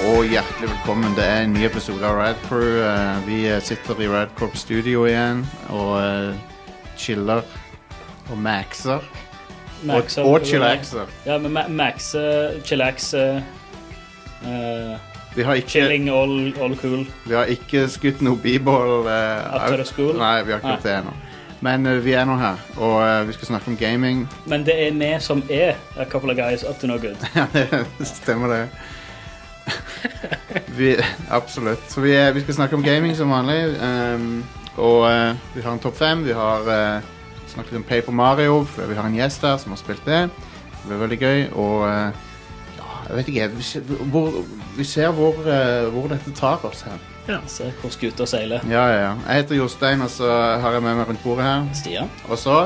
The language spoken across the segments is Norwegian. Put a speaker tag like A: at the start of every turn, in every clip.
A: Hjertelig velkommen. Det er en ny episode av Rad Crew. Eh, vi eh, sitter i Rad Corp Studio igjen og eh, chiller og maxer.
B: Max,
A: og og chillaxer.
B: Ja, men Ma- Max, eh, chillax, eh, eh,
A: Vi har ikke,
B: chilling, all, all cool.
A: vi har ikke skutt noe b-ball. eh,
B: After
A: out.
B: school?
A: Nei, vi har ikke gjort det ennå. Men eh, vi er nå her, og eh, vi skal snakke om gaming.
B: Men det er vi som er a couple of guys up to no good.
A: Ja, det stemmer det. Vi, absolutt. Så vi, er, vi skal snakke om gaming som vanlig. ehm, og eh, vi har en topp fem. Vi har eh, snakket om Paper Mario. For vi har en gjest der som har spilt det. Det blir veldig gøy. Og eh, ja, jeg vet ikke Vi ser hvor, vi ser hvor, eh, hvor dette tar oss hen.
B: Se hvor skuta seiler.
A: Ja, ja, ja. Jeg heter Jostein, og så har jeg med meg rundt bordet her.
B: Stian?
A: Og så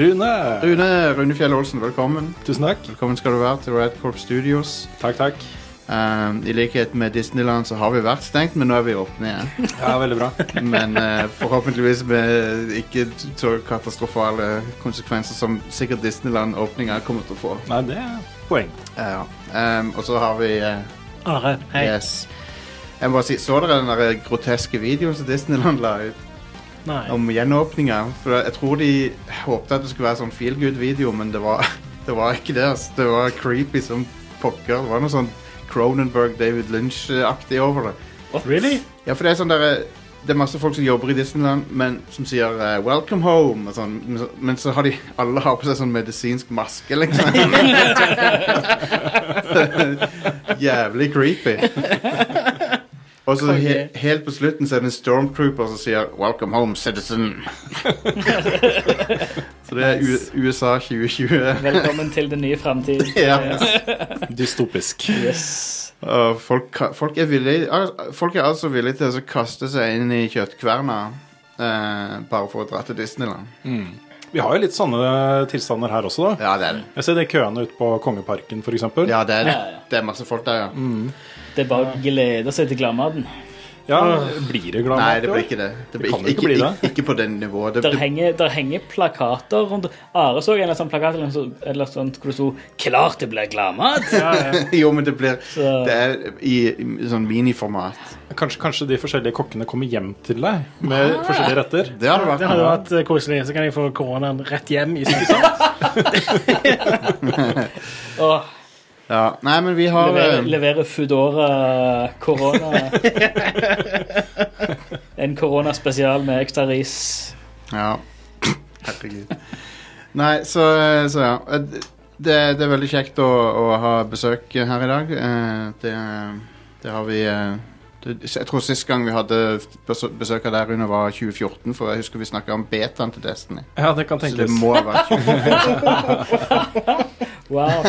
C: Rune!
A: Rune, Rune Fjell Olsen, velkommen.
C: Tusen takk.
A: Velkommen skal du være til Red Corp Studios.
C: Takk, takk.
A: Um, I likhet med Disneyland så har vi vært stengt, men nå er vi åpne igjen.
C: Ja, veldig bra.
A: Men eh, forhåpentligvis med ikke så katastrofale konsekvenser som sikkert Disneyland-åpninga kommer til å få.
C: Nei, det er poeng.
A: Ja. Um, og så har vi eh,
B: Are,
A: Yes. Jeg må bare si, Så dere den der groteske videoen som Disneyland la ut
B: Nei.
A: om gjenåpninga? For jeg tror de håpte at det skulle være sånn feel good-video, men det var, det var ikke det. Altså. Det var creepy som pokker. Det var noe sånn Cronenberg-David Lynch-aktig over det.
C: Really?
A: Ja, for det er sånn der eh, Det er masse folk som jobber i Disneyland Men som sier eh, 'welcome home' og sånn Men så, men så har de Alle har på seg sånn medisinsk maske, liksom. Jævlig creepy. Og så he, helt på slutten så er det en stormtrooper som sier 'welcome home, citizen'. så det er U USA 2020.
B: Velkommen til den nye framtid.
A: Ja.
C: Dystopisk.
B: Yes.
A: Og folk, ka- folk, er villige, al- folk er altså villige til å kaste seg inn i kjøttkverna eh, bare for å dra til Disneyland.
C: Vi har jo litt sånne tilstander her også, da.
A: Ja, det er det.
C: Jeg ser det køene ute på Kongeparken, f.eks.
A: Ja, det, er, det.
B: Ja, ja.
A: det er masse folk der, ja.
B: Det er bare å glede seg til glammaden.
C: ja, blir det glad
A: Nei,
C: mat,
A: det
C: jo?
A: blir ikke det. Det blir
C: kan
A: ikke,
C: jo ikke
A: ikke,
C: bli
A: ikke,
C: det.
A: ikke på det nivået. Det,
B: Der
A: det,
B: henger, der henger plakater rundt Are så en eller annen sånn plakat eller noe sånt- eller noe sånt hvor det sto 'Klart det blir glammad'.
A: jo, men det blir
B: Så-
A: Det er i, i sånn miniformat.
C: Kanskje, kanskje de forskjellige kokkene kommer hjem til deg med forskjellige retter?
A: Det hadde vært
D: Det hadde vært eh, koselig. Så kan jeg få koronaen rett hjem i skuta.
B: Åh,
A: Ja. Nei, men vi har
B: Levere,
A: eh,
B: levere Foodora korona. En koronaspesial med ekstra ris.
A: Ja. Herregud. Nei, så, eh, så ja. Det, det er veldig kjekt å, å ha besøk her i dag. Eh, Det, det har vi eh, det, Jeg tror sist gang vi hadde besø- besøk av deg, Rune, var 2014. For jeg husker vi snakka om betaen til Destiny.
C: Ja, det kan
A: Så det
C: tenkes.
A: må ha vært 2014.
B: Wow.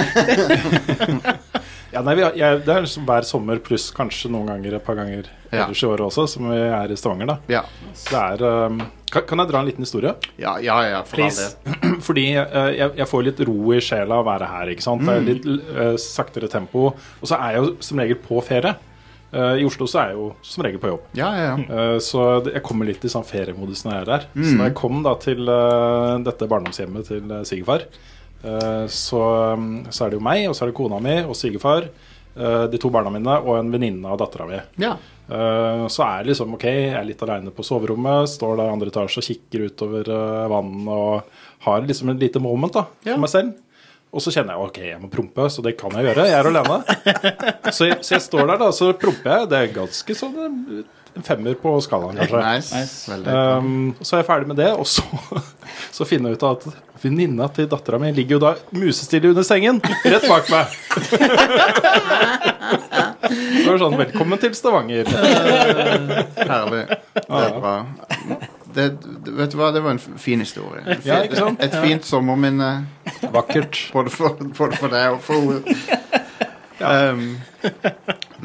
C: Ja, nei, vi har, jeg, det er liksom hver sommer pluss kanskje noen ganger et par ganger
A: Ja.
C: ellers i året også, som vi er i Stavanger, da.
A: Ja.
C: Så det er um, kan, kan jeg dra en liten historie?
A: Ja, ja, ja, for all
D: Please.
A: del.
C: Fordi eh, jeg, jeg får litt ro i sjela av å være her. ikke sant? Det er litt eh, saktere tempo. Og så er jeg jo som regel på ferie. Eh, I Oslo så er jeg jo som regel på jobb.
A: Ja, ja, ja.
C: Eh, så det- jeg kommer litt i sånn feriemodus når jeg er der. Så da jeg kom da til eh, dette barndomshjemmet til eh, svigerfar, eh, så, så er det jo meg, og så er det kona mi og svigerfar, eh, de to barna mine og en venninne av dattera mi.
A: ja.
C: Eh, så er det liksom ok, jeg er litt aleine på soverommet, står der i andre etasje og kikker utover eh, vannet og har liksom et lite moment da,
A: Ja.
C: for meg selv. Og så kjenner jeg ok, jeg må prompe, så det kan jeg gjøre. Jeg er alene. Så jeg, så jeg står der, da, så promper jeg. Det er ganske sånn eh, en femmer på skalaen, kanskje.
A: Nice.
B: Nice.
A: Veldig bra.
C: Um, så er jeg ferdig med det, og så, så finner jeg ut at venninna til dattera mi ligger jo da musestille under sengen, rett bak meg. Det var sånn Velkommen til Stavanger.
A: Herlig. Det er bra. Det, det- vet du hva, det var en f- fin historie. En
C: Ja,
A: fin-
C: ikke sant?
A: Et fint sommerminne.
C: Vakkert.
A: Både for, både for deg og for henne. Ehm,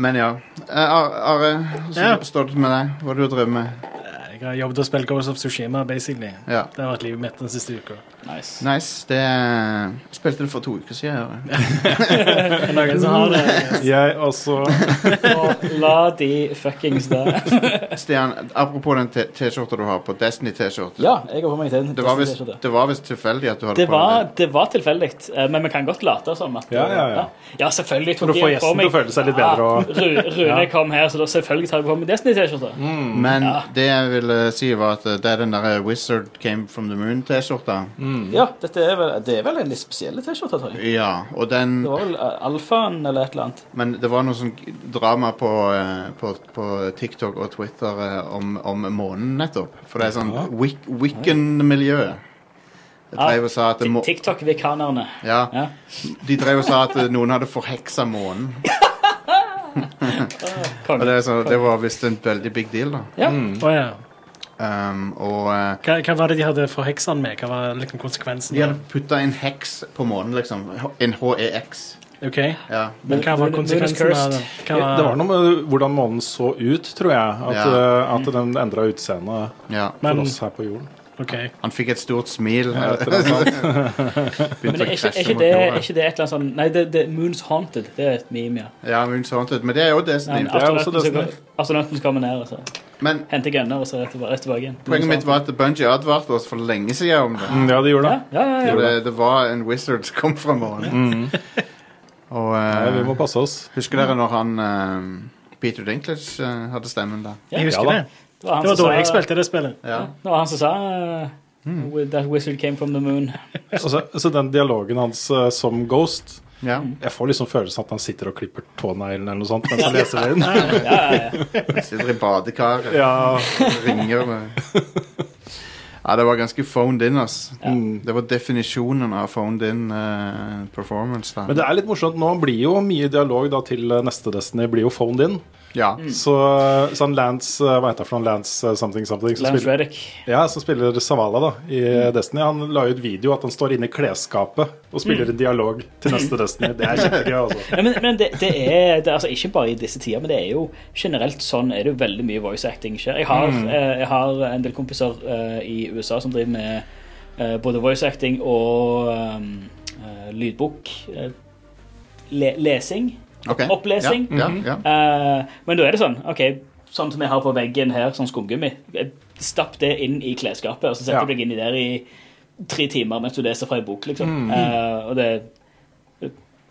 A: men ja. Eh, Ar- Are, hvordan
D: Ja.
A: står det til med deg? Hva er det du drømmer med?
D: Jeg Jeg har jobbet og spilt Ghost of Tsushima, basically.
A: Ja.
D: Det har vært livet mitt den siste uka.
B: Nice.
A: Nice. Det jeg spilte det for to uker siden. jeg hører.
D: Er det noen som har det?
C: Jeg også
B: Og la de fuckings det.
A: Stian, apropos den T- T-skjorta du har på, Destiny-T-skjorte.
B: Ja, jeg har på meg den.
A: Det var visst-
B: T-skjorte.
A: det var visst tilfeldig at du hadde
B: Det
A: på
B: var,
A: den.
B: det var tilfeldig, eh, men vi kan godt late som at
C: Ja, ja, ja.
B: ja selvfølgelig
C: For å
B: tok
C: få
B: jeg på
C: gjesten
B: meg
C: til å føle seg litt bedre og-
B: Ja, Ru- Rune kom her, så da selvfølgelig tar jeg på meg Destiny-T-skjorta.
A: Men
B: Mm. Ja.
A: det jeg ville si, var at eh, det er den der Wizard Came From The Moon-T-skjorta.
B: Ja, dette er vel, det er vel en litt spesiell T-skjorte, tror jeg.
A: Ja, og den
B: Det var vel eh, alfaen eller et eller annet.
A: Men det var noe sånn drama på, eh, på, på TikTok og Twitter eh, om, om månen, nettopp. For det er sånn
C: Ja.
A: Wik Wiccan-miljø. De
B: Ja,
A: drev og sa at,
B: Tik-
A: må
B: TikTok-vikanerne.
A: ja,
B: Ja.
A: de drev og sa at eh, noen hadde forheksa månen. Og
B: Ah, Konge.
A: det, er så, det var visst en veldig big deal, da.
B: Ja.
D: Å ja.
A: Um, og eh,
D: Hva, hva var det de hadde forheksa han med? Hva var liksom konsekvensen?
A: de hadde putta en heks på månen, liksom. En HEX.
D: Ok,
A: Ja.
D: Men hva var
B: Moon- moon is
D: konsekvensen av
B: cursed.
D: det? Hva
C: Det var noe med hvordan månen så ut, tror jeg. At,
A: Ja.
C: eh, at den endra utseendet
A: ja.
D: Men-
C: for oss her på jorden.
D: Ok.
A: Han fikk et stort smil.
C: Et eller annet sånt.
B: Men
A: Begynte
B: er
A: å
B: ikke, er,
A: krasje
B: ikke
A: mot
B: det, er
A: jorda.
B: ikke det et eller annet sånn Nei, det, det Moon's Haunted. Det er et meme, ja.
A: Ja, men, sånn, men det er jo
B: Ja,
A: Destiny.
B: men
C: er også
B: astronauten som
C: Destiny.
B: går- Astronauten som kommer ned og så
A: Men
B: henter gunner, og så er det tilba- rett tilbake igjen.
A: Poenget mitt var at Bungie advarte oss for lenge siden om det.
C: Mm, Ja, det gjorde
B: Ja,
C: det.
B: ja, ja. ja.
A: For det, det var en wizard som kom fra månen. Og
C: Nei, vi
A: eh,
C: må passe oss.
A: husker dere når han eh, Peter Dinklage eh, hadde stemmen da?
D: Jeg
C: Ja
D: husker
C: da.
D: det.
B: Det var han
D: Det var
B: som
D: da
B: sa-
D: jeg spilte det spillet.
A: Ja.
B: Det var han som sa eh,
A: Hmm.
B: "With That wizard came from the moon.
C: Altså, altså den dialogen hans eh, som Ghost
A: ja.
C: Jeg får liksom følelsen at han sitter og klipper tåneglen eller noe sånt mens han leser den.
B: Ja, ja, ja.
A: Sitter i badekaret
C: Ja.
A: og ringer med Ja, det var ganske phoned in, ass.
C: Mm.
A: Det var definisjonen av phoned in eh, performance, da.
C: Men det er litt morsomt. Nå blir jo mye dialog da til eh, neste Destiny blir jo phoned in.
A: ja.
C: Så eh, sånn Lance eh, Hva heter det for noen Lance eh, something something? Som
B: Lance
C: spiller,
B: Reddick.
C: ja, som spiller Savala da i eh, Destiny. Han la ut video at han står inne i klesskapet og spiller en dialog til neste Destiny. Det er kjempegøy, altså.
B: Nei, men men det, det er det, er altså ikke bare i disse tider, men det er jo generelt sånn er det jo veldig mye voice acting skjer. Jeg har, eh, jeg har en del kompiser eh, i USA som driver med eh, både voice acting og um, eh, lydbok. eh, le, lesing.
A: Ok.
B: Opplesing.
A: Ja, ja, ja.
B: Eh, men da er det sånn, ok, sånn som jeg har på veggen her, sånn skumgummi, eh, stapp det inn i klesskapet, og så setter
C: Ja.
B: du deg inni der i tre timer mens du leser fra en bok,
A: Mm.
B: liksom. Eh, og det er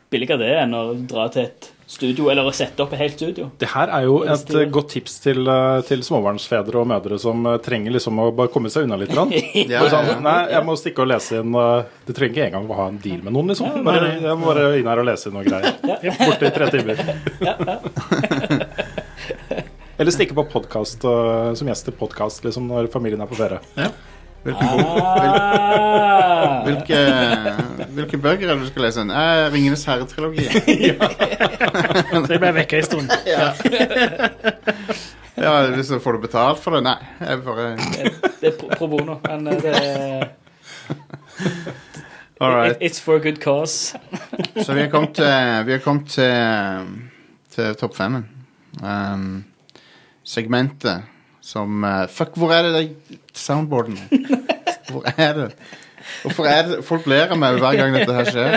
B: billigere det enn å dra til et studio, eller å sette opp et helt studio.
C: Det her er jo et eh, godt tips til, eh, til småbarnsfedre og -mødre som eh, trenger liksom å bare komme seg unna litt. Grann.
A: Ja,
C: Bare
A: ja, ja.
C: sånn, nei, jeg må stikke og lese inn eh, Du trenger ikke engang å ha en deal med noen, liksom. Bare, jeg må bare inn her og lese inn noen greier. Borte i tre timer. Eller stikke på podkast som gjest til podkast liksom, når familien er på ferie.
A: Hvilken bok?
B: Ah,
A: Hvilke, hvilke bøker er det du skal lese? Eh, Ringenes herre-trilogien.
D: Så jeg ble vekka en stund.
A: Ja, hvis du får du betalt for det? Nei, jeg bare
B: det er pro, pro bono, men eh, det er...
A: All right.
B: it- It's for a good cause.
A: Så vi er kommet til, vi er kommet til, til topp femmen. Um, segmentet som eh, Fuck, hvor er det de soundboardene? Hvor er det? Hvorfor er det Folk ler av meg hver gang dette her skjer.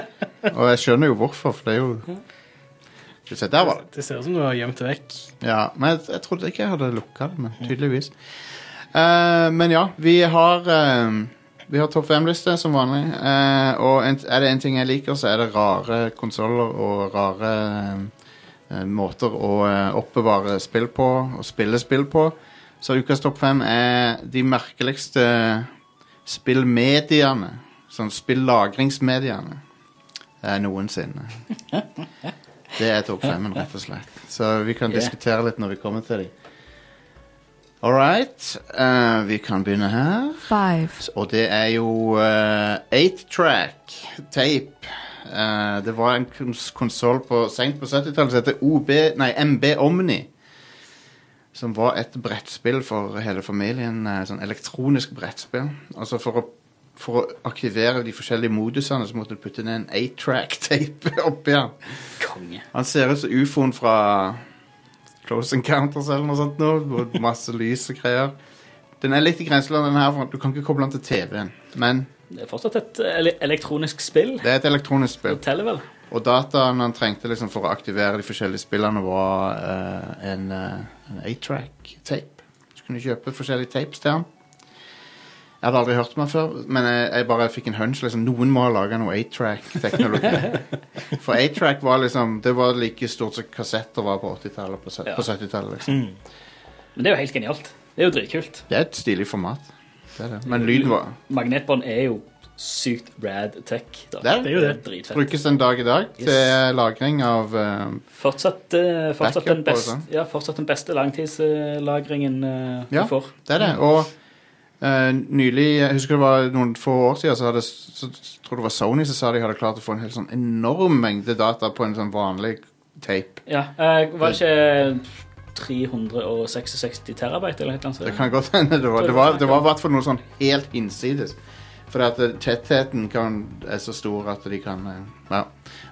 A: Og jeg skjønner jo hvorfor, for det er jo Skal vi se, der var det.
D: Det ser ut som du har gjemt det vekk.
A: Ja, men jeg, jeg trodde ikke jeg hadde lukka det, men tydeligvis. Eh, men ja, vi har eh, Vi har topp fem-liste som vanlig. eh, og en, er det en ting jeg liker, så er det rare konsoller og rare eh, måter å eh, oppbevare spill på og spille spill på. Så ukas topp fem er de merkeligste spillmediene. Sånn spillagringsmediene eh, noensinne. Det er topp femmen, rett og slett. Så vi kan
B: Ja.
A: diskutere litt når vi kommer til dem. All right. eh, vi kan begynne her.
E: five,
A: Og det er jo 8-track tape. Eh, det var en kons konsoll seint på 70-tallet som heter OB, nei, MB Omni. Som var et brettspill for hele familien. eh, sånn elektronisk brettspill. Altså for å, for å aktivere de forskjellige modusene så måtte du putte ned en 8-track tape oppi den.
B: Konge.
A: Han ser ut som ufoen fra Close Encounters eller noe sånt nå. hvor Masse lys og greier. Den er litt i grenseland, den her, for du kan ikke koble den til TV-en. Men
B: Det er fortsatt et eh, ele- elektronisk spill.
A: det er et elektronisk spill.
B: Det teller vel.
A: Og dataen han trengte liksom for å aktivere de forskjellige spillene, var eh, en, eh, en 8-track-tape. Du kunne kjøpe forskjellige tapes til han. Jeg hadde aldri hørt om han før, men jeg, jeg bare fikk en hunch. liksom Noen må ha laga noe 8-track-teknologi. for 8-track var liksom Det var like stort som kassetter var på 80-tallet og på sø-
B: Ja.
A: på 70-tallet. liksom.
B: Men det er jo helt genialt. Det er jo dritkult.
A: Det er et stilig format. Det er det. Men lyd var
B: Magnetbånd er jo sykt rad tech. Da.
A: Det er det.
D: Det er jo det.
B: Dritfett.
A: Brukes den dag i dag til
B: Yes.
A: lagring av eh,
B: Fortsatt, eh, fortsatt,
A: Backup
B: den,
A: og
B: best,
A: sånn.
B: ja, fortsatt den beste langtidslagringen eh,
A: Ja.
B: du får.
A: Det er det. Og eh, nylig, jeg husker det var noen få år siden, så, hadde, så tror jeg det var Sony som sa de hadde klart å få en helt sånn enorm mengde data på en sånn vanlig tape.
B: Ja, eh, var det ikke 366 terabyte eller noe
A: Det
B: sånt?
A: kan godt hende. Det var, det var, det var i hvert fall noe sånn helt innsides. For at eh, tettheten kan, er så stor at de kan eh, Ja.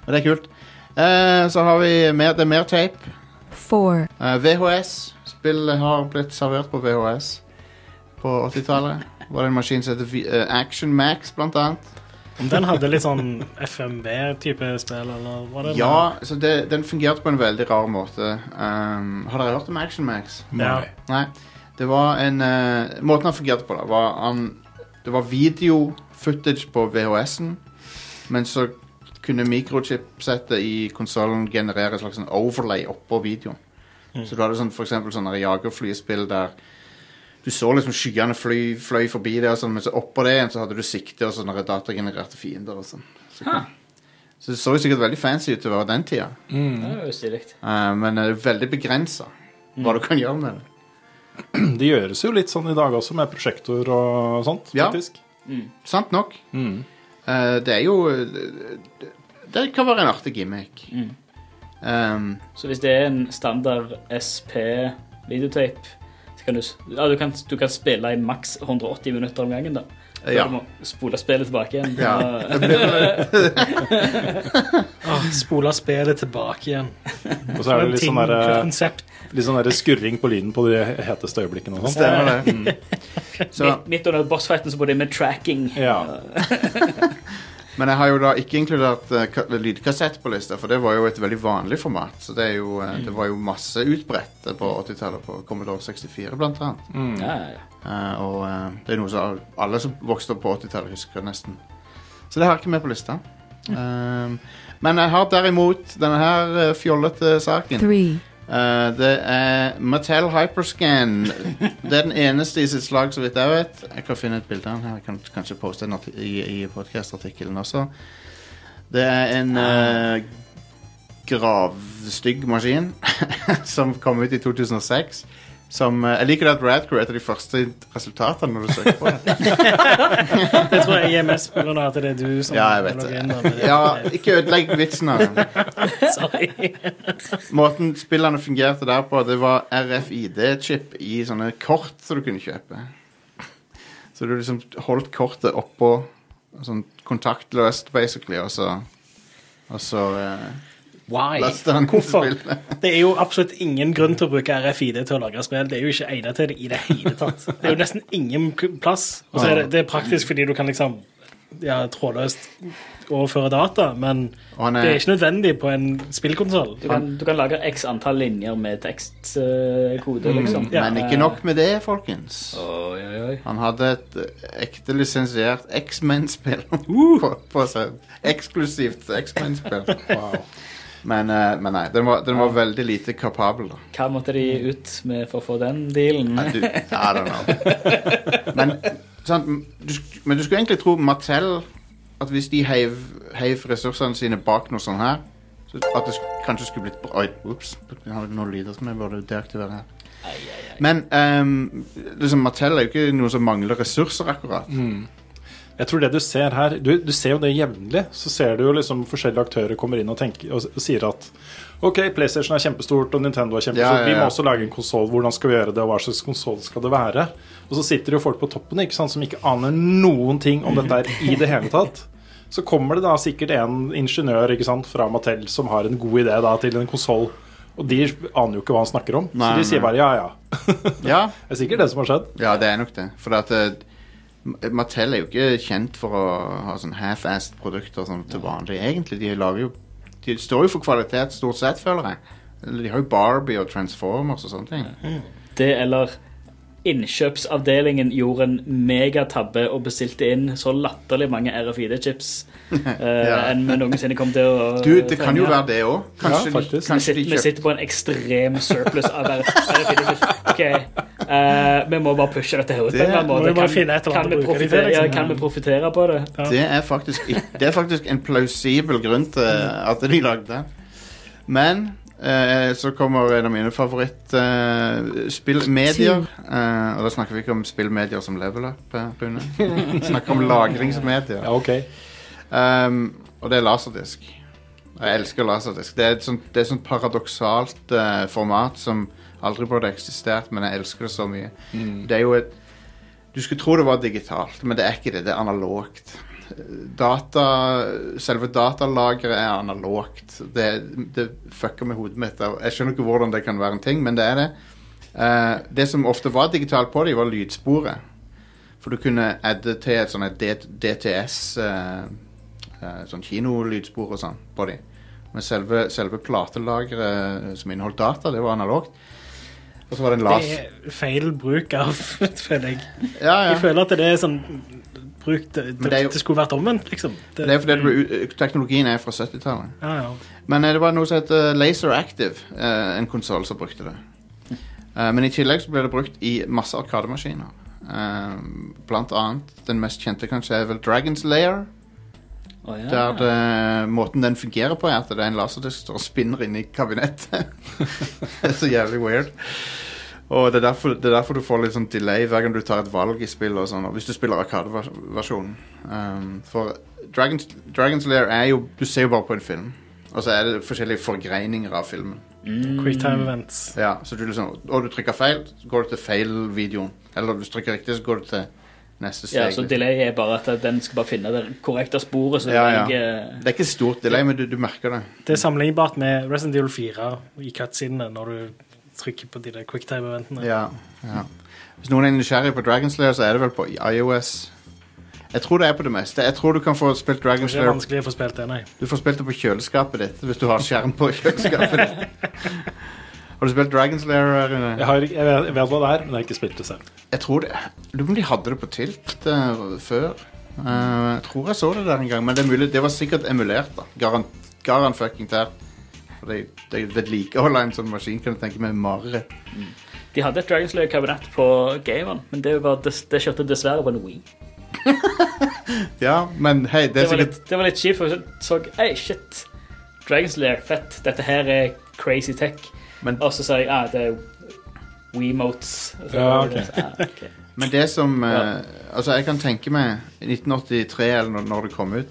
A: Men det er kult. Eh, så har vi mer, det er mer tape.
E: four,
A: Eh, VHS. Spill har blitt servert på VHS på 80-tallet. Var det en maskin som heter V- eh, Action Max, blant annet.
D: Om den hadde litt sånn FMB-type spill, eller hva det
A: Ja, så det, den fungerte på en veldig rar måte. Um, har dere hørt om Action Max?
D: Ja.
A: Nei. Det var en eh, Måten han fungerte på, da, var han Det var video-footage på VHS-en, men så kunne mikrochipsettet i konsollen generere et slags sånn overlay oppå videoen. Så du hadde sånn, for eksempel sånne jagerflyspill der du så liksom skyene fly, fløy forbi deg, og sånn, men så oppå det igjen så hadde du sikte og sånne datagenererte fiender og sånn. Så,
B: Huh.
A: så det så jo sikkert veldig fancy ut til å være den tida.
C: Mm.
B: Det er jo stilig.
A: Eh, men det er veldig begrensa hva du kan gjøre med det.
C: Det gjøres jo litt sånn i dag også, med prosjektor og sånt,
A: Ja.
C: faktisk.
A: Sant nok.
C: Mm.
A: Eh, det er jo det, det kan være en artig gimmick.
B: Mm.
A: Ehm,
B: Så hvis det er en standard SP-videotape, så kan du, s- ja, du, kan, du kan spille i maks 180 minutter om gangen. da. Før
A: Ja.
B: du må spole spillet tilbake igjen.
A: Ja.
B: Og-
D: var. Ah, Spola spillet tilbake igjen.
C: Og så er det litt sånn der,
D: Ting,
C: eh,
D: konsept.
C: litt sånn der skurring på lyden på de heteste øyeblikkene og sånt.
A: stemmer det. Så,
B: midt, midt under bossfighten så går det med tracking.
C: Ja.
A: men jeg har jo da ikke inkludert eh, ka- lydkassett på lista, for det var jo et veldig vanlig format. Så det, er jo, eh, det var jo masse utbredt på 80-tallet, på Commodore 64 blant annet.
C: Mm.
B: Ja, ja, ja.
A: Eh, og eh, det er noe som alle som vokste opp på 80-tallet, husker nesten. Så det har jeg ikke med på lista. Um, men jeg har derimot denne her eh, fjollete saken.
E: three,
A: Eh, det er Mattel Hyperscan. Det er den eneste i sitt slag, så vidt jeg vet. Jeg kan finne et bilde av den her. Jeg kan kanskje poste den arti- i, i podkastartikkelen også. Det er en
D: Ah.
A: eh, gravstygg maskin som kom ut i 2006. Som, eh, jeg liker det at Radcrew er et av de første resultatene når du søker på det.
D: Det tror jeg er mest pga. at det er du som
A: Ja, jeg vet
D: logger
A: det.
D: inn. da, men det-
A: Ja, ikke ødelegg vitsen av den.
D: Sorry.
A: Måten spillene fungerte der på, det var RFID-chip i sånne kort som du kunne kjøpe. Så du liksom holdt kortet oppå, sånn kontaktløst, basically, og så Og så eh,
D: Why?
A: lasta han
D: Hvorfor?
A: spillet.
D: Det er jo absolutt ingen grunn til å bruke RFID til å lagre spill. Det er jo ikke egnet til det i det hele tatt. Det er jo nesten ingen k- plass. Og så er det, det er praktisk fordi du kan liksom ja, trådløst overføre data, men
A: Og han
D: det er
A: er,
D: ikke nødvendig på en spillkonsoll.
B: Du kan, du kan lagre x antall linjer med tekstkode, liksom.
D: ja.
A: men ikke nok med det, folkens.
B: Oi, oi, oi.
A: Han hadde et eh, ekte lisensiert X-Men-spill
D: Uh.
A: på, på seg. Eksklusivt X-Men-spill.
C: Wow.
A: Men, eh, men nei, den var, den var veldig lite kapabel, da.
B: Hva måtte de ut med for å få den dealen?
A: Nei, du, I don't know. Men, sant, du, sk- men du skulle egentlig tro Mattel At hvis de heiv, heiv ressursene sine bak noe sånn her, så at det sk- kanskje skulle blitt bra. Oi, Ops. Jeg har noen lyder som jeg burde deaktivere her. Men ehm, liksom Mattel er jo ikke noe som mangler ressurser, akkurat.
C: Jeg tror det du ser her Du, du ser jo det jevnlig. Så ser du jo liksom forskjellige aktører kommer inn og, tenker, og, s- og sier at OK, PlayStation er kjempestort, og Nintendo er kjempestort.
A: Ja, ja, ja.
C: Vi må også lage en konsoll. Hvordan skal vi gjøre det, og hva slags konsoll skal det være? Og så sitter det jo folk på toppen ikke sant, som ikke aner noen ting om dette her i det hele tatt. Så kommer det da sikkert en ingeniør ikke sant, fra Mattel som har en god idé da, til en konsoll. Og de aner jo ikke hva han snakker om,
A: Nei,
C: så de sier
A: nei.
C: bare ja, ja.
A: Ja,
C: Det er sikkert det som har skjedd.
A: ja, det er nok det. For at eh, M- Mattel er jo ikke kjent for å ha sånn half-assed produkter som til vanlig, egentlig. De lager jo De står jo for kvalitet, stort sett, føler jeg. Eller De har jo Barbie og Transformers og sånne ting.
B: Det eller innkjøpsavdelingen gjorde en megatabbe og bestilte inn så latterlig mange RFID-chips eh,
A: Ja.
B: enn vi noensinne kom til å
A: Du, det kan jo
B: trenge.
A: være det òg. Kanskje,
C: Ja,
A: de-
C: faktisk.
B: Vi
A: kanskje
B: sitter,
A: de
B: vi
A: kjøpte
B: sitter på en ekstrem surplus av RFID-chips. Ok, eh, vi må bare pushe dette her ut på en eller annen
D: Må
B: måte.
D: vi bare finne et eller
B: kan, vi
D: annet å bruke de til,
B: profitere, ja,
D: liksom?
B: kan vi profitere på det?
D: Ja.
A: Det er faktisk, ikk- det er faktisk en plausibel grunn til at de lagde den. Men eh, så kommer en av mine favorittspillmedier. eh, og da snakker vi ikke om spillmedier som level up, eh, Rune. Vi snakker om lagringsmedier.
C: Ja, ok.
A: Um, og det er laserdisk. Jeg elsker laserdisk. Det er et sånt, det er et sånt paradoksalt eh, format som aldri burde eksistert, men jeg elsker det så mye. Det er jo et Du skulle tro det var digitalt, men det er ikke det. Det er analogt. Data, selve datalageret er analogt. Det, det fucker med hodet mitt. Jeg skjønner ikke hvordan det kan være en ting, men det er det. Eh, det som ofte var digitalt på dem, var lydsporet. For du kunne adde til et sånt et D- DTS eh, eh, Sånn kinolydspor og sånn på dem. Men selve, selve platelageret som inneholdt data, det var analogt. Og så var det en
D: Det
A: las...
D: er feil bruk av føler jeg.
A: Ja, ja.
D: Jeg føler at det er sånn bruk Det,
A: Men
D: det,
A: det er jo-
D: det skulle vært omvendt, liksom.
A: Det er fordi det ble, u- teknologien er fra 70-tallet.
D: ja, ja.
A: Men eh, det var noe som het eh, Laser Active, eh, en konsoll som brukte det. Eh, men i tillegg så ble det brukt i masse arkademaskiner. Eh, blant annet den mest kjente kanskje er vel Dragons Lair.
B: Å, ja.
A: Der det, måten den fungerer på, er at det er en laserdisk som står og spinner inni kabinettet. det er så jævlig weird. Og det er, derfor, det er derfor du får litt sånn delay hver gang du tar et valg i spillet. Og sånn, og hvis du spiller Arkade-versjonen. Um, for Dragons, Dragons Lair er jo Du ser jo bare på en film. Og så er det forskjellige forgreininger av filmen.
B: Mm.
D: Quick time events.
A: Ja, så du liksom, Og du trykker feil, så går du til feil-videoen. Eller hvis du trykker riktig, så går du til neste steg.
B: Ja, så
A: liksom.
B: delay er bare at den skal bare finne det korrekte sporet. Så
A: Ja, ja.
B: jeg, eh,
A: Det er ikke stort delay, men du, du merker det.
D: Det er sammenlignbart med Resident Evil 4 i cutscenene når du trykker på de der quick time eventene.
A: Ja, ja. Hvis noen er nysgjerrig på Dragon Slayer, så er det vel på iOS. Jeg tror det er på det meste. Jeg tror du kan få spilt Dragon
D: Det er
A: Slayer
D: vanskelig å få spilt det, nei.
A: Du får spilt det på kjøleskapet ditt hvis du har skjerm på kjøleskapet ditt. Har du spilt Dragon Slayer, Rune?
C: Jeg, har, jeg, vet, jeg vet hva det er, men jeg har ikke spilt det selv.
A: Jeg tror det Jeg Lurer på om de hadde det på Tilt eh, før. Eh, jeg tror jeg så det der en gang, men det, er mulig, det var sikkert emulert. da Garan, garan fucking tær. For de, de vedlikeholder en sånn maskin, kan du tenke meg, mareritt.
B: de hadde et Dragon's Lair-kabinett på Gameren, men det, var, det, det kjørte dessverre på en Wii.
A: Ja, men hei, det
B: Det
A: er
B: var
A: sikkert
B: litt, det var litt kjipt, for jeg så Ei, shit. Dragon's Lair, fett. Dette her er crazy tech.
A: Men-
B: Og så sa jeg ah, det er WeMotes. Og så
C: Ja,
B: var det
C: ok.
B: sånn, ah, ok.
A: Men det som eh,
B: Ja.
A: Altså, jeg kan tenke meg i 1983, eller når, når det kom ut,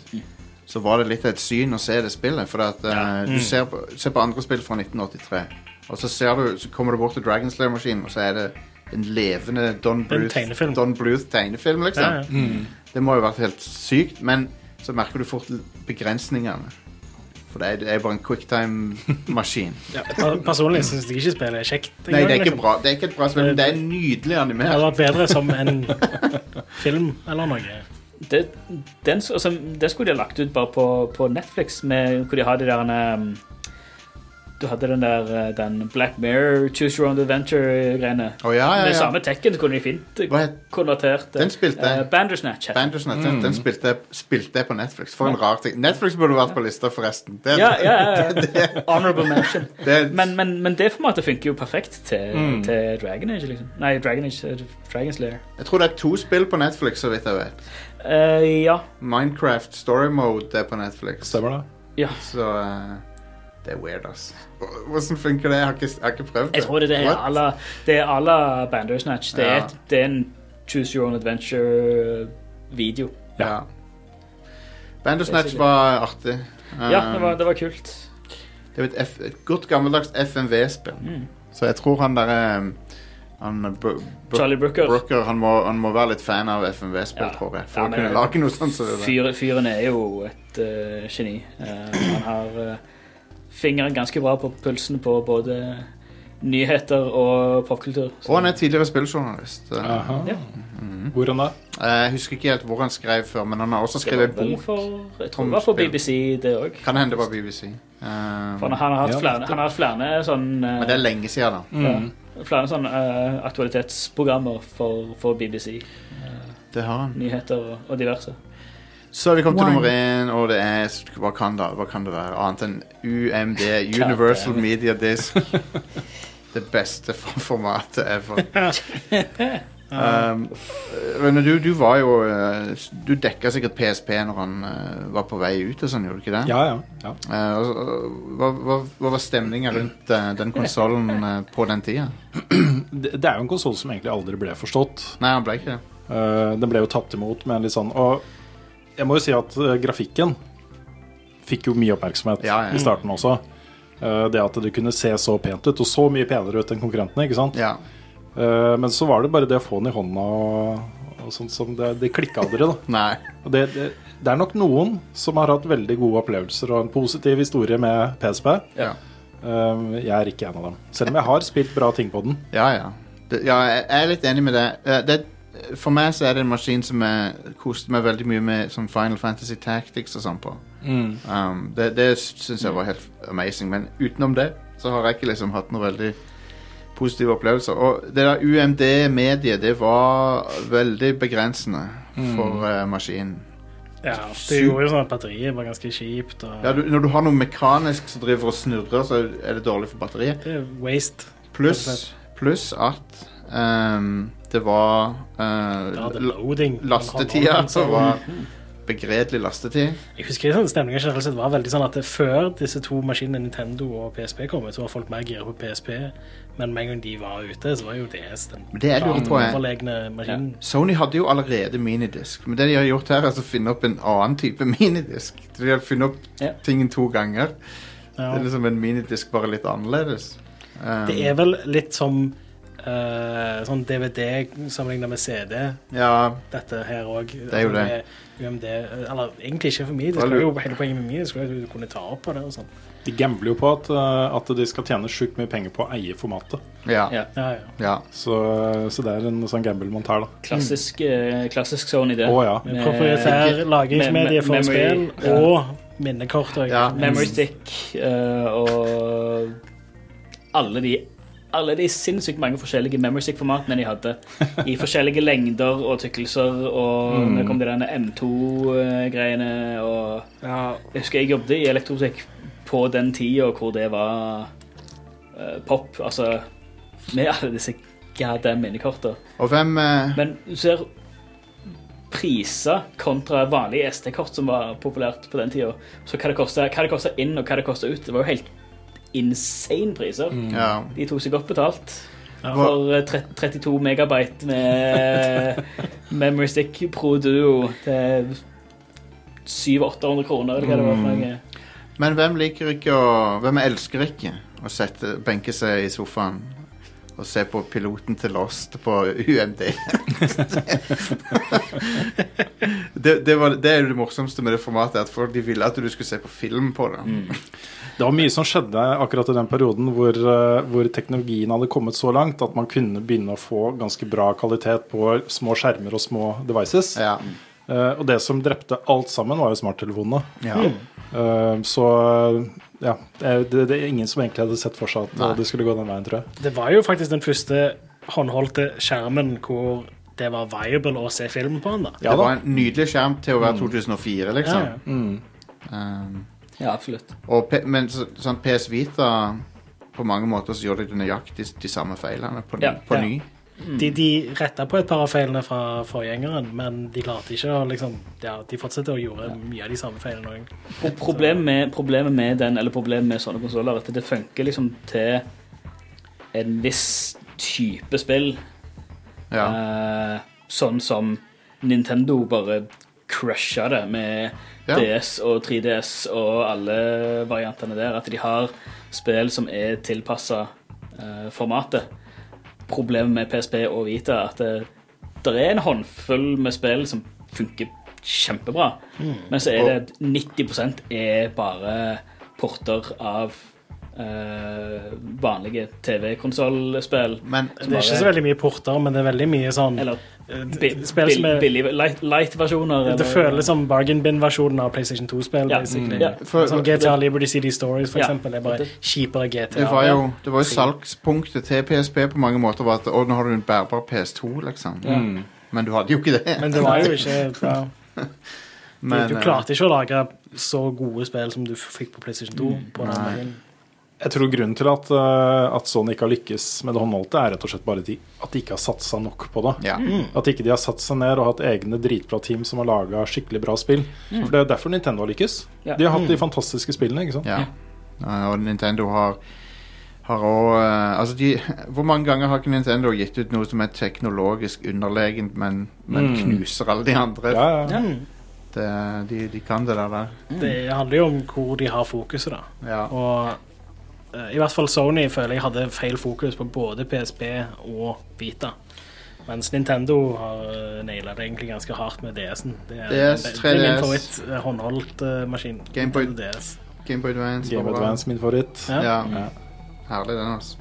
A: så var det litt av et syn å se det spillet. For at eh,
D: Mm.
A: du ser på, ser på andre spill fra 1983, og så, ser du, så kommer du bort til Dragon Slayer-maskinen, og så er det en levende Don
D: En
A: Bluth
D: tegnefilm.
A: Don Bluth tegnefilm liksom.
D: Ja, ja.
A: Det må jo ha vært helt sykt, men så merker du fort begrensningene. For det er, det er bare en quicktime-maskin.
D: Per- Personlig syns jeg ikke spillet er kjekt.
A: Nei, det er, ikke bra, det er ikke et bra spill, men det er nydelig
D: liksom. Det hadde
A: animert.
D: vært bedre som en film eller noe.
B: det, den, s- altså, det skulle de ha lagt ut bare på, på Netflix, med, hvor de har de der um, Du hadde den der eh, den Black Mirror, Choose Your Own Adventure-greiene.
A: Å ja, Ah, ja,
B: Med
A: ja.
B: samme tekken kunne de fint uh,
A: Hva het-
B: konvertert.
A: Den spilte jeg.
B: Uh, Bandersnatch. heter den.
A: Bandersnatch, den- den spilte jeg- spilte jeg på Netflix. For en rar ting. Netflix burde vært på lista, forresten. Det,
B: Ja, ja, ja, ja. Honorable mention.
A: det,
B: Men, men, men det formatet funker jo perfekt til, til Dragon Age. Liksom. Nei, Dragon Age, eh, Dragon Slayer.
A: jeg tror det er to spill på Netflix, så vidt jeg vet.
B: Eh, ja.
A: Minecraft Story Mode er på Netflix.
C: Stemmer det?
B: ja.
A: Så eh, det er weird, ass. Hvordan funker det? Jeg har ikke, jeg har ikke prøvd det.
B: Jeg tror det, det er
A: What?
B: à la- det er à la Bandersnatch. Det er,
A: Ja.
B: et, det er en Choose Your Own Adventure-video.
A: Ja. Bandersnatch
B: Basically.
A: var artig. Eh,
B: Ja, det var, det var kult.
A: det er jo et, F, et godt gammeldags FMV-spill.
B: Mm.
A: Så jeg tror han der eh, han, Bro- Bro-
B: Charlie Brooker.
A: Brooker han, må, han må være litt fan av FMV-spill,
B: Ja.
A: tror jeg. For
B: Ja,
A: å
B: men-
A: kunne lage noe sånt som det der.
B: Fyr, fyren er jo et eh, geni. Eh, han har eh, fingeren ganske bra på pulsen på både nyheter og popkultur. Så-
A: Og han er tidligere spilljournalist. Eh, Mm.
C: Aha.
B: Ja.
C: Hvordan da?
A: Jeg husker ikke helt hvor han skrev før, men han har også
B: Det var
A: skrevet
B: vel
A: bok.
B: for, jeg tror det var for
A: Trommespill.
B: BBC, det òg.
A: Kan hende det var BBC. Eh,
B: For han har hatt
C: Ja,
B: flere, han har hatt flere sånn eh,
A: men det er lenge siden, da.
C: Mm.
B: ja, Flere sånn eh, aktualitetsprogrammer for, for BBC.
A: Det har han.
B: Nyheter og, og diverse.
A: Så vi kom til
B: One.
A: nummer én, og det er Hva kan det, hva kan det være annet enn UMD, Universal
B: Goddamn.
A: Media Disc. Det beste for- formatet ever. Um, Rune, du, du var jo eh, Du dekka sikkert PSP når han eh, var på vei ut og sånn, gjorde du ikke det?
C: Ja, ja. ja.
A: Eh, og- og- hva, hva, hva var stemninga rundt eh, den konsollen på den tida?
C: Det det er jo en konsoll som egentlig aldri ble forstått.
A: Nei, han ble ikke det.
C: Eh, den ble jo tatt imot med en litt sånn Og jeg må jo si at eh, grafikken fikk jo mye oppmerksomhet
A: Ja, ja.
C: i starten også. Eh, det at det kunne se så pent ut, og så mye penere ut enn konkurrentene. ikke sant?
A: Ja.
C: Eh, men så var det bare det å få den i hånda og, og sånt som Det, det klikka aldri, da.
A: Nei.
C: Og det, det, det er nok noen som har hatt veldig gode opplevelser og en positiv historie med PSP.
A: Ja.
C: Eh, jeg er ikke en av dem. Selv om jeg har spilt bra ting på den.
A: Ja, ja. Det, ja jeg jeg er litt enig med det. Eh, det. For meg så er det en maskin som jeg koste meg veldig mye med som Final Fantasy Tactics og sånn på.
C: Mm.
A: Um, det det syns jeg var helt amazing, men utenom det så har jeg ikke liksom hatt noen veldig positive opplevelser. Og det der UMD-mediet, det var veldig begrensende for eh, maskinen.
D: Ja, det gjorde jo sånn at batteriet var ganske kjipt. Og
A: Ja, du, når du har noe mekanisk som driver og snurrer, så er det dårlig for batteriet.
D: Det er waste.
A: Pluss pluss at ehm, det var eh,
D: Ja, det Mm. er
A: la-
D: loading.
A: Lastetida som var begredelig lastetid.
D: Jeg husker sånn stemningen generelt sett var veldig sånn at det- før disse to maskinene, Nintendo og PSP, kom ut, så var folk mer gira på PSP. Men med en gang de var ute, så var jo DS den
A: Men det jeg lurer på er
D: overlegne maskinen.
A: Sony hadde jo allerede minidisk, men det de har gjort her, er altså å finne opp en annen type minidisk. De har funnet opp
B: Ja.
A: tingen to ganger.
D: Ja.
A: Det er liksom en minidisk bare litt annerledes. Ehm,
D: Det er vel litt som eh, sånn DVD sammenlignet med CD,
A: Ja,
D: dette her òg.
A: er jo det.
D: UMD, eller egentlig ikke for meg. Det
A: Da
D: skulle jo
A: lurer-
D: hele poenget med meg, det skulle jo at du kunne ta opp på det og sånn.
C: De gambler jo på at, eh, at de skal tjene sjukt mye penger på å eie formatet.
A: ja,
B: Ja.
D: Ja, ja.
A: ja.
C: Så, så det er en sånn gamble man tar, da.
B: Klassisk, eh, klassisk Sony, det.
C: Å ja.
D: Med
B: Med-
D: Proprietær lagringsmedie for
B: memory-
D: spill
B: ja.
D: og minnekort. Og,
A: Ja,
B: Memory Stick eh, og alle de alle de sinnssykt mange forskjellige memory stick-formatene de hadde. I forskjellige lengder og tykkelser, og
C: Mm.
B: nå kom de denne M2-greiene. og
D: Ja,
B: Jeg husker jeg jobbet i elektromusikk på den tida hvor det var eh, pop. Altså med alle disse goddamn minnekortene.
A: Og hvem eh,
B: Men du ser priser kontra vanlige SD-kort som var populært på den tida. Så hva det kosta hva det kostet inn, og hva det kosta ut. Det var jo helt insane priser.
C: Mm.
A: ja.
B: De tok seg godt betalt.
D: Ja.
B: For eh, tre- 32 megabyte med Memory Stick Pro Duo til 700-800 kroner, eller hva det var for noe.
A: Men hvem liker ikke å Hvem elsker ikke å sette, benke seg i sofaen og se på piloten til Lost på UMD? det, det, var, det er jo det morsomste med det formatet, at folk de ville at du skulle se på film på det.
D: Mm.
C: Det var mye som skjedde akkurat i den perioden hvor, eh, hvor teknologien hadde kommet så langt at man kunne begynne å få ganske bra kvalitet på små skjermer og små devices.
A: Ja.
C: Eh, og det som drepte alt sammen, var jo smarttelefonene.
A: ja.
D: Mm.
C: Eh, så eh, ja, det, det er ingen som egentlig hadde sett for seg at eh,
A: Nei.
C: det skulle gå den veien, tror jeg.
D: Det var jo faktisk den første håndholdte skjermen hvor det var viable å se film på den. da. Mm.
A: Det
C: Ja da.
A: var en nydelig skjerm til å være 2004,
D: Ja,
A: liksom.
D: ja. Mm.
A: Um,
B: Ja, absolutt.
A: og P men så, sånn PS Vita På mange måter så gjorde de nøyaktig de samme feilene på, ny-
B: Ja,
A: på
D: ja.
A: ny.
D: De, de retta på et par av feilene fra forgjengeren, men de klarte ikke å liksom ja, De fortsetter å gjøre mye av de samme feilene òg.
B: Pro- Problemet med, problemet med den, eller problemet med sånne konsoller, er at det funker liksom til en viss type spill.
A: Ja.
B: Eh, sånn som Nintendo bare crusha det med
A: Ja.
B: DS og 3DS og alle variantene der. At de har spill som er tilpassa eh, formatet. Problemet med PSP og Vita er at det, der er en håndfull med spill som
A: Mm.
B: funker kjempebra, men så er det 90 er bare porter av eh, vanlige TV-konsollspill.
A: Men
D: Det er ikke så veldig mye porter, men det er veldig mye
A: Mm.
D: sånn
B: Eller
D: eh,
B: bi
D: spill som
B: bill-
D: er
B: billige light- light-versjoner.
D: Det
B: eller-
D: føles som bargain bin-versjonen av PlayStation 2-spill.
B: Ja. Mm.
D: basically.
B: Ja.
A: for,
D: Sånn GTA Liberty City Stories, for
B: Ja.
D: eksempel, er bare kjipere
A: det
D: GTA.
A: var jo, det var jo salgspunktet til PSP på mange måter. Var at, å, nå har du en bærbar PS2, liksom.
C: Mm.
A: Men du hadde jo ikke det.
D: Men det var jo ikke ja.
A: Men,
D: Du
A: eh,
D: klarte ikke å lage så gode spill som du fikk på PlayStation 2. På den
A: Nei.
D: veien.
C: Jeg tror grunnen til at, eh, at Sony ikke har lykkes med det håndholdte, er rett og slett bare de, at de ikke har satsa nok på det.
A: Ja.
C: At ikke de har satt seg ned og hatt egne dritbra team som har laga skikkelig bra spill.
A: Mm.
C: For Det er jo derfor Nintendo har lykkes.
B: Ja.
C: De har hatt de fantastiske spillene. ikke sant?
A: ja. Eh, Og Nintendo har har også, eh, altså de, Hvor mange ganger har ikke Nintendo gitt ut noe som er teknologisk underlegent, men, men
C: Mm.
A: knuser alle de andre?
C: Ja, ja.
D: Mm.
A: Det, de, de kan det der. der.
D: Det handler jo om hvor de har fokuset, da.
A: Ja.
D: Og eh, i hvert fall Sony føler jeg hadde feil fokus på både PSP og Vita. Mens Nintendo har eh, naila det egentlig ganske hardt med DS-en. Det er,
A: DS,
D: det, det er min
A: 3DS.
D: favoritt-håndholdt eh, maskin.
A: Game Boy.
D: Nintendo DS.
A: Game Boy Advance.
C: Game
A: bra, bra.
C: Advance, min favoritt.
D: Ja.
A: Ja.
C: Ja. Mm.
A: Herlig, den, altså.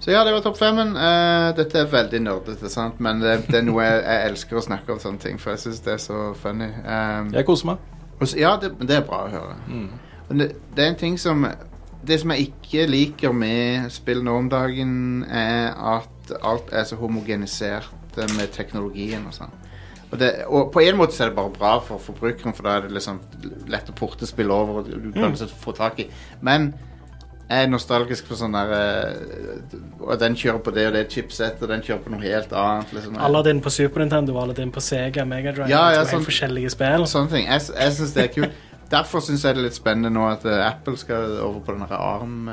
A: Så ja, det var topp femmen. Eh, dette er veldig nerdete, sant? men det, det er noe jeg, jeg elsker å snakke om sånne ting, for jeg syns det er så funny. Um,
C: Jeg koser meg. Mm.
A: og så- ja, det, det er bra å høre. Men det, det er en ting som Det som jeg ikke liker med spill nå om dagen, er at alt er så homogenisert eh, med teknologien og sånn. Og, det, og på en måte så er det bare bra for forbrukeren, for da er det liksom lett å porte spill over. og du kan liksom få tak i. Men jeg er nostalgisk for sånn der eh, Og den kjører på det og det chipsettet, og den kjører på noe helt annet. liksom.
D: Aladdin på Super Nintendo og Aladdin på Sega Megadrive.
A: Ja, ja,
D: to helt
A: sånn-
D: forskjellige spill.
A: og sånne ting. Jeg, jeg synes det er kult. Derfor syns jeg det er litt spennende nå at eh, Apple skal over på den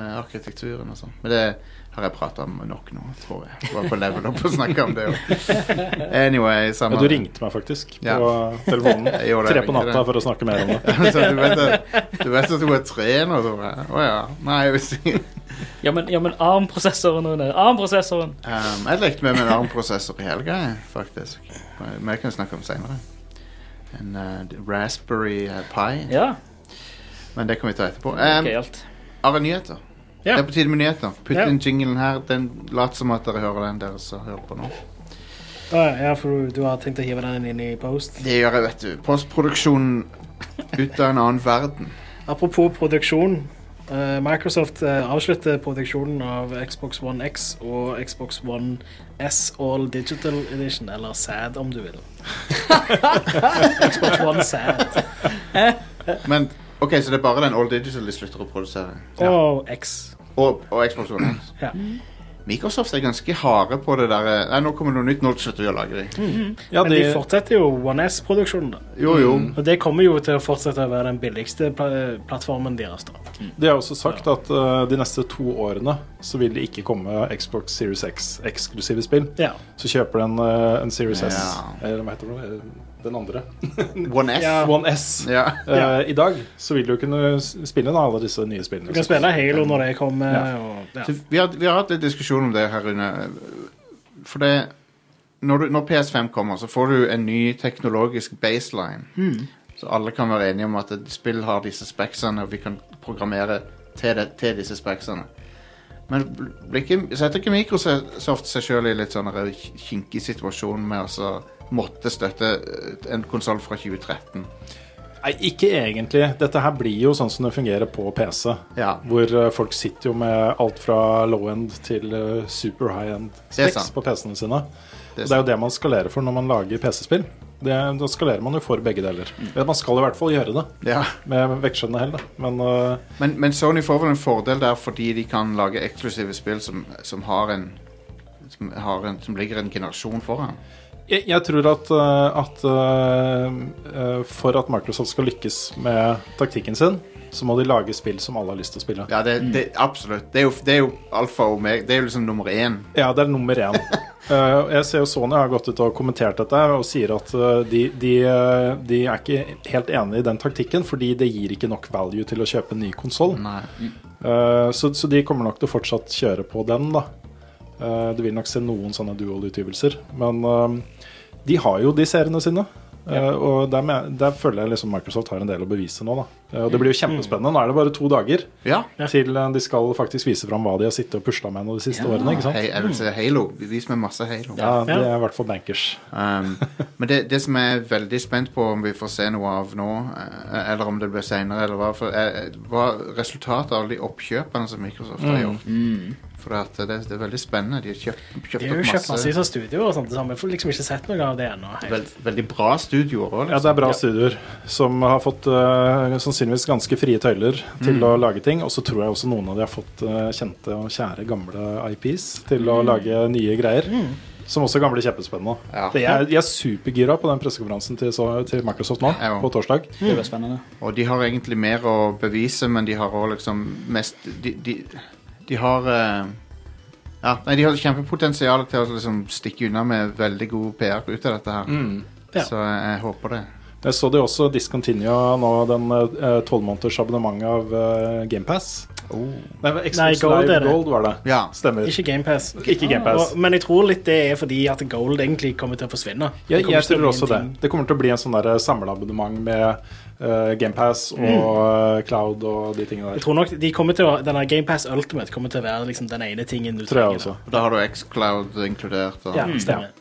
A: ARM-arkitekturen og sånn. Men det har jeg prata om nok nå, tror jeg. jeg. Var på level up og snakka om det òg. Anyway,
C: Ja,
A: samme
C: du ringte meg faktisk på
A: Ja.
C: telefonen
A: Jeg gjorde det,
C: tre
A: jeg
C: på
A: ringte
C: natta
A: deg.
C: for å snakke mer om det.
A: Så du, vet at, du vet at hun er tre nå, tror jeg. Å ja. Nei, jeg vil si
B: Ja, men, ja, men ARM-prosessoren og den der. ARM-prosessoren!
A: Um, jeg lekte med min ARM-prosessor i helga, jeg, faktisk. Men jeg kan snakke om seinere. En eh, Raspberry eh, Pi.
B: Ja,
A: Men det kan vi ta etterpå. Um,
B: gøyalt.
A: Are nyheter.
D: Ja.
A: Det er på tide med nyheter. Putt
D: Ja.
A: inn jinglen her. Den Lat som at dere hører den, dere som hører på nå.
D: Ja, ja, for du, du har tenkt å hive den inn i post.
A: Det gjør jeg, vet du. Postproduksjonen ut av en annen verden.
D: Apropos produksjon. eh, Microsoft eh, avslutter produksjonen av Xbox One X og Xbox One S All Digital Edition, eller SAD om du vil. Xbox One SAD
A: Men OK, så det er bare den All Digital de slutter å produsere.
D: og X.
A: Og, og Xbox One. X.
D: Ja.
A: Microsoft er ganske harde på det derre Nei, nå kommer det noe nytt, nå slutter vi å lage det.
C: Ja,
D: Men
C: de,
D: de fortsetter jo One S-produksjonen. da.
A: Jo, jo.
D: Og det kommer jo til å fortsette å være den billigste pla eh, plattformen deres. da.
C: de har også sagt at eh, de neste to årene så vil det ikke komme Xbox Series X-eksklusive spill.
D: Ja.
C: Så kjøper du en, eh, en Series S,
A: Ja.
C: eller hva heter det, den andre,
A: Mm. One S. Ja.
C: One S. Eh, I dag så vil du kunne s- spille da, alle disse nye spillene.
D: Du kan spille Halo når det kommer. Og, ja.
A: Så vi, har, vi har hatt litt diskusjon om det her, Rune. For det når, du, når PS5 kommer, så får du en ny teknologisk baseline. Så alle kan være enige om at et spill har disse speksene, og vi kan programmere til, det, til disse speksene. Men bl- blir ikke, setter ikke Microsoft seg sjøl i litt sånn her kinkig situasjon med å så måtte støtte eh, en konsoll fra 2013?
C: Nei, ikke egentlig. Dette her blir jo sånn som det fungerer på PC.
A: Ja.
C: Hvor eh, folk sitter jo med alt fra low-end til eh, super high-end
A: Det er
C: specs
A: sant.
C: på PC-ene sine.
A: Det er
C: Det er, det er jo det man skalerer for når man lager PC-spill. Det, da skalerer man jo for begge deler.
A: Mm.
C: Eller Man skal i hvert fall gjøre det.
A: Ja.
C: Med vektskjønne hell, da. Men eh,
A: Men, men Sony får vel en fordel der fordi de kan lage eksklusive spill som, som har en som, har en, som ligger en generasjon foran.
C: jeg, jeg tror at, eh, at eh, eh, for at Microsoft skal lykkes med taktikken sin, så må de lage spill som alle har lyst til å spille.
A: Ja, det, det,
D: Mm.
A: absolutt. Det er jo, det er jo alfa og omega. Det er jo liksom nummer én.
C: Ja, det er nummer én. Eh, jeg ser jo Sony har gått ut og kommentert dette og sier at eh, de, de, eh, de er ikke helt enig i den taktikken, fordi det gir ikke nok value til å kjøpe en ny konsoll.
A: Nei.
C: Eh, så, så de kommer nok til å fortsatt kjøre på den, da. Eh, du vil nok se noen sånne dual-utgivelser. Men eh, de har jo de seriene sine. Eh, og der, men- der føler jeg liksom Microsoft har en del å bevise nå. Da. Eh, og det blir jo kjempespennende. Nå er det bare to dager
A: Ja.
D: Ja.
C: til eh, de skal faktisk vise fram hva de har sittet og pusla med nå de siste årene. ikke sant?
A: Hei, jeg vil si Halo. Vis meg masse Halo.
C: Ja, det
D: Ja.
C: er i hvert fall bankers.
A: Um, men det, det som jeg er veldig spent på om vi får se noe av nå, eh, eller om det blir seinere, eller hva, for, eh, hva resultatet av alle de oppkjøpene som Microsoft
D: Mm.
A: har gjort. For at det, det er veldig spennende. De har kjøpt,
D: De
A: kjøpt
D: har jo
A: opp
D: kjøpt
A: masse
D: masse i sånne studioer og sånt, det samme. Jeg får liksom ikke sett noe av det ennå. helt.
A: veld, veldig bra liksom. studioer òg.
C: Ja, det er bra studioer som har fått eh, sannsynligvis ganske frie tøyler til
D: Mm.
C: å lage ting. Og så tror jeg også noen av de har fått eh, kjente og kjære gamle IPs til
D: Mm.
C: å lage nye greier. Som også kan bli kjempespennende.
A: Ja.
C: Jeg, er- jeg er supergira på den pressekonferansen til, så- til Microsoft nå
A: Ja, jo.
C: på torsdag.
B: Det blir spennende.
A: Og de har egentlig mer å bevise, men de har òg liksom mest De, de, de har eh, ja, nei, De har kjempepotensial til å liksom stikke unna med veldig god PR ut av dette her.
D: Ja.
A: Så jeg håper det.
C: Jeg så de også discontinua nå den eh, tolv måneders abonnementet av eh, GamePass. Nei, men Xbox
D: Oh. Nei, Gold
C: Live
D: er det.
C: Gold var det.
A: Ja.
C: Stemmer.
D: Ikke GamePass.
C: Ikke Game Pass.
D: Men jeg tror litt det er fordi at Gold egentlig kommer til å forsvinne. Det
C: Jeg,
D: kommer
C: jeg
D: ikke til å
C: tror
D: bli
C: også
D: en
C: det.
D: ting.
C: Det kommer til å bli en sånn der samleabonnement med eh, GamePass og eh, Cloud og de tingene
D: Mm. Jeg
C: der.
D: tror nok de kommer til å, denne GamePass Ultimate kommer til å være liksom den ene tingen du
C: Tror jeg
D: trenger.
C: også. Mm,
A: Og da har du X-Cloud inkludert. Og,
D: Ja, stemmer.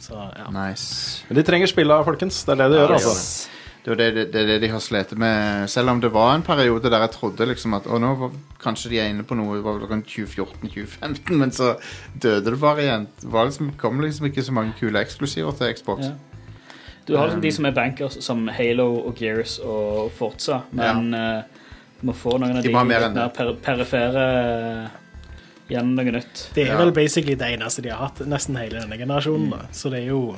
D: Så, ja.
A: Nice.
C: Men de trenger spilla, folkens. Det er det de gjør, altså.
A: Det er det, det, det, er det de har slitt med. Selv om det var en periode der jeg trodde liksom at å, nå var, kanskje de er inne på noe det var vel rundt 2014-2015, men så døde det bare igjen. Det var liksom, kom liksom ikke så mange kule eksklusiver til Xbox.
B: Ja. Du
A: Um.
B: har liksom de som er bankers, som Halo og Gears og Forza, men eh, du må få noen av
A: De
B: de,
A: må ha mer
B: litt
A: enn
B: mer per perifere gjennom noe nytt.
D: Det er
A: Ja.
D: vel basically det eneste de har hatt nesten hele denne generasjonen. Da. Så det er jo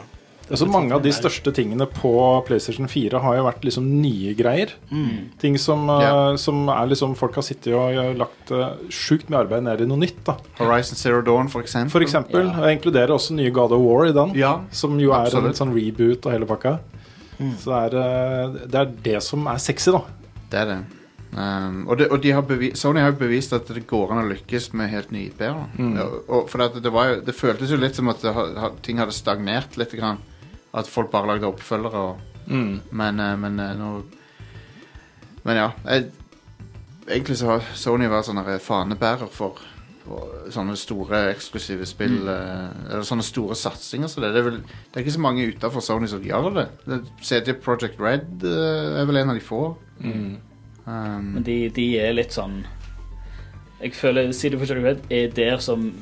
C: Altså, mange av de største tingene på PlayStation 4 har jo vært liksom nye greier.
D: Mm.
C: Ting som, eh,
A: Ja.
C: som er liksom folk har sittet og eh, lagt uh, sjukt mye arbeid ned i noe nytt. da
A: Horizon Zero Dawn, for eksempel.
C: For eksempel.
B: Ja.
C: og Jeg inkluderer også nye God of War i den,
A: Ja,
C: som jo er
A: absolutt.
C: en sånn reboot og hele pakka.
D: Mm.
C: Så det er, eh, det er det som er sexy, da.
A: Det er det. Um, og det, og de har bevi- Sony har jo bevist at det går an å lykkes med helt nye IP-er. Og, og for at det, var jo, det føltes jo litt som at det, ha- ha- ting hadde stagnert litt. Grann. At folk bare lagde oppfølgere. Og,
D: Mm.
A: Men, eh, men eh, nå Men ja. Jeg, egentlig så har Sony vært sånn her fanebærer for, for sånne store eksklusive spill.
B: Mm.
A: eh, Eller sånne store satsinger. Så det, det, er vel, det er ikke så mange utenfor Sony som gjør det. det CD Project Red eh, er vel en av de få.
D: Mm.
A: Um,
B: Men de, de er litt sånn Jeg føler CD Projekt Red er der som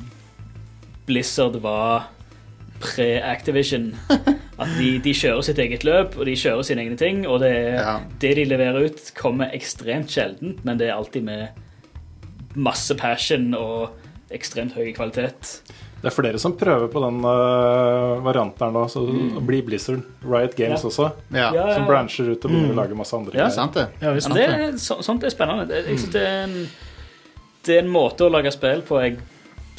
B: Blizzard var pre-Activision. At de, de kjører sitt eget løp, og de kjører sine egne ting. Og det, er,
A: Ja.
B: det de leverer ut, kommer ekstremt sjeldent, men det er alltid med masse passion og ekstremt høy kvalitet.
C: Det er flere som prøver på den eh, varianten her nå. Så blir Blizzard. Riot Games
B: Ja.
C: også.
A: Ja,
B: Ja,
C: Som brancher ut og begynner å lage masse andre
B: Ja,
A: det er sant det.
D: Ja, visst.
B: Ja, det er, så, sånt er spennende. Det, jeg synes det, er en, det er en måte å lage spill på jeg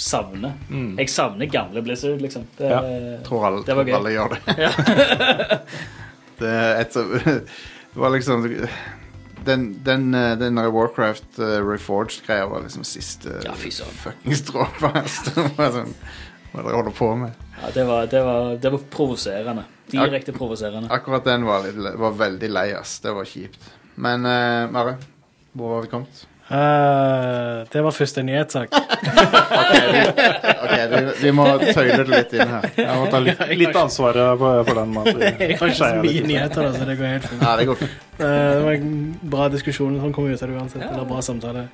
B: savner. Jeg savner gamle Blizzard, liksom. Det,
C: Ja.
A: Jeg tror alle,
B: Det var gøy.
A: alle gjør det. det, er et, som- det var liksom Den, den, eh, den der Warcraft eh, Reforged-greia var liksom siste
B: Ja, fy søren.
A: fuckings dråpe. altså. Det var sånn, Hva er det dere holder på med?
B: Ja, det, var, det, var, det var provoserende. Direkte provoserende.
A: Akkurat den var, litt, le- var veldig lei, ass. Det var kjipt. Men eh, Mare, hvor var vi kommet?
D: Eh, Det var første nyhetssak.
A: Ok, vi, vi må tøyle det litt inn her.
C: Jeg må ta litt, litt ansvaret for, for den. at vi-
D: Jeg har ikke så
C: Skeier
D: mye
C: litt.
D: nyheter, da, så det går helt fint.
A: Ja, det går fint.
D: Eh, Det var en bra diskusjon som kom ut av det uansett. Eller bra samtale.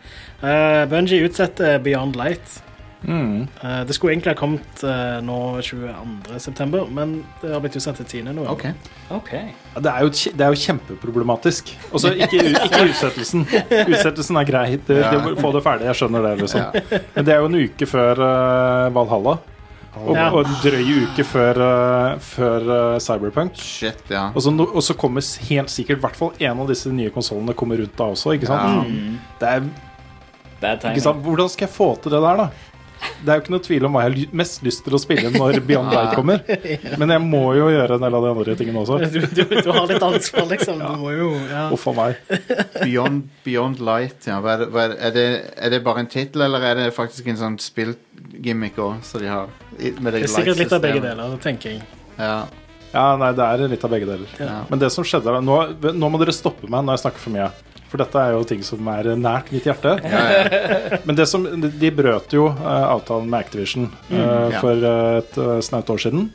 D: Uh, Bunji utsetter Beyond Light.
C: Mm.
D: Eh, det skulle egentlig ha kommet eh, nå 22. september, men det har blitt utsatt til 10. november.
A: Ok.
B: OK.
C: Ja, Det, er jo, kje- det er jo kjempeproblematisk. Også ikke, u- ikke utsettelsen. Utsettelsen er greit. Det, det,
A: Ja.
C: få det ferdig, jeg skjønner det. liksom
A: Ja.
C: Men det er jo en uke før eh, Valhalla. Og,
D: Ja.
C: og en drøy uke før, eh, før eh, Cyberpunk.
A: Shit, ja.
C: Og så, no- og så kommer s- helt sikkert i hvert fall en av disse nye konsollene kommer rundt da også. ikke sant? Mm.
A: Ja.
D: Mm.
C: Det er,
B: Bad
C: ikke
B: timing.
C: sant? Hvordan skal jeg få til det der, da? Det er jo ikke noe tvil om hva jeg har ly- mest lyst til å spille når Beyond Light kommer. Men jeg må jo gjøre en del av de andre tingene også.
D: Du, du, du har litt ansvar, liksom. Du må jo ja.
C: Uff a meg.
A: Beyond, Beyond Light, ja. Hva er, det- hva er, det- er, det, er det bare en tittel, eller er det faktisk en sånn spillgimmick òg, som de har? i- Med
D: Det er sikkert litt av begge deler, tenker jeg.
A: Ja.
C: Ja, nei, det er litt av begge deler.
A: Ja.
C: Men det som skjedde da- nå, nå må dere stoppe meg når jeg snakker for mye. For dette er jo ting som er nært mitt hjerte. Men det som, de brøt jo eh, avtalen med Activision eh,
A: Mm, ja.
C: for eh, et eh, snaut år siden.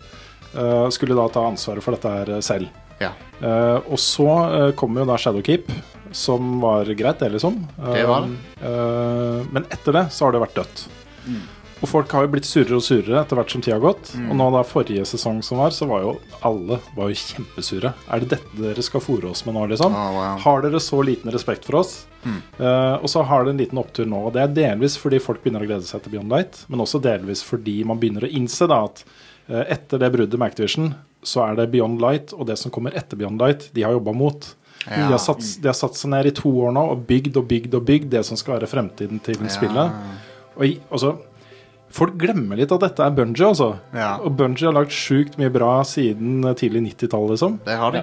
C: Eh, skulle da ta ansvaret for dette her eh, selv.
A: Ja.
C: Eh, og så eh, kom jo da Shadowkeep, som var greit, det, liksom.
A: Det var det.
C: Eh, eh, men etter det så har det vært dødt.
A: Mm.
C: Og folk har jo blitt surere og surere etter hvert som tida har gått. Og nå da forrige sesong som var, så var jo alle var jo kjempesure. Er det dette dere skal fòre oss med nå, liksom?
A: Å, Oh, wow.
C: Har dere så liten respekt for oss?
A: Mm.
C: Eh, og så har det en liten opptur nå. Og det er delvis fordi folk begynner å glede seg til Beyond Light, men også delvis fordi man begynner å innse da at eh, etter det bruddet med Activision, så er det Beyond Light og det som kommer etter Beyond Light, de har jobba mot.
A: Ja.
C: De, har satt, de har satt seg ned i to år nå og bygd og bygd og bygd det som skal være fremtiden til spillet. Og i- altså, Folk glemmer litt at dette er Bungie, altså.
A: Ja.
C: Og Bungie har lagd sjukt mye bra siden tidlig 90-tall, liksom.
A: Det har de.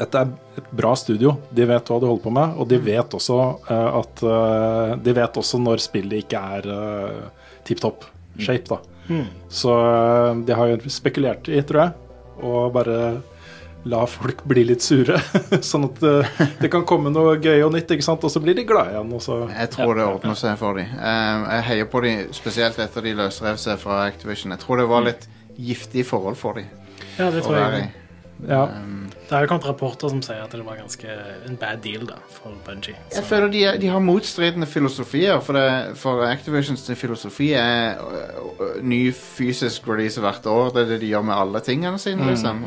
C: Dette er et bra studio. De vet hva de holder på med, og de vet også eh, at eh, De vet også når spillet ikke er uh, tipp topp shape, da.
D: Hmm.
C: Så eh, de har jo spekulert i, tror jeg, og bare la folk bli litt sure. sånn at eh, det kan komme noe gøy og nytt, ikke sant? og så blir de glade igjen. Og så
A: Jeg tror det ordner seg for dem. jeg heier på dem spesielt etter de løsrev seg fra Activision. Jeg tror det var litt giftige forhold for dem
D: Ja, det
A: å
D: tror
A: være
D: jeg.
A: i.
C: ja.
D: Det har jo kommet rapporter som sier at det var ganske en bad deal da, for Bungie.
A: Jeg føler de, er- de har motstridende filosofier, for, det, for Activisions filosofi er ø, ø, ny fysisk release hvert år. Det er det de gjør med alle tingene
D: Mm.
A: sine, liksom.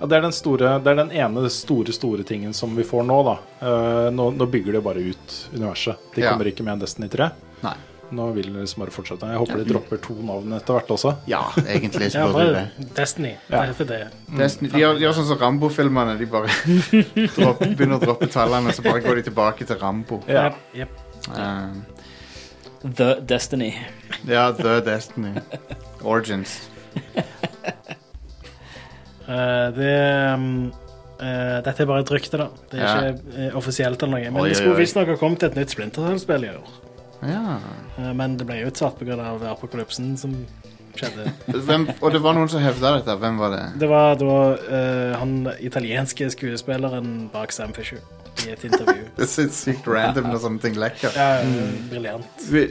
C: Ja, det, er den store, det er den ene store store tingen som vi får nå. da. Eh, nå, nå bygger de bare ut universet. De
A: Ja.
C: kommer ikke med en Destiny 3.
A: Nei.
C: Nå vil de liksom bare fortsette. Jeg håper de dropper to navn etter hvert også.
A: Ja, egentlig så
D: Ja,
A: burde de det.
D: bare Destiny. Det heter det.
A: Destiny, de, gjør, de gjør sånn som Rambo-filmene. De bare dropp, begynner å droppe tallene, så bare går de tilbake til Rambo.
C: Ja.
D: Jep.
A: Eh,
B: The Destiny.
A: ja, The Destiny. Origins.
D: Eh, det um, eh, Dette er bare et rykte, da. Det er
A: Ja.
D: ikke eh, offisielt eller noe. Men
A: Oi, oi,
D: det skulle
A: oi.
D: visstnok ha kommet et nytt Splinter Cell-spill i år.
A: Ja.
D: Eh, men det ble jo utsatt pga. apokalypsen som skjedde.
A: Hvem, og det var noen som hevda dette. Hvem var det?
D: Det var da eh, han italienske skuespilleren bak Sam Fisher i et intervju.
A: Det er så sykt random når sånne ting lekker.
D: Ja, eh, Briljant.
A: Vi-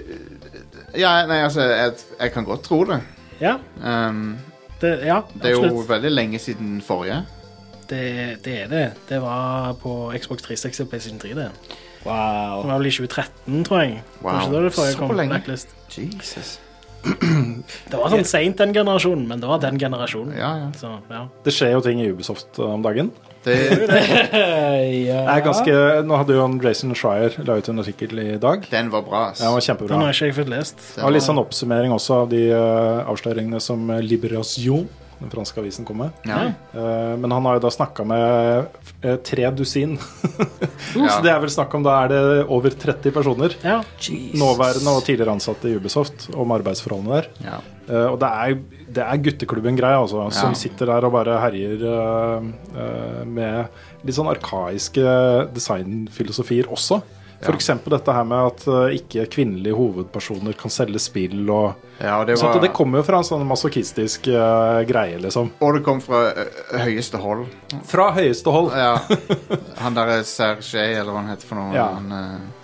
A: Ja, nei, altså, jeg, jeg kan godt tro det.
D: Ja,
A: Um,
D: det, ja
A: det er jo
D: absolutt.
A: veldig lenge siden forrige.
D: Det, det er det. Det var på Xbox 360 og PlayStation 3, det. Det
B: Wow.
D: var vel i 2013, tror jeg. Det
A: Wow.
D: var Ikke da det forrige
A: Så
D: kom
A: lenge.
D: Blacklist.
A: Jesus.
D: Det var sånn seint den generasjonen, men det var den generasjonen.
A: Ja, ja.
D: Så, ja.
C: Det skjer jo ting i Ubisoft eh, om dagen.
A: Det,
C: Det er ganske, nå hadde jo han Jason Shrier la ut en artikkel i dag.
A: den var bra, ass.
C: Den var
D: Den
C: kjempebra.
D: har ikke jeg fått lest.
A: Den
C: Det var litt
A: var-
C: sånn oppsummering også av de eh, avsløringene som eh, Liberation, den franske avisen, kom med.
A: Ja.
C: Eh, Men han har jo da snakka med eh, tre dusin. Så
A: Ja.
C: det er vel snakk om da er det over 30 personer.
D: Ja.
C: Nåværende og tidligere ansatte i Ubisoft om arbeidsforholdene der.
A: Ja.
C: Eh, og det er, det er gutteklubben-greia, altså, som
A: Ja.
C: sitter der og bare herjer eh, eh, med litt sånn arkaiske designfilosofier også.
A: Ja.
C: F.eks. dette her med at eh, ikke kvinnelige hovedpersoner kan selge spill og
A: ja, og det
C: sånt, og Det
A: var
C: kommer jo fra en sånn masochistisk eh, greie, liksom.
A: Og det kom fra ø, ø, høyeste hold.
C: Fra høyeste hold.
A: Mm. Ja. Han derre Sergej, eller hva han heter for noe.
C: Ja.
A: Han, ø,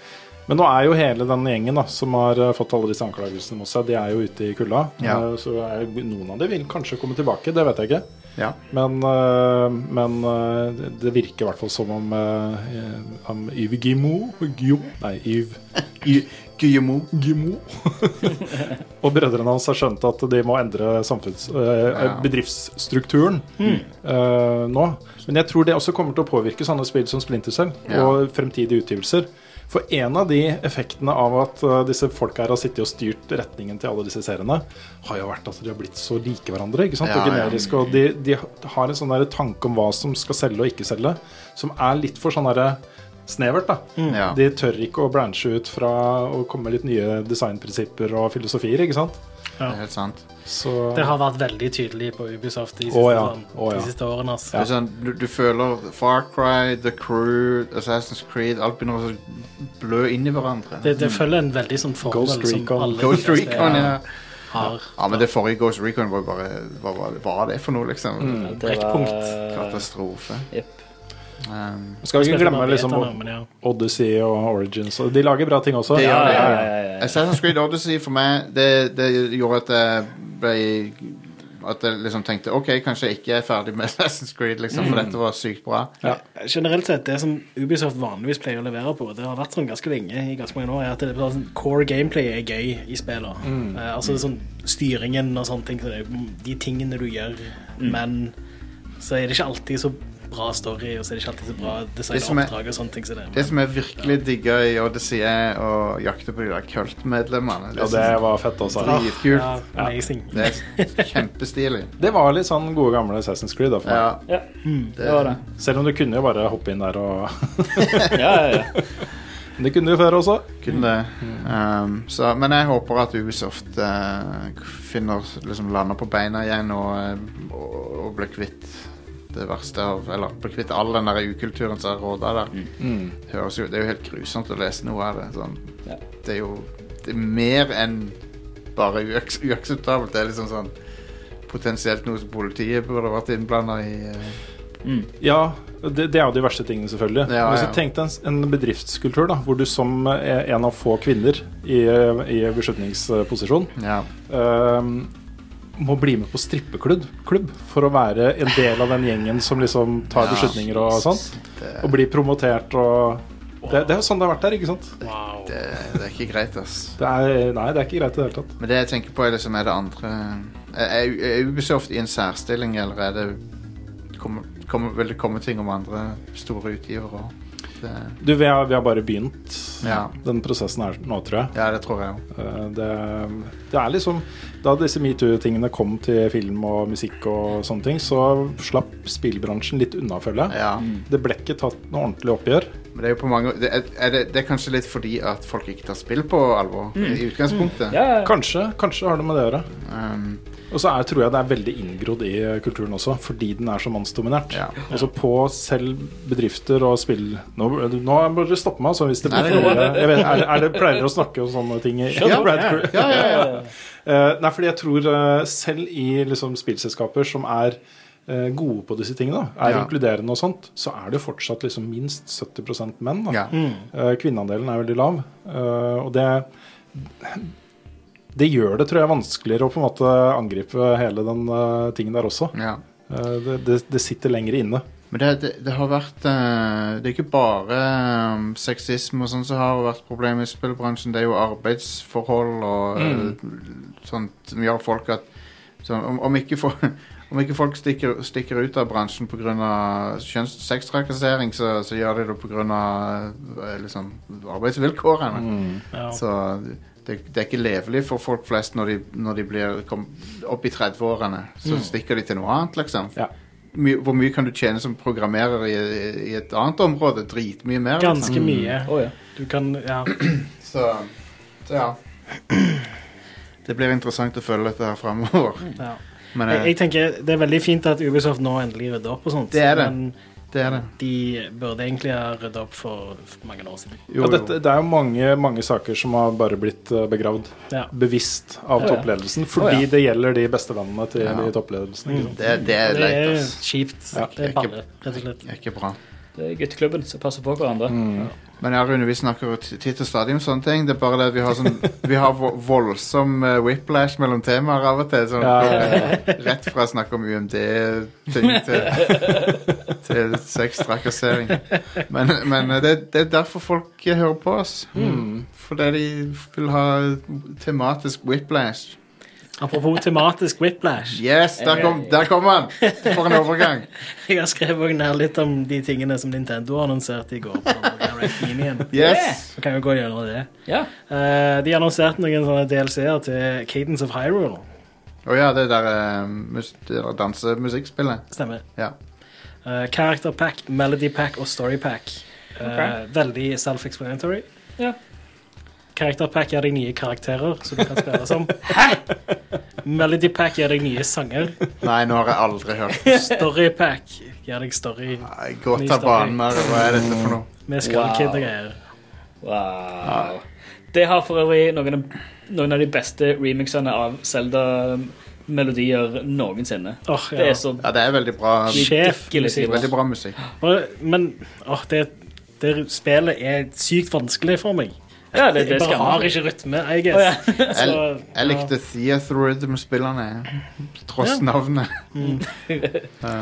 C: Men nå er jo hele den gjengen da, som har eh, fått alle disse anklagelsene mot seg, de er jo ute i kulda.
A: Ja.
C: Eh, Så er, noen av dem vil kanskje komme tilbake, det vet jeg ikke.
A: ja.
C: Men, eh, men eh, det- det virker i hvert fall som om, eh, om Yves Guillemot Guillou- Nei, Yves
A: Gu- Guillermo.
C: Guillemot og brødrene hans har skjønt at de må endre samfunns, eh,
A: Ja. Mm.
C: bedriftsstrukturen eh, nå. Men jeg tror det også kommer til å påvirke sånne spill som Splinter Cell
A: Ja.
C: og fremtidige utgivelser. For en av de effektene av at eh, disse folka her har sittet og styrt retningen til alle disse seriene, har jo vært at de har blitt så like hverandre. ikke sant?
A: Ja,
C: og
A: ja.
C: generiske, og de, de har en sånn der tanke om hva som skal selge og ikke selge, som er litt for sånn derre snevert. da.
A: Mm. Ja.
C: De tør ikke å branche ut fra å komme med litt nye designprinsipper og filosofier, ikke sant?
A: Det er helt sant.
C: Så
D: Det har vært veldig tydelig på Ubisoft de siste,
C: Å, ja.
D: sånn,
C: Å, ja.
D: de siste årene. altså. ass.
A: Det er sånn, du, du føler Far Cry, The Crew, Assassin's Creed Alt begynner å så blø inn i hverandre.
D: Det, det følger en veldig sånn formel
C: Ghost
D: som
C: Recon.
D: alle
A: Ghost Recon, ja.
D: har
A: Ja, men det forrige Ghost Recon var jo bare Hva var det, var det for noe, liksom?
B: Mm.
D: Brekkpunkt.
A: Katastrofe.
B: Jepp.
A: Um,
C: Skal vi ikke glemme liksom
D: Spilte bare beta nå, men ja.
C: Odyssey og Origins? og De lager bra ting også.
A: Det gjør
B: Ja,
A: det.
B: ja, ja, ja.
A: Assassin's Creed Odyssey for meg, det, det gjorde at jeg ble At jeg liksom tenkte OK, kanskje jeg ikke er ferdig med Assassin's Creed, liksom, for dette var sykt bra.
D: Generelt sett, det som Ubisoft vanligvis pleier å levere på, det har vært sånn ganske lenge, i ganske mange år, er at det er bare sånn, core gameplay er gøy i spillene.
A: Mm.
D: Eh, altså sånn styringen og sånne ting, så det er jo de tingene du gjør,
A: Mm.
D: men så er det ikke alltid så bra story, og så er det ikke alltid så bra
A: Det som er-
D: designoppdrag og sånne ting. Så det,
A: Det som jeg virkelig digga i Odyssey, er å jakte på de der kultmedlemmene.
C: Ja, det var fett altså. Ah, også.
A: er dritkult.
D: ja, amazing.
A: Det er kjempestilig.
C: Det var litt sånn gode gamle Assassin's Creed. Da, for meg.
A: Ja,
B: Ja,
A: det,
B: det var det.
C: Selv om du kunne jo bare hoppe inn der og
B: Ja, ja, ja.
C: Men Det kunne du før også.
A: kunne det. Um, så, men jeg håper at Ubisoft eh, finner, liksom, lander på beina igjen og, eh, og, og blir kvitt det verste av Eller blir kvitt all den der ukulturen som er råda der. Det, høres jo, det er jo helt grusomt å lese noe av det. Sånn.
B: Ja.
A: Det er jo det er mer enn bare uaks uakseptabelt. Det er liksom sånn potensielt noe som politiet burde vært innblanda i. eh.
B: Mm.
C: Ja, det, det er jo de verste tingene, selvfølgelig.
A: Ja, ja.
C: Men så tenk deg en, en bedriftskultur da, hvor du som eh, en av få kvinner i, i beslutningsposisjon
A: ja.
C: ehm, må bli med på strippeklubb klubb, for å være en del av den gjengen som liksom tar
A: Ja.
C: beslutninger og sånt. Og bli promotert og det, det er jo sånn det har vært der, ikke sant?
D: Wow.
A: Det, det er ikke greit, ass.
C: Det er, nei, det er ikke greit i det hele tatt.
A: Men det jeg tenker på er liksom, er det andre Er, er Ubisoft i en særstilling, eller er det kommer, kommer, Vil det komme ting om andre store utgivere òg?
C: Du, vi har, vi har bare begynt
A: Ja.
C: den prosessen her nå, tror jeg.
A: Ja, det tror jeg òg.
C: Eh, Det, det er liksom Da disse metoo-tingene kom til film og musikk og sånne ting, så slapp spillbransjen litt unna, føler jeg.
A: Ja.
C: Det ble ikke tatt noe ordentlig oppgjør.
A: Men det er jo på mange det er, er det, det er kanskje litt fordi at folk ikke tar spill på alvor, i utgangspunktet.
B: ja, ja.
C: Kanskje, kanskje har det med det å gjøre.
A: Um,
C: Og så er, tror jeg det er veldig inngrodd i kulturen også, fordi den er så mannsdominert.
A: Ja.
C: Altså på selv bedrifter og spill Nå, nå må dere stoppe meg, altså, hvis det
A: Nei,
C: blir
A: det går
C: for mye. Jeg vet, er, det- er det pleier dere å snakke om sånne ting i
A: Ja.
C: Brad Crew?
A: ja, ja, ja.
C: Eh, nei, fordi jeg tror eh, selv i liksom, spillselskaper som er eh, gode på disse tingene, da, er
A: Ja.
C: inkluderende og sånt, så er det jo fortsatt liksom, minst 70 menn. Da.
A: ja.
C: Eh, kvinneandelen er veldig lav. eh, og det det gjør det tror jeg, vanskeligere å på en måte angripe hele den eh, tingen der også.
A: ja.
C: Eh, det, det, det sitter lenger inne.
A: Men det, det, det har vært eh, Det er ikke bare um, sexisme og sånn som har vært problemet i spillbransjen. Det er jo arbeidsforhold og eh, sånt som gjør folk at sånn, om, om, ikke for, om ikke folk stikker, stikker ut av bransjen pga. sextrakassering, så, så gjør de det pga. Uh, liksom, arbeidsvilkårene.
D: Ja.
A: Så det, det er ikke levelig for folk flest når de, når de blir kom, opp i 30-årene. Så stikker de til noe annet, liksom.
C: Mm. Ja.
A: My, hvor mye kan du tjene som programmerer i, i et annet område? Dritmye mer. Liksom.
D: Ganske mye.
B: Å, ja.
D: Du kan, ja.
A: Så, så ja. Det blir interessant å følge dette her framover.
C: Mm.
D: ja.
A: Men
D: Jeg,
A: eh,
D: jeg tenker Det er veldig fint at Ubisoft nå endelig rydder opp og sånt.
A: Det er det.
D: Men
A: det er det.
D: de burde egentlig ha rydda opp for, for mange år siden.
A: Jo,
C: ja, dette,
A: jo.
C: det er jo mange, mange saker som har bare blitt eh, begravd
D: Ja.
C: bevisst av
B: Ja, ja.
C: toppledelsen, fordi
B: Å, ja.
C: det gjelder de beste vennene til
A: Ja. Mm.
C: de i toppledelsen. Ikke sant?
A: Det, det er
D: Det
A: leit,
D: er
A: ass.
D: kjipt.
C: Ja.
D: Det er balle, rett og slett.
A: Det er ikke bra.
B: Det er gutteklubben som passer på hverandre.
A: Mm. Men ja, Rune, vi snakker jo t- titt og stadig om sånne ting. Det er bare det at vi har, sånn, vi har vo- voldsom eh, whiplash mellom temaer av og til. Sånn,
C: Ja, ja,
A: Rett fra å snakke om UMD-ting til, til sextrakassering. Men, men det, det er derfor folk hører på oss.
C: Hmm.
A: Mm. Fordi de vil ha tematisk whiplash.
D: Apropos tematisk whiplash.
A: Yes, der kom, der kom han! For en overgang.
D: Jeg har skrevet også ned litt om de tingene som Nintendo annonserte i går. på Direct Union.
A: Yes!
D: Så kan vi gå gjennom det.
B: Ja.
D: Eh, de annonserte noen sånne DLC-er til Cadence of Hyrule.
A: Å ja, det der, eh, mus- det der dansemusikkspillet.
D: Stemmer.
A: Ja.
D: Eh, character pack, melody pack og story pack. Eh,
B: Ok.
D: Veldig self-explanatory.
B: Ja.
D: Character pack er deg nye karakterer som du kan spille som. Hæ?! Melody pack gir deg nye sanger.
A: Nei, nå har jeg aldri hørt
D: Story pack gir deg story
A: Nei, Godt
D: Ny
A: av
D: story.
A: banen, Mario. Hva er dette for noe?
D: med Skull
B: Wow.
D: Kid og greier.
B: Wow. Det har for øvrig noen av, noen av de beste remixene av Zelda-melodier noensinne.
D: Åh, ja.
B: Det er så
A: Ja, det er veldig bra,
D: Sjef,
B: Skikkelig
D: musikk.
A: veldig bra musikk.
D: Og- Men åh, det, det spillet er sykt vanskelig for meg.
B: Ja, det, det
D: Jeg bare
B: skal
D: har
B: man.
D: ikke rytme, I
B: Å, ja.
D: guess.
A: Jeg,
D: Så, ja.
A: jeg likte Theater Rhythm-spillerne, tross
D: Ja. Mm.
A: navnet.
C: Mm.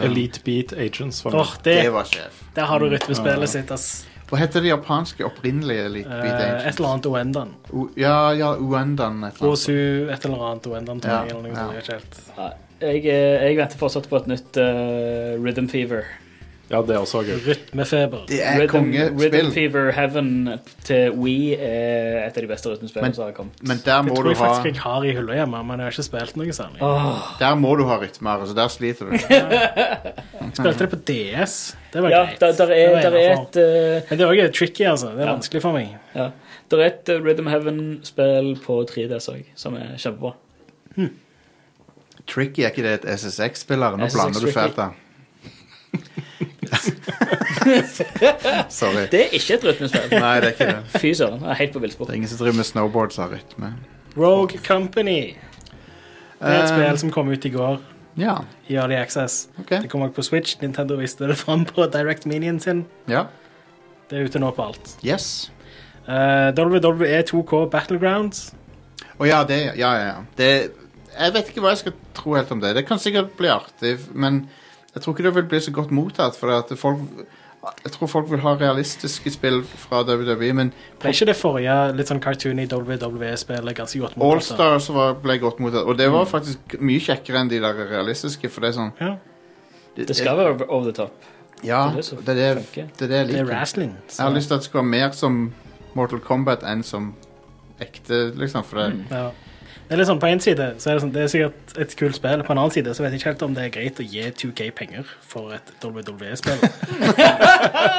C: Elite Beat Agents. Var med.
D: Åh,
A: Det
D: det,
A: var sjef.
D: der har du rytmespillet sitt, ass.
A: Hva heter det japanske opprinnelige Elite Beat
D: Eh, et
A: Agents?
D: eller annet Oendan.
A: O- Ja, ja, Uendan et eller annet.
D: Osu, et eller annet Oendan, tror jeg.
A: Ja,
D: Eller noe,
A: ja.
D: sånt, jeg vet ikke helt.
B: Ja, Jeg, eh, jeg venter fortsatt på et nytt eh, Rhythm Fever.
C: Ja, det også var gøy.
D: Rytmefeber.
A: Det er
B: Rhythm, Rhythm
A: kongespill,
B: Fever Heaven til Wii er et av de beste
A: Men-
B: rytmespillene som har kommet.
A: men der
D: Det
A: må
D: tror
A: du
D: jeg
A: ha
D: faktisk jeg har i hylla hjemme, men jeg har ikke spilt noe særlig.
B: Åh,
A: Der må du ha rytmer, så der sliter du.
D: Spilte det på DS. Det var
B: ja,
D: greit.
B: der, der,
D: Det
B: er,
D: var
B: der, er
D: innenfor.
B: et, eh,
D: Men det er også tricky, altså. Det er
B: Ja.
D: vanskelig for meg.
B: ja, der er et eh, Rhythm Heaven-spill på 3DS òg, som er kjempebra.
A: Tricky er ikke det et SSX-spiller? Nå
B: SSX
A: blander du
B: Tricky.
A: fælt, da. Sorry.
B: Det er ikke et rytmespill.
A: Nei, det er ikke det.
B: Fy søren. jeg er Helt på
A: Det
B: villspor.
A: er ingen som driver med snowboards av rytme.
D: Rogue Company. Det er
A: Eh,
D: et spill som kom ut i går
A: Ja,
D: i Early Access.
A: ok.
D: Det kom også på Switch. Nintendo viste det fram på Direct Minien sin.
A: Ja.
D: Det er ute nå på alt.
A: Yes.
D: Eh, WWE 2K Battlegrounds.
A: Å ja, det Ja, ja, ja. Det, jeg vet ikke hva jeg skal tro helt om det. Det kan sikkert bli artig, men jeg tror ikke det vil bli så godt mottatt. For at folk, jeg tror folk vil ha realistiske spill fra WWE, men
D: Ble ikke det forrige litt sånn cartoony WWE-spillet ganske godt mottatt, da?
A: Allstars ble godt mottatt. Og det
B: Mm.
A: var faktisk mye kjekkere enn de der realistiske, for det er sånn
D: Ja,
B: Det skal være over- over the top.
A: Ja,
B: Det er det
A: det
B: som
A: er det,
B: funker.
A: det, er det jeg
D: det er
A: liker.
D: wrestling.
A: Jeg har lyst til at det skal være mer som Mortal Kombat enn som ekte, liksom. For det,
B: Mm.
D: Ja. Det er litt sånn, På en side så er det, sånn, det er sikkert et kult spill, på en annen side så vet jeg ikke helt om det er greit å gi 2K penger for et WWE-spill.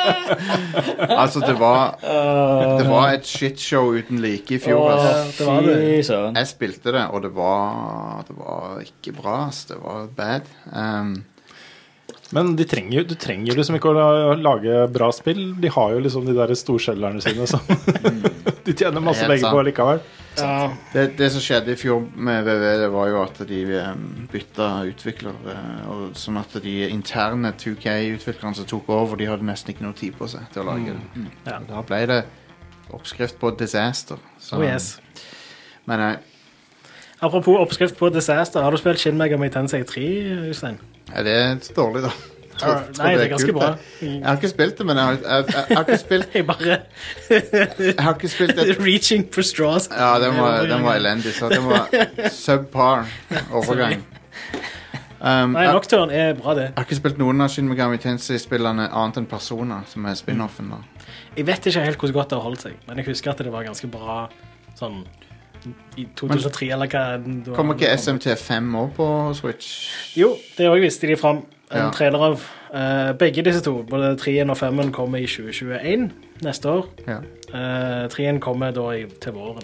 A: altså, det var Det var et shitshow uten like i fjor.
B: Åh,
A: Altså.
D: det var
B: fy
D: det.
B: søren.
A: Jeg spilte det, og det var Det var ikke bra, ass. Det var bad. Um,
C: Men de trenger, jo- du trenger jo liksom ikke å la- lage bra spill. De har jo liksom de der storselgerne sine som De tjener masse
A: Mm. Helt
C: penger på
A: sant.
C: likevel.
D: Ja,
A: det, det som skjedde i fjor med VV, det var jo at de um, bytta utvikler. eh, Og, sånn at de interne 2K-utviklerne som tok over, de hadde nesten ikke noe tid på seg til å lage det.
D: Mm. Ja.
A: Da ble det oppskrift på disaster. Så-
D: oh yes.
A: Men eh, nei,
D: Apropos oppskrift på disaster, har du spilt Shin Megami Tensei 3, Øystein?
A: er det dårlig, da? Jeg tror- tror
D: Nei, det er
A: kult,
D: ganske bra. Mm.
A: det. Jeg har ikke spilt det, men jeg har, jeg, jeg, jeg har, ikke, spilt,
D: Jeg bare
A: jeg har ikke spilt det
D: Reaching for straws.
A: Ja, den var, den var elendig, så den var subpar overgang. Um,
D: Nei,
A: jeg, jeg
D: Nocturne er bra, det.
A: har ikke spilt noen av Shin Megami Tensei-spillene annet enn Persona, som er spin-offen. da.
D: Jeg vet ikke helt hvor godt det har holdt seg, men jeg husker at det var ganske bra sånn i 2003 eller hva det var.
A: Kommer ikke SMT5 òg på Switch?
D: Jo, det òg viste de fram en
A: Ja.
D: trailer av. Eh, begge disse to, både 3-en og 5-en, kommer i 2021 neste år.
A: Ja.
D: Eh, 3-en kommer da i, til våren.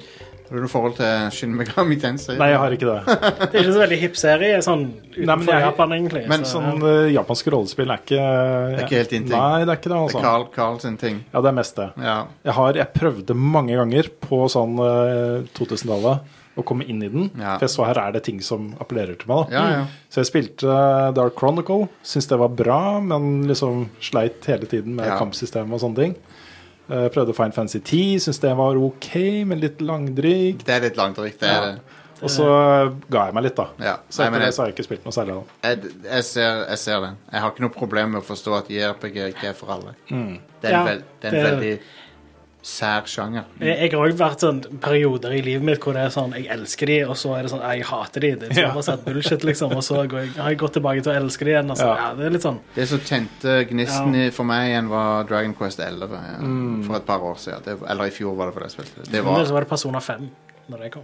A: Har du noe forhold til Shin Megami Tensei?
C: Nei, jeg har ikke det.
D: Det er ikke så veldig hipp serie sånn utenfor
C: Nei, men jeg-
D: Japan, egentlig.
C: Men
D: så,
C: sånn
D: ja.
C: eh, japansk rollespill er ikke
A: er ikke helt din ting.
C: Nei, det er ikke det,
A: Det er
C: altså.
A: Carl, Carl sin ting.
C: Ja, det er mest det.
A: Ja.
C: Jeg, har, jeg prøvde mange ganger på sånn eh, 2000-tallet å komme inn i den.
A: Ja.
C: For jeg så her er det ting som appellerer til meg. da.
A: Ja, ja.
C: Så jeg spilte eh, Dark Chronicle. Syntes det var bra, men liksom sleit hele tiden med
A: Ja.
C: kampsystemet og sånne ting. Eh, prøvde Fine Fancy 10, syntes det var ok, men litt langdrygt.
A: Det er litt langdrygt, det er
C: Ja.
A: det.
C: Og så ga jeg meg litt, da.
A: Ja.
C: Så
A: Nei, men
C: etter det
A: jeg-
C: så har jeg ikke spilt noe særlig. da.
A: Jeg, jeg, ser, jeg ser den. Jeg har ikke noe problem med å forstå at JRPG ikke er for alle. Det er en,
D: Ja,
A: vel, det er en veldig
D: det-
A: sær sjanger.
D: Jeg jeg har òg vært sånn perioder i livet mitt hvor det er sånn, jeg elsker de, og så er det sånn, jeg hater de. Det er
C: Ja.
D: sånn, bullshit, liksom, Og så går jeg, har jeg gått tilbake til å elske de igjen. Altså,
C: Ja.
D: ja. det er litt sånn.
A: Det som tente gnisten i- for meg igjen, var Dragon Quest 11 ja. for et par år siden. Det, eller i fjor var det fordi jeg spilte det. det.
D: Men
A: Var,
D: så var det Persona 5 når det kom.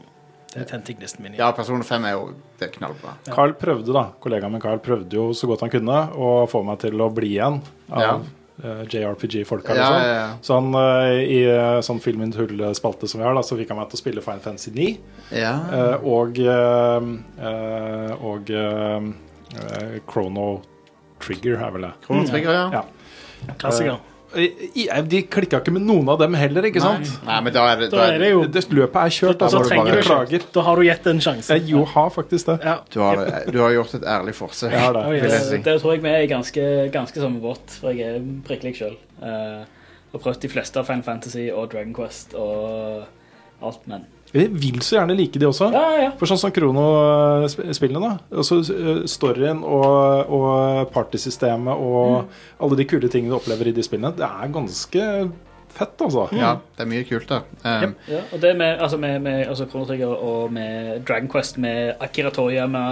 D: Det tente gnisten min igjen.
A: ja, Person 5 er jo det er knallbra.
C: Carl prøvde, da. Kollegaen min Carl prøvde jo så godt han kunne å få meg til å bli igjen av
A: Ja.
C: eh, JRPG-folka.
A: Ja,
C: liksom.
A: ja, ja.
C: Så han eh, i eh, sånn Filmen Hull-spalte som vi har, da, så fikk han meg til å spille Fine Fancy 9
A: Ja.
C: eh, og eh, eh, og eh, eh, Chrono Trigger er vel det.
A: Krono Trigger, ja.
C: Ja.
D: Klassiker.
C: I- i- De klikka ikke med noen av dem heller, ikke sant?
A: Nei, men da er det,
D: Da er det jo
C: Det løpet er kjørt.
D: Da,
C: Da, må
D: trenger
C: bare
D: du
C: klage.
D: ikke Da har du gitt en sjanse.
C: Jeg jo har faktisk det.
D: Ja.
A: du, har, du har gjort et ærlig forsøk.
C: Jeg har
D: Oi,
C: det.
D: ja.
A: vil jeg si.
B: Der tror jeg vi er i ganske, ganske samme båt, for jeg er prikkelig sjøl. har prøvd de fleste av Final Fantasy og Dragon Quest og alt, men
C: Jeg Eh, vil så gjerne like de også.
B: Ja, ja, ja.
C: For sånn som Krono-spillene, da. Altså eh, storyen og, og partysystemet og alle de kule tingene du opplever i de spillene, det er ganske fett, altså.
A: Ja, det er mye kult der. Um,
B: Ja, og det med, altså med, med altså Chrono Trigger og med Dragon Quest, med Akira Toriyama,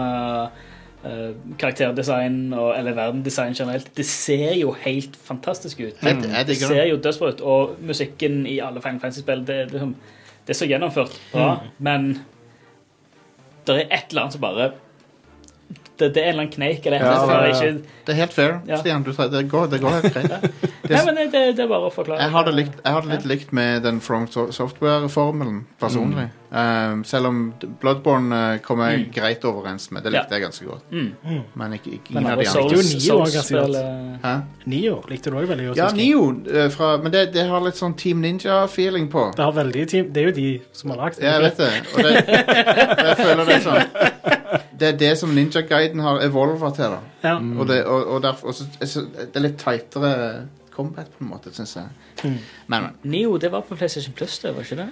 B: eh, karakterdesign og, eller verdendesign generelt, det ser jo helt fantastisk ut.
A: jeg, jeg
B: Det
A: digger
B: ser
A: det.
B: jo dødsbra ut, og musikken i alle Final Fantasy-spill, det, er liksom, det er så gjennomført bra, men det er et eller annet som bare det, det er en eller annen kneik eller et eller
C: Ja,
B: annet.
C: ja,
B: som
C: ja.
B: Ikke,
A: Det er helt fair,
B: Ja.
A: Stian. Du, sa- det, går, det går helt greit.
B: nei, men det, det er bare å forklare.
A: Jeg har det likt, jeg har det litt likt med den From So- Software-formelen, personlig. Um, selv om Bloodborne eh, kom jeg greit overens med. Det
B: Ja.
A: likte jeg ganske godt.
B: Mm.
A: Men ikke, ikke
B: Men
A: ingen av
B: alle
A: de
D: Souls-
A: andre.
D: likte jo Nio
B: Souls-
D: ganske godt.
B: Souls-spill, eh,
A: Hæ?
D: Nio likte du òg veldig godt.
A: Ja,
D: husker jeg.
A: Nio, eh, fra, men det, det har litt sånn Team Ninja-feeling på.
D: Det, har veldig team, det er jo de som har lagd
A: Ja, jeg vet det. Og det, og jeg føler det er sånn Det er det som Ninja-guiden har evolva til. da
D: Ja.
C: Mm.
A: Og det, Mm, og, og derfor, og så, så- det er litt tightere combat, på en måte, syns jeg.
C: Mm.
A: Men, men.
B: Neo, det var på PlayStation Plus, det, var ikke det?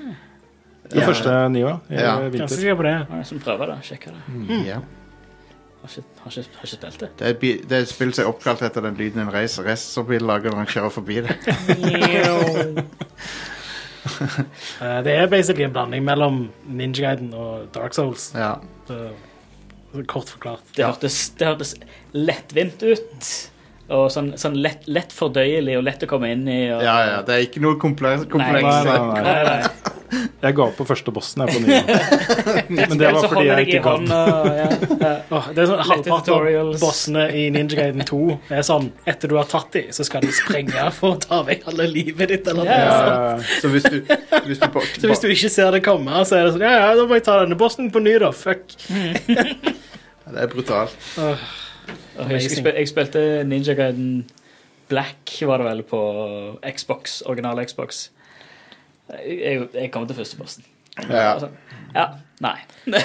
C: Det
A: Ja.
C: første nye i
A: Ja.
D: Ganske
C: vinter.
D: sikker på det.
B: Var det som prøver det? Sjekker det.
C: Mm.
A: Ja.
B: Har ikke, har ikke, har ikke spilt det.
A: Det er, et bi- det er et spill som er oppkalt etter den lyden en race- racerbil lager når han kjører forbi det.
D: Eh, Det er basically en blanding mellom Ninja Guiden og Dark Souls.
A: Ja.
D: Så- så Kort forklart.
B: Det hørtes, det hørtes lettvint ut. Og sånn, sånn lett, lett fordøyelig og lett å komme inn i. Og,
A: ja, ja. Det er ikke noe kompleks.
B: Nei,
A: kompleks.
C: Nei, nei, nei.
B: Nei, nei.
C: Jeg ga opp på første bossen, jeg, på nye. Men det
B: Ellers
C: var
B: så
C: fordi
B: holder
C: jeg
B: deg i
C: ikke gadd.
B: hånda, ja. Ja.
D: Åh, det er sånn Halvparten av
B: tutorials.
D: bossene i Ninja Guiden 2 er sånn etter du har tatt dem, så skal de sprenge for å ta vekk alle livet ditt. Eller noe
B: Ja, ja,
D: sånt.
A: Så hvis du, hvis du, ba-
D: Så hvis du ikke ser det komme, så er det sånn Ja, ja, da må jeg ta denne bossen på ny, da. Fuck.
A: ba- Det er brutalt.
B: Og Jeg, husker jeg spil, jeg spilte Ninja Gaiden Black, var det vel, på Xbox, original Xbox. Jeg, jeg- jeg kom til første posten.
A: Ja.
B: Altså, ja. Nei.
D: Jeg,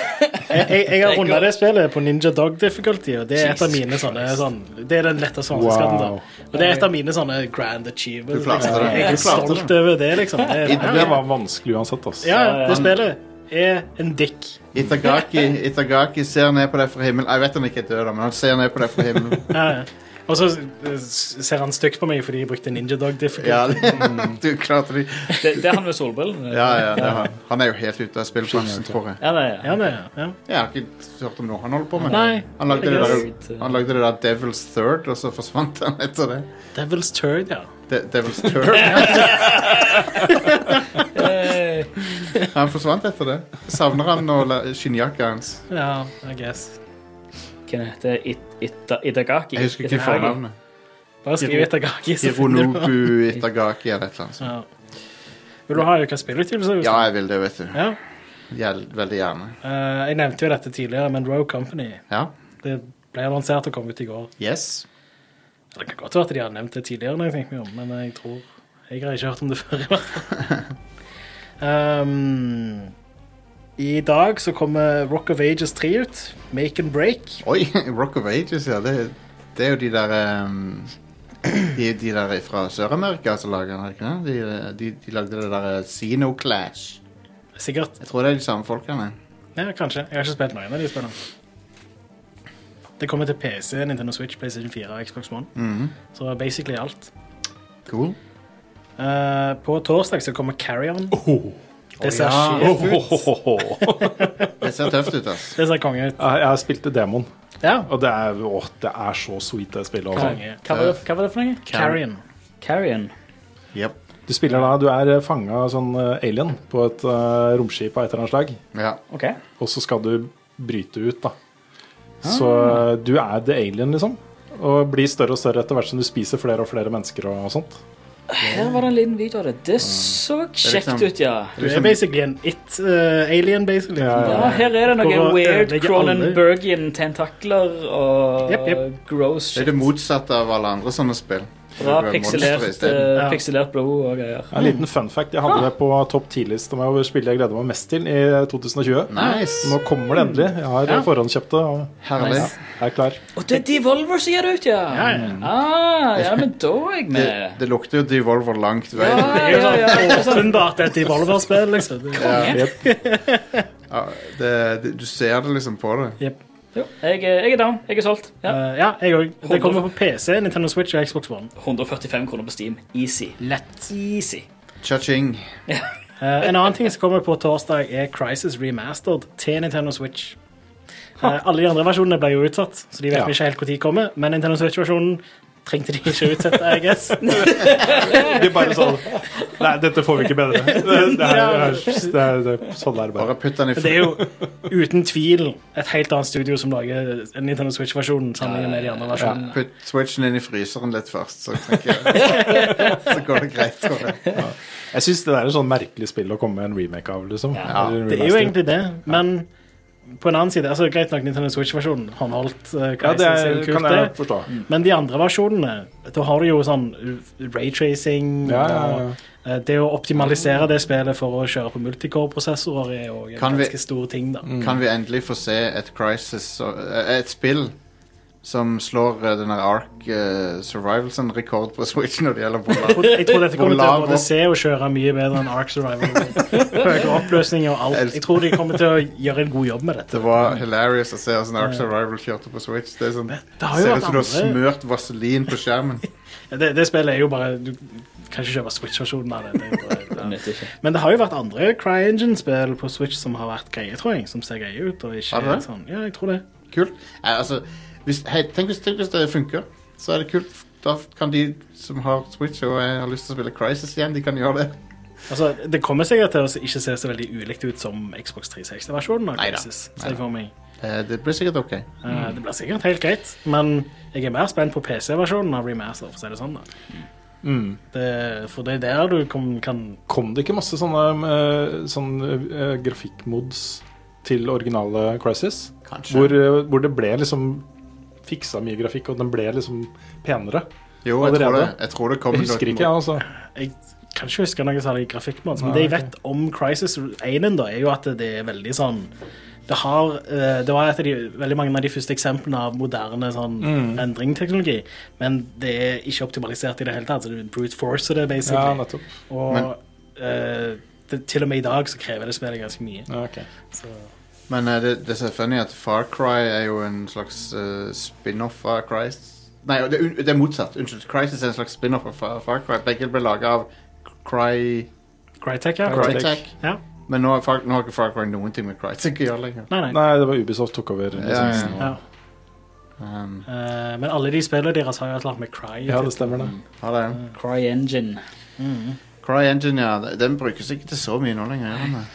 D: jeg, jeg har
B: Det er
D: runda
B: godt.
D: det spillet på Ninja Dog Difficulty, og det er et av
B: Jesus
D: mine sånne sånn, Det er den letteste
C: Wow.
D: vanskeskatten, da. Og det er et av mine sånne grand achievements.
A: Du klarte
D: Liksom.
A: det.
D: Jeg
A: Du
D: er
A: klarte
D: stolt over det, liksom. Det er,
C: Det var vanskelig uansett, ass.
D: ja, det spillet er en dick.
A: Itagaki, Itagaki ser ned på deg fra himmelen. Jeg vet han ikke er død, da, men han ser ned på deg fra himmelen.
D: Ja, ja. Og så eh, ser han stygt på meg fordi jeg brukte Ninja Dog Difficulty.
A: Ja, du klarte det.
B: Det, det er han med solbrillen.
A: Ja, ja, det er han. han er jo helt ute av spillbransjen, tror jeg.
B: Ja, det er
D: Ja, det er- ja.
A: Jeg har ikke hørt om noe han holder på med.
D: Nei,
A: Han lagde, det
D: jeg
B: eh,
A: der, han lagde det der Devil's Third, og så forsvant han etter det.
D: Devil's Turd, ja.
A: De Devil's Third.
B: Eh,
A: Han forsvant etter det. Savner han nå la- skinnjakka hans?
D: Ja, I guess.
B: Hvem heter It, Ita- Itagaki?
A: Jeg husker ikke
B: Itagaki.
A: fornavnet.
D: Bare skriv etter Gaki, så finner du det.
A: Hironobu Itagaki eller et eller annet. sånt.
D: Ja. Vil du ha uka spillutgivelse?
A: Ja, jeg vil det, vet du.
D: ja.
A: Gjel, veldig gjerne.
D: Eh, jeg nevnte jo dette tidligere, men Rogue Company
A: Ja.
D: Det ble annonsert og kom ut i går.
A: Yes.
D: Det kan godt være at de har nevnt det tidligere, når jeg tenker meg om, men jeg tror Jeg har ikke hørt om det før. i hvert fall. um, I dag så kommer Rock of Ages 3 ut. Make and Break.
A: Oi, Rock of Ages, ja. Det, det er jo de der ehm, de, de der fra Sør-Amerika som lager den, er det ikke det? De, de, de lagde det der eh, Sino Clash.
D: Sikkert.
A: Jeg tror det er de samme folkene.
D: Ja, kanskje. Jeg har ikke spilt noen av de spillene. Det kommer til PC, Nintendo Switch, PlayStation 4 og Xbox One.
A: Mhm.
D: Så basically alt.
A: Cool.
D: Eh, på torsdag så kommer Carry On.
C: Ho,
D: Det ser
A: ja.
D: sjef
C: ho, ho, ho, ho.
A: Det ser tøft ut, ass.
D: Det ser konge ut.
C: Jeg jeg spilte demoen,
D: Ja.
C: og det er, åh, det er så sweet det spillet. Altså.
D: Konge.
B: Hva var, det, hva var det for noe?
D: Carry On.
B: Carrion.
A: Yep.
C: Du spiller da, du er fanga sånn eh, alien på et eh, romskip av et eller annet slag,
A: Ja.
B: OK.
C: og så skal du bryte ut, da. Så
B: Ah.
C: eh, du er the alien, liksom. Og blir større og større etter hvert som du spiser flere og flere mennesker og sånt.
B: Her var det en liten video av det. Det så kjekt
A: liksom-
B: ut, ja.
D: Du er basically en it-alien, basically.
C: Ja, ja,
B: Ja, her er det noen
D: Hvor-
B: weird
D: ødelegger alle.
B: Cronenbergian tentakler og
D: Jep, jep.
B: gross
A: Det
B: shit.
A: er det motsatte av alle andre sånne spill.
B: Bra
A: bruker
B: pikselert,
A: monstre isteden.
B: eh,
D: Ja.
B: pikselert blod og greier.
C: En liten fun fact. Jeg
B: Ah.
C: hadde det på topp 10-lista med over spill jeg gleder meg mest til i 2020.
B: eh,
A: Nice.
C: Nå kommer det endelig. Jeg har
A: Ja.
C: forhåndskjøpt det og
A: Herlig.
C: er klar.
B: Og det er Devolver som gir det ut, ja!
D: Ja, ja.
B: Ah, ja, men da er jeg
A: Det,
B: med.
A: det lukter jo Devolver langt vei.
B: Ja,
D: Det er jo
B: ja, ja.
D: sånn åpenbart et Devolver-spill, liksom.
A: Ja, det, det, du ser det liksom på det.
D: Jep.
B: Jo, jeg, er- jeg er down. Jeg er solgt. Ja.
D: Eh, ja, jeg òg. Det kommer på PC, Nintendo Switch og Xbox One.
B: 145 kroner på Steam. Easy.
D: Lett.
B: Easy.
A: Cha-ching.
D: Eh, en annen ting som kommer på torsdag, er Crisis Remastered til Nintendo Switch. Eh, alle de andre versjonene ble jo utsatt, så de vet
C: Ja.
D: vi ikke helt når de kommer. Men Nintendo Switch-versjonen trengte de ikke utsette, I guess.
C: De bare sånn Nei, dette får vi ikke bedre. Det, det, er, det, er, det er sånn er det bare.
A: Bare putt den i
D: For det er jo uten tvil et helt annet studio som lager en Nintendo Switch-versjon sammenlignet med de andre versjonene.
A: Putt switchen inn i fryseren litt først, så tenker jeg Så går det greit. tror jeg.
C: Jeg syns det der er et sånn merkelig spill å komme med en remake av, liksom.
B: Ja,
C: Eller en
D: Det er jo
C: remaster.
D: egentlig det, men på en annen side, altså greit nok Nintendo Switch-versjonen håndholdt uh,
C: ja,
D: Crisis,
C: det
D: er
C: er,
D: jo
C: kan
D: kult
C: jeg
D: det. Mm.
C: forstå.
D: Men de andre versjonene, da har du jo sånn uh, raytracing
C: Ja, ja, ja.
D: og uh, det å optimalisere det spillet for å kjøre på multicore-prosessorer er jo en
A: Kan vi- Mm.
D: ganske stor ting, da.
A: Kan vi endelig få se et Crisis eh, Et spill som slår eh, den der Ark uh, Survival-rekord på Switch når det gjelder
D: Jeg
A: boller?
D: tror- Jeg tror dette kommer til å
A: Hvor lav-
D: både se og kjøre mye bedre enn Ark Survival. Høyere oppløsning og alt. Jeg tror de kommer til å gjøre en god jobb med dette.
A: Det var hilarious å se hvordan Ark Survival kjørte på Switch. Det er sånn,
D: Det har jo
A: ser
D: vært
A: ut som du har
D: andre-
A: smurt vaselin på skjermen.
D: Det, det spillet er jo bare Du kan ikke kjøpe Switch-versjonen av det. det. er
B: Det
D: bare-
B: nytter ikke.
D: Men det har jo vært andre CryEngine-spill på Switch som har vært greie, tror jeg. Som ser greie ut. Og ikke
A: Har det det?
D: er sånn, ja, jeg tror det.
A: Kult. Nei, altså, hvis, hei, tenk, hvis, tenk hvis det funker, så er det kult. Da kan de som har Switch og eh, har lyst til å spille Crisis igjen, de kan gjøre det.
D: Altså, Det kommer sikkert til å ikke se så veldig ulikt ut som Xbox 360-versjonen. av
A: Neida. Mm.
D: Crisis, ser jeg for meg.
A: Eh, det blir sikkert ok.
D: Eh, Det blir sikkert helt greit, men jeg er mer spent på PC-versjonen av Remaster. for å si det sånn da.
C: Mm.
D: Det, for det er der du kom, kan
C: Kom det ikke masse sånne, eh, sånne eh, grafikkmods til originale Crisis?
A: Kanskje.
C: Hvor, eh, hvor det ble liksom fiksa mye grafikk, og den ble liksom penere.
A: Jo, jeg tror
C: Allerede?
A: det, jeg tror det kommer
C: Jeg husker
A: noe-
C: ikke, jeg, altså.
D: Jeg kan ikke huske noe særlig grafikkmods, men
C: Nei,
D: det jeg vet om Crisis 1 da, er jo at det er veldig sånn det, har, eh, det var et av de, veldig mange av de første eksemplene av moderne sånn,
C: Mm.
D: endringteknologi, men det er ikke optimalisert i det hele tatt. så Du brute force det,
C: Ja,
D: basically.
C: nettopp.
D: og
A: Men-
D: eh, det, til og med i dag så krever det spillet ganske mye.
C: Ja, ok.
D: Så,
A: Men eh, det, det som er funny, er at Far Cry er jo en slags eh, spin-off av Christ Nei, det, er un- det er motsatt. Unnskyld. Crisis er en slags spin-off av Far, Far Cry. Begge ble laga av Cry
D: Crytek, ja.
C: Crytek.
A: Crytek.
D: Ja.
A: Men nå, har Far, nå har ikke Far Cry noen ting med Crytek å gjøre lenger.
D: Nei, nei.
C: Nei, det var Ubisoft tok over. lisensen,
D: Ja.
A: Um,
D: Eh, men alle de spillene deres har jo et eller annet med Cry.
C: og- Ja, det stemmer, det.
A: ha det.
B: CryEngine.
D: Mm.
A: Cry Engine, ja. den- Den brukes ikke til så mye nå lenger. gjør den det?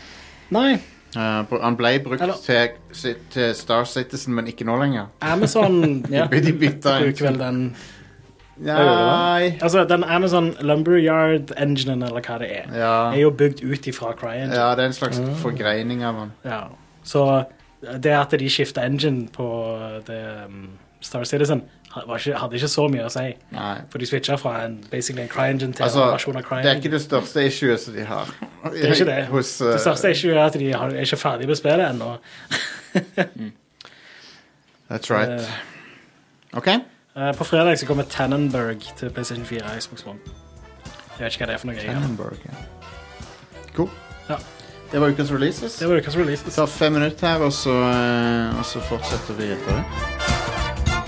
D: Nei,
A: Eh, br- han ble
D: Eller-
A: brukt til, si- til Star Citizen, men ikke nå lenger.
D: Amazon
B: Ja.
A: De bytta en-
D: bruker vel den
A: Nei
D: Altså, den Amazon Lumberyard-enginen, eller hva det er, er
A: ja.
D: jo bygd ut ifra CryEngine.
A: ja, det er en slags forgreining av han.
D: Ja. Så det at de skifta engine på det, um, Star Citizen, ha- var ikke, hadde ikke så mye å si.
A: Nei.
D: For de switcha fra en, basically en CryEngine til
A: Altså,
D: en versjon av
A: Det er
D: CryEngine.
A: ikke det største issuet som de har.
D: Det er ikke det.
A: Hos,
D: Det
A: eh,
D: største er ikke at de har, er ikke ferdig med spillet ennå.
A: That's right. OK.
D: Eh, På fredag så kommer Tannenberg til PlayStation 4 og Xbox One. Jeg vet ikke hva det er for noe. Jeg.
A: Annenberg, ja. Cool.
D: Ja.
A: Det var ukas releases.
D: Det var ukas release.
A: Vi tar fem minutter her, og så, eh, og så fortsetter vi etter det.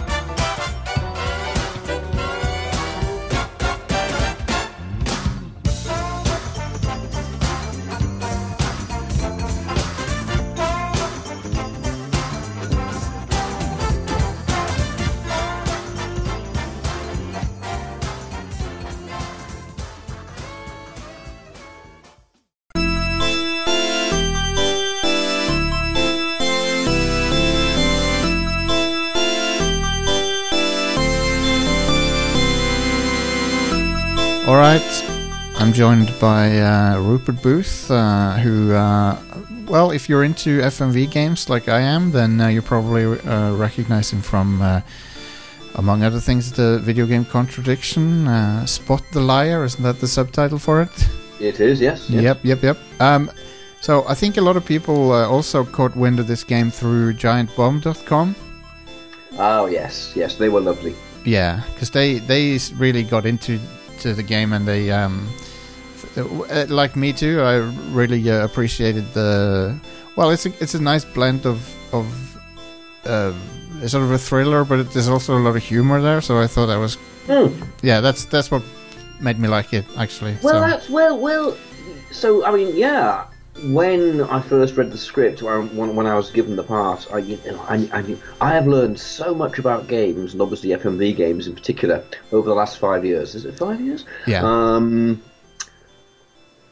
A: All right. I'm joined by uh, Rupert Booth, uh, who, uh, well, if you're into eh, FMV games like I am, then uh, you probably uh, recognize him from uh, Among other things, the video game contradiction. Uh, Spot the liar, isn't that the subtitle for it?
E: It is, yes. yes.
A: Yep, yep, yep. Um, so I think a lot of people uh, also caught wind of this game through GiantBomb.com.
E: Oh, yes, yes. They were lovely.
A: Yeah, because they they s- really got into to the game and they um, th- uh, like me too. I really uh, appreciated the well. It's a it's a nice blend of of uh, it's sort of a thriller, but there's also a lot of humor there. So I thought that was
E: Hmm.
A: yeah. That's that's what made me like it actually.
E: Well, uh,
A: so.
E: that's well, well. So I mean, yeah. When I first read the script, or when, when I was given the part, I, you know, I, I, knew- I have learned so much about games, and obviously FMV games in particular, over the last five years. Is it five years?
A: yeah.
E: Um,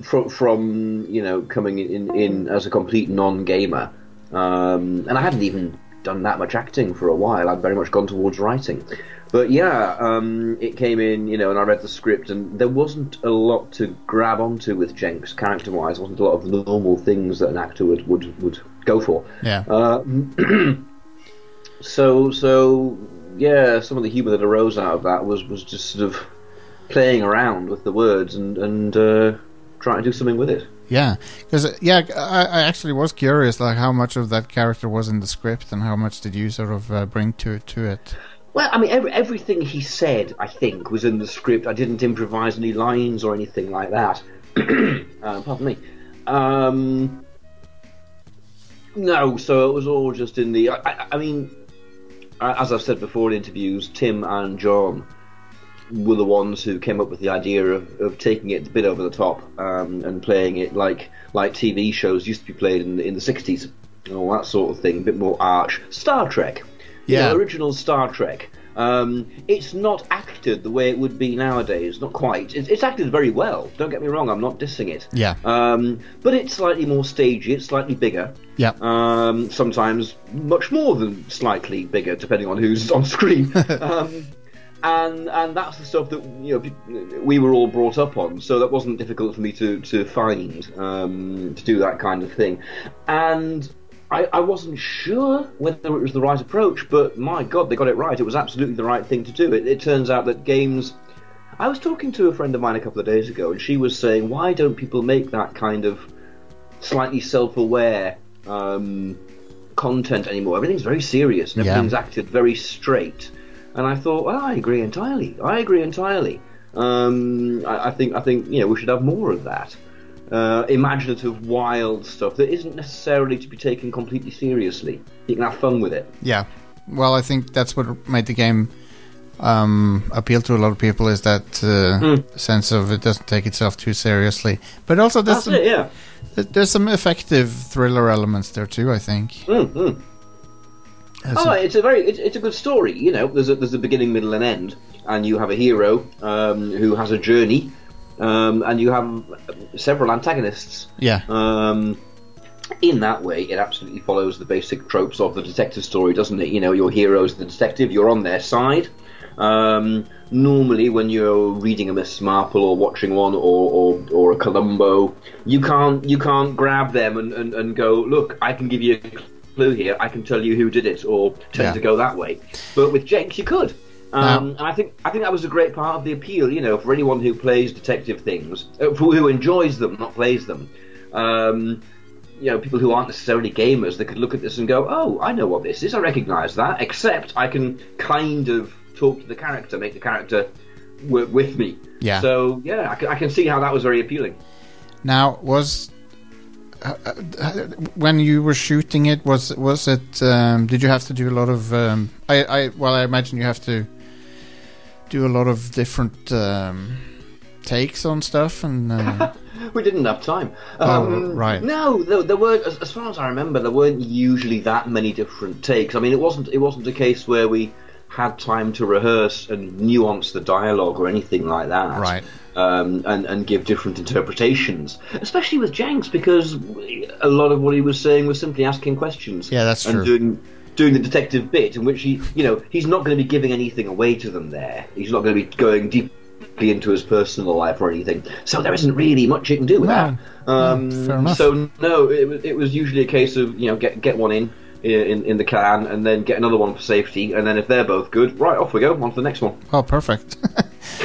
E: from from you know coming in in as a complete non-gamer, um, and I hadn't even done that much acting for a while. I'd very much gone towards writing, but yeah, um, it came in you know, and I read the script, and there wasn't a lot to grab onto with Jenks character-wise. There wasn't a lot of normal things that an actor would would, would go for. Um,
A: yeah.
E: So so yeah, some of the humour that arose out of that was was just sort of playing around with the words and and uh, trying to do something with it.
A: Yeah, because yeah, I, I actually was curious, like how much of that character was in the script, and how much did you sort of uh, bring to to it.
E: Well, I mean, every, everything he said, I think, was in the script. I didn't improvise any lines or anything like that. uh, pardon me. Um, no, so it was all just in the. I, I, I mean, a- as I've said before in interviews, Tim and John were the ones who came up with the idea of, of taking it a bit over the top um, and playing it like like TV shows used to be played in the, in the 60s and all that sort of thing, a bit more arch. Star Trek. You
A: Yeah.
E: know, original Star Trek. Um, it's not acted the way it would be nowadays, not quite. It's, it's acted very well, don't get me wrong, I'm not dissing it.
A: Yeah.
E: Um, but it's slightly more stagey, it's slightly bigger
A: Yeah,
E: um, sometimes much more than slightly bigger, depending on who's on screen. um, and and that's the stuff that you know pe- we were all brought up on, so that wasn't difficult for me to to find um, to do that kind of thing, and. I, I wasn't sure whether it was the right approach, but my God, they got it right. It was absolutely the right thing to do. It, it turns out that games I was talking to a friend of mine a couple of days ago, and she was saying, "Why don't people make that kind of slightly self-aware um, content anymore? Everything's very serious, and
A: Yeah.
E: everything's acted very straight." And I thought, well, "I agree entirely. I agree entirely. Um, I, I think, I think, you know, we should have more of that." Uh, imaginative, wild stuff that isn't necessarily to be taken completely seriously. You can have fun with it.
A: yeah. Well, I think that's what made the game um, appeal to a lot of people is that uh, sense of it doesn't take itself too seriously, but also there's
E: That's
A: some,
E: it, yeah.
A: there's some effective thriller elements there too. I think.
E: mm.
A: There's
E: Oh,
A: some-
E: it's a very it's, it's a good story. You know, there's a, there's a beginning, middle, and end, and you have a hero um, who has a journey, um, and you have several antagonists.
A: yeah,
E: Um, in that way, it absolutely follows the basic tropes of the detective story, doesn't it? You know, your hero's the detective, you're on their side. Um, normally, when you're reading a Miss Marple or watching one or, or, or a Columbo, you can't you can't grab them and, and, and go, look, I can give you a clue here, I can tell you who did it, or tend
A: Yeah.
E: to go that way. But with Jenks, you could. Um,
A: Now-
E: and I think I think that was a great part of the appeal, you know, for anyone who plays detective things, uh, for, who enjoys them, not plays them. Um, you know, people who aren't necessarily gamers, they could look at this and go, "Oh, I know what this is. I recognise that." Except I can kind of talk to the character, make the character work with me.
A: Yeah.
E: So yeah, I can, I can see how that was very appealing.
A: Now, was uh, uh, uh, when you were shooting it, was was it? Um, did you have to do a lot of? Um, I, I well, I imagine you have to do a lot of different um, takes on stuff, and uh,
E: We didn't have time. Um,
A: Oh, right.
E: No, there, there weren't. As, as far as I remember, there weren't usually that many different takes. I mean, it wasn't. It wasn't a case where we had time to rehearse and nuance the dialogue or anything like that.
A: Right.
E: Um, and and give different interpretations, especially with Jenks, because a lot of what he was saying was simply asking questions.
A: Yeah, that's
E: and
A: true.
E: Doing, doing the detective bit, in which he, you know, he's not going to be giving anything away to them there. He's not going to be going deeply into his personal life or anything. So there isn't really much you can do with
A: No. Mm,
E: that. Um,
A: fair enough.
E: So no, it was it was usually a case of you know get get one in, in, in the can, and then get another one for safety, and then if they're both good, right, off we go, on to the next one.
A: Oh, perfect.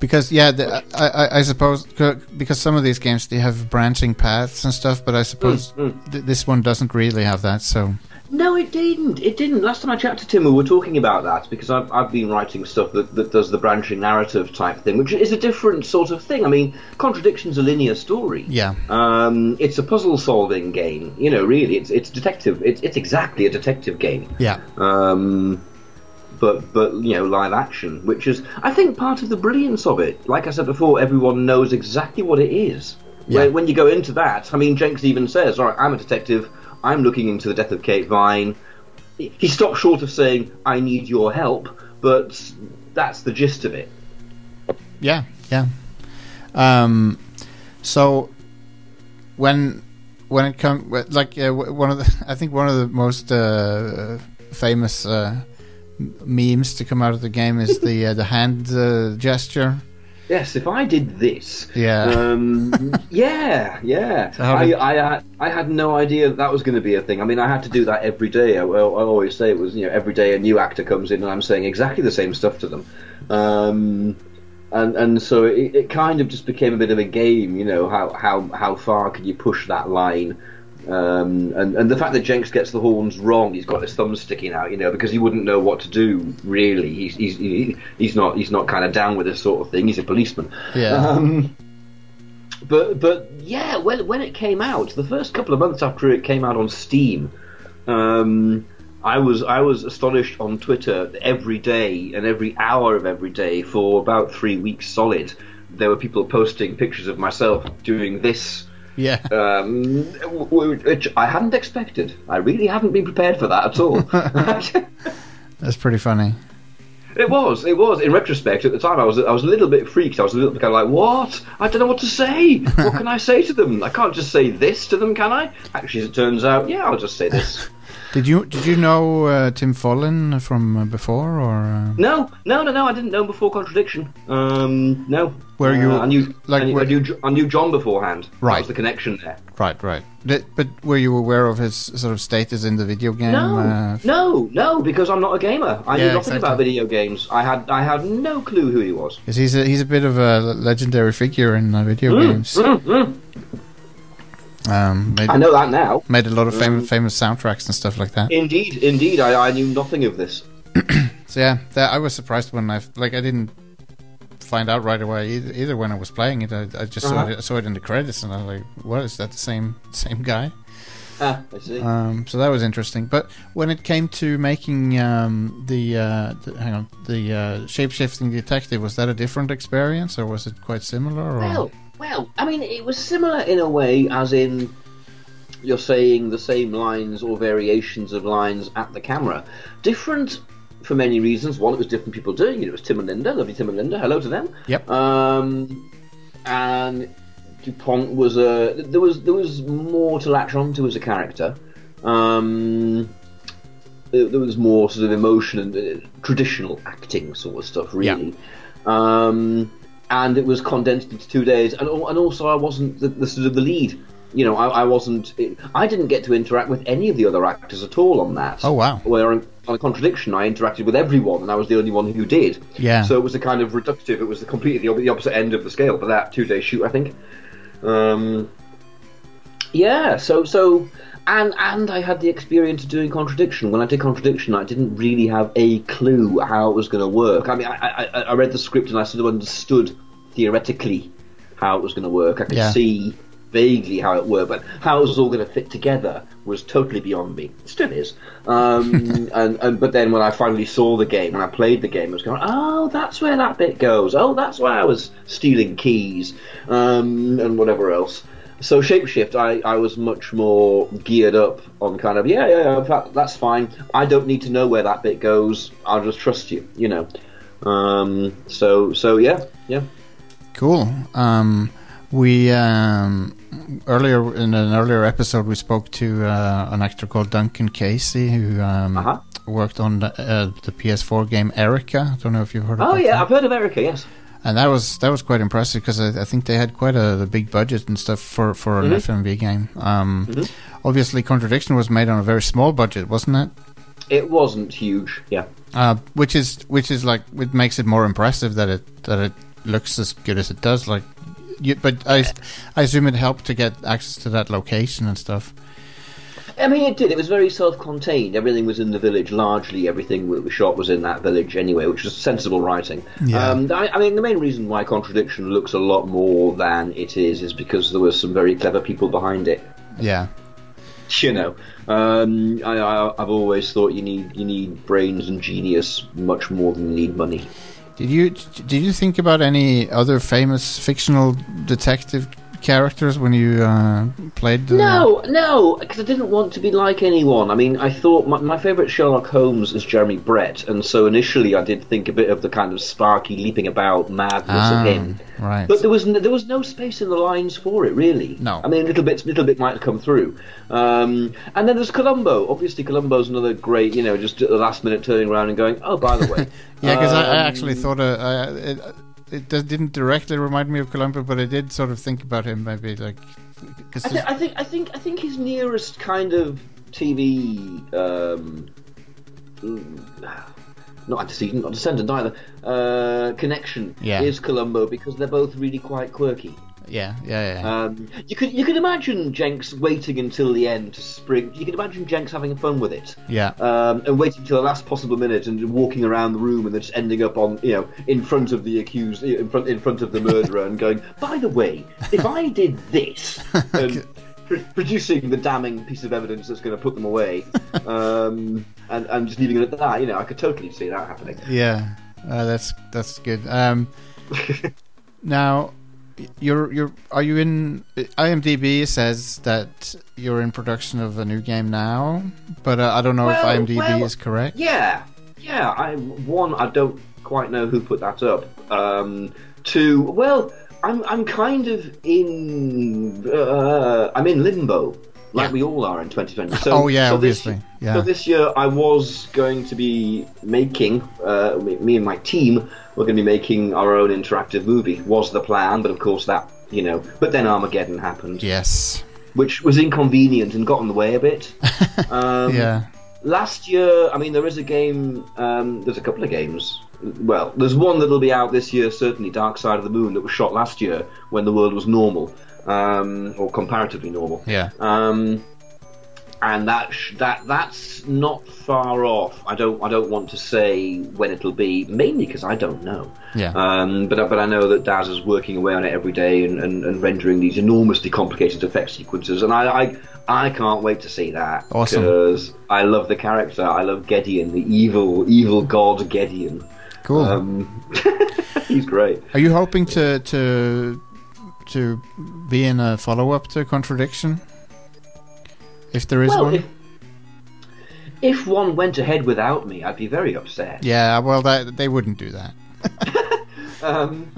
A: because yeah, the, I, I I suppose c- because some of these games they have branching paths and stuff, but I suppose th- this one doesn't really have that. So
E: No, it didn't. It didn't. Last time I chatted to Tim, we were talking about that because I've, I've been writing stuff that, that does the branching narrative type thing, which is a different sort of thing. I mean, Contradiction's a linear story.
A: yeah,
E: Um, it's a puzzle solving game. You know, really, it's it's detective. It's it's exactly a detective game.
A: yeah,
E: Um, but but you know, live action, which is I think part of the brilliance of it. Like I said before, everyone knows exactly what it is.
A: Yeah.
E: When, when you go into that, I mean, Jenks even says, "All right, I'm a detective. I'm looking into the death of Kate Vine." He stops short of saying, "I need your help," but that's the gist of it.
A: yeah, yeah. Um, so when when it comes like uh, w- one of the I think one of the most uh, famous uh, m- memes to come out of the game is the uh, the hand uh, gesture.
E: Yes, if I did this,
A: Yeah.
E: um, yeah, yeah.
A: how
E: I,
A: did-
E: I, had, I had no idea that, that was going to be a thing. I mean, I had to do that every day. I, I always say it was, you know, every day a new actor comes in and I'm saying exactly the same stuff to them, um, and and so it, it kind of just became a bit of a game, you know, how how how far can you push that line. Um, and, and the fact that Jenks gets the horns wrong, he's got his thumb sticking out, you know, because he wouldn't know what to do. Really, he's he's he- he's not he's not kind of down with this sort of thing. He's a policeman.
A: Yeah.
E: Um, but but yeah, when when it came out, the first couple of months after it came out on Steam, um, I was I was astonished on Twitter every day and every hour of every day for about three weeks solid. There were people posting pictures of myself doing this
A: yeah.
E: um, w- w- which I hadn't expected. I really haven't been prepared for that at all.
A: That's pretty funny.
E: it was, it was. In retrospect, at the time, I was, I was a little bit freaked. I was a little bit kind of like, "What? I don't know what to say. What can I say to them? I can't just say this to them, can I?" Actually, as it turns out, yeah, I'll just say this.
A: Did you did you know uh, Tim Follin from uh, before or uh,
E: No, no, no, no. I didn't know before contradiction. Um, no.
A: Were you-
E: I knew,
A: like,
E: I knew,
A: were-
E: I knew, Jo- I knew John beforehand. That
A: Right.
E: was the connection there.
A: right right? Did, but were you aware of his sort of status in the video game?
E: No,
A: uh, f-
E: no, no, because I'm not a gamer. I
A: Yeah,
E: knew nothing
A: exactly.
E: about video games. I had I had no clue who he was.
A: 'cause he's a, he's a bit of a legendary figure in uh, video games. Um, made,
E: I know that now.
A: made a lot of fam- famous soundtracks and stuff like that.
E: Indeed, indeed, I, I knew nothing of this.
A: So yeah, that, I was surprised when I f- like I didn't find out right away either, either when I was playing it. I, I just saw
E: Uh-huh.
A: it, I saw it in the credits and I was like, what is that? The same same guy?
E: Ah, I see.
A: Um, so that was interesting. But when it came to making um, the, uh, the hang on the uh, shape shifting detective, was that a different experience or was it quite similar? Or?
E: well, well, I mean, it was similar in a way, as in you're saying the same lines or variations of lines at the camera. Different for many reasons. One, it was different people doing it. It was Tim and Linda. Lovely Tim and Linda. Hello to them.
A: Yep.
E: Um, and Dupont was a there was there was more to latch onto as a character. Um, there, there was more sort of emotion and uh, traditional acting sort of stuff, really. Um, and it was condensed into two days, and al- and also I wasn't the, the sort of the lead. You know, I, I wasn't. I didn't get to interact with any of the other actors at all on that.
A: Oh, wow.
E: Where on, on a contradiction, I interacted with everyone, and I was the only one who did.
A: Yeah.
E: So it was a kind of reductive. It was the completely the, op- the opposite end of the scale for that two day shoot, I think. Um, yeah. So so and and I had the experience of doing contradiction. When I did contradiction, I didn't really have a clue how it was going to work. I mean, I, I I- I read the script and I sort of understood theoretically how it was going to work. I could
A: Yeah.
E: see vaguely how it worked, but how it was all going to fit together was totally beyond me. It still is. Um, and, and but then when I finally saw the game and I played the game, I was going, "Oh, that's where that bit goes. Oh, that's why I was stealing keys um, and whatever else." So shapeshift, I, I was much more geared up on kind of yeah yeah, yeah that, that's fine. I don't need to know where that bit goes. I'll just trust you, you know. Um, so so yeah yeah.
A: Cool. Um, we um, earlier in an earlier episode we spoke to uh, an actor called Duncan Casey who um,
E: Uh-huh.
A: worked on the, uh, the PS4 game Erica. I don't know if you've heard.
E: Oh
A: about
E: yeah,
A: that.
E: I've heard of Erica. Yes.
A: and that was that was quite impressive because I, I think they had quite a, a big budget and stuff for for
E: Mm-hmm.
A: an FMV game. Um, Obviously, Contradiction was made on a very small budget, wasn't it?
E: It wasn't huge. Yeah.
A: Uh, which is which is like it makes it more impressive that it that it looks as good as it does. Like, you, but I I assume it helped to get access to that location and stuff.
E: I mean, it did. It was very self-contained. Everything was in the village. Largely, everything that was shot was in that village anyway, which was sensible writing.
A: Yeah.
E: Um, I, I mean, the main reason why Contradiction looks a lot more than it is is because there were some very clever people behind it.
A: Yeah,
E: You know, um, I, I, I've always thought you need you need brains and genius much more than you need money.
A: Did you did you think about any other famous fictional detective characters when you uh, played? The,
E: No, no, because I didn't want to be like anyone. I mean, I thought my, my favourite Sherlock Holmes is Jeremy Brett, and so initially I did think a bit of the kind of sparky, leaping about madness
A: Ah,
E: of him.
A: right.
E: But there was no, there was no space in the lines for it, really.
A: No.
E: I mean, little bits, little bit might come through. Um, and then there's Columbo. Obviously, Columbo's another great, you know, just at the last minute turning around and going, oh, by the way.
A: yeah, because I, I
E: Um,
A: actually thought uh, I, it it does- didn't directly remind me of Columbo, but I did sort of think about him maybe like because
E: I, th- I think I think I think his nearest kind of TV, um, mm, not antecedent, not descendant either, uh, connection
A: Yeah.
E: is Columbo because they're both really quite quirky.
A: yeah yeah yeah
E: Um, you could you could imagine Jenks waiting until the end to spring. You could imagine Jenks having fun with it.
A: yeah.
E: Um, and waiting till the last possible minute, and walking around the room, and then just ending up on, you know, in front of the accused, in front, in front of the murderer, and going, "By the way, if I did this," and pr- producing the damning piece of evidence that's going to put them away, um, and and just leaving it at that, you know, I could totally see that happening.
A: Yeah, uh, that's that's good. Um, now, y- you're you're are you in? IMDb says that you're in production of a new game now, but uh, I don't know if
E: Well,
A: IMDb
E: well,
A: is correct.
E: Yeah, yeah. I one, I don't quite know who put that up. Um, two, well, I'm I'm kind of in uh, I'm in limbo, like
A: Yeah.
E: we all are in 2020. So,
A: Oh, yeah,
E: so
A: obviously,
E: This,
A: yeah.
E: So this year I was going to be making uh, me me and my team were going to be making our own interactive movie. Was the plan, but of course that you know. But then Armageddon happened,
A: Yes.
E: which was inconvenient and got in the way a bit. Um,
A: yeah.
E: Last year, I mean, there is a game. Um, there's a couple of games. Well, there's one that'll be out this year, certainly. Dark Side of the Moon, that was shot last year when the world was normal, um, or comparatively normal.
A: Yeah.
E: Um, and that sh- that that's not far off. I don't I don't want to say when it'll be, mainly because I don't know.
A: Yeah.
E: Um, but I- but I know that Daz is working away on it every day and, and, and rendering these enormously complicated effect sequences, and I I, I can't wait to see that.
A: Awesome.
E: Because I love the character. I love Gedeon, the evil evil god Gedeon.
A: cool.
E: Um, he's great.
A: are you hoping to to to be in a follow up to Contradiction? If there is
E: Well,
A: one.
E: if, if one went ahead without me, I'd be very upset.
A: yeah. Well, that they wouldn't do that.
E: Um,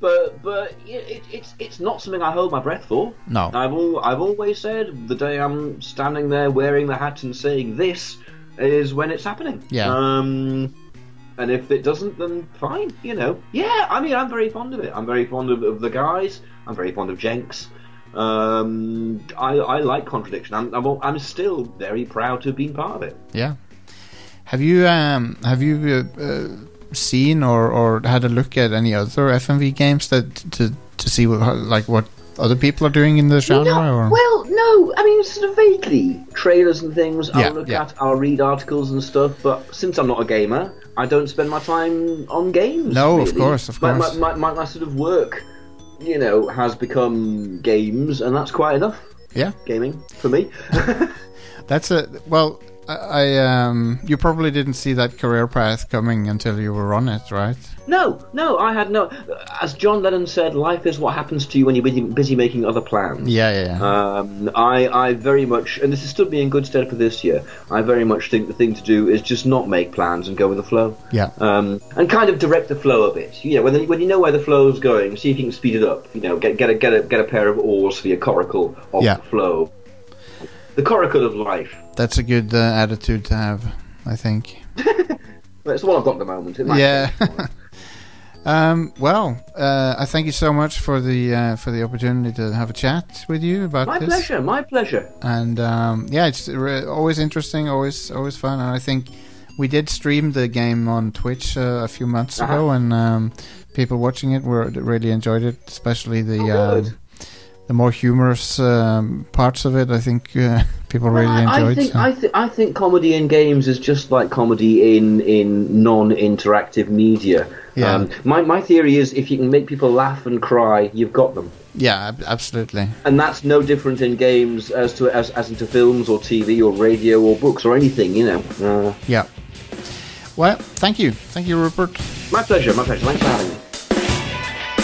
E: but but it, it, it's it's not something I hold my breath for.
A: No.
E: I've al- I've always said the day I'm standing there wearing the hat and saying this is when it's happening.
A: Yeah.
E: Um, and if it doesn't, then fine. You know. Yeah. I mean, I'm very fond of it. I'm very fond of, of the guys. I'm very fond of Jenks. Um, I, I like contradiction. I'm, I'm al- I'm still very proud to have been part of it.
A: Yeah. Have you um have you uh, uh, seen or or had a look at any other FMV games that to to see what, how- like what other people are doing in the genre or
E: Well, no. I mean, sort of vaguely trailers and things.
A: Yeah,
E: I'll look
A: yeah.
E: at, I'll read articles and stuff. But since I'm not a gamer, I don't spend my time on games.
A: No, of
E: really.
A: course, of
E: My-
A: course.
E: My, my, my, my sort of work, you know, has become games, and that's quite enough.
A: yeah
E: Gaming for me.
A: that's a well I, I um you probably didn't see that career path coming until you were on it right
E: no, no, I had no. As John Lennon said, life is what happens to you when you're busy, busy making other plans.
A: yeah yeah yeah
E: Um, I, I very much, and this has stood me in good stead for this year. I very much think the thing to do is just not make plans and go with the flow.
A: yeah
E: um, and kind of direct the flow a bit. You know, when, when you know where the flow is going, see if you can speed it up. You know, get get a get a get a pair of oars for your coracle of
A: Yeah.
E: the flow, the coracle of life.
A: that's a good uh, attitude to have I think
E: Well, it's the one I've got at the moment. It might
A: yeah Um, well, uh, I thank you so much for the uh, for the opportunity to have a chat with you about
E: My
A: this.
E: pleasure, my pleasure.
A: And um, yeah, it's re- always interesting, always always fun. And I think we did stream the game on Twitch uh, a few months
E: Uh-huh.
A: ago, and um, people watching it were really enjoyed it, especially the
E: Oh, good.
A: um, the more humorous um, parts of it. I think uh, people really
E: I-
A: enjoyed.
E: I think,
A: so-
E: I, th- I think comedy in games is just like comedy in, in non interactive media.
A: Yeah.
E: Um, my, my theory is if you can make people laugh and cry, you've got them.
A: yeah, ab- absolutely.
E: And that's no different in games as to as, as into films or TV or radio or books or anything, you know. Uh,
A: Yeah. Well, thank you, thank you, Rupert.
E: my pleasure, my pleasure. Thanks for having me.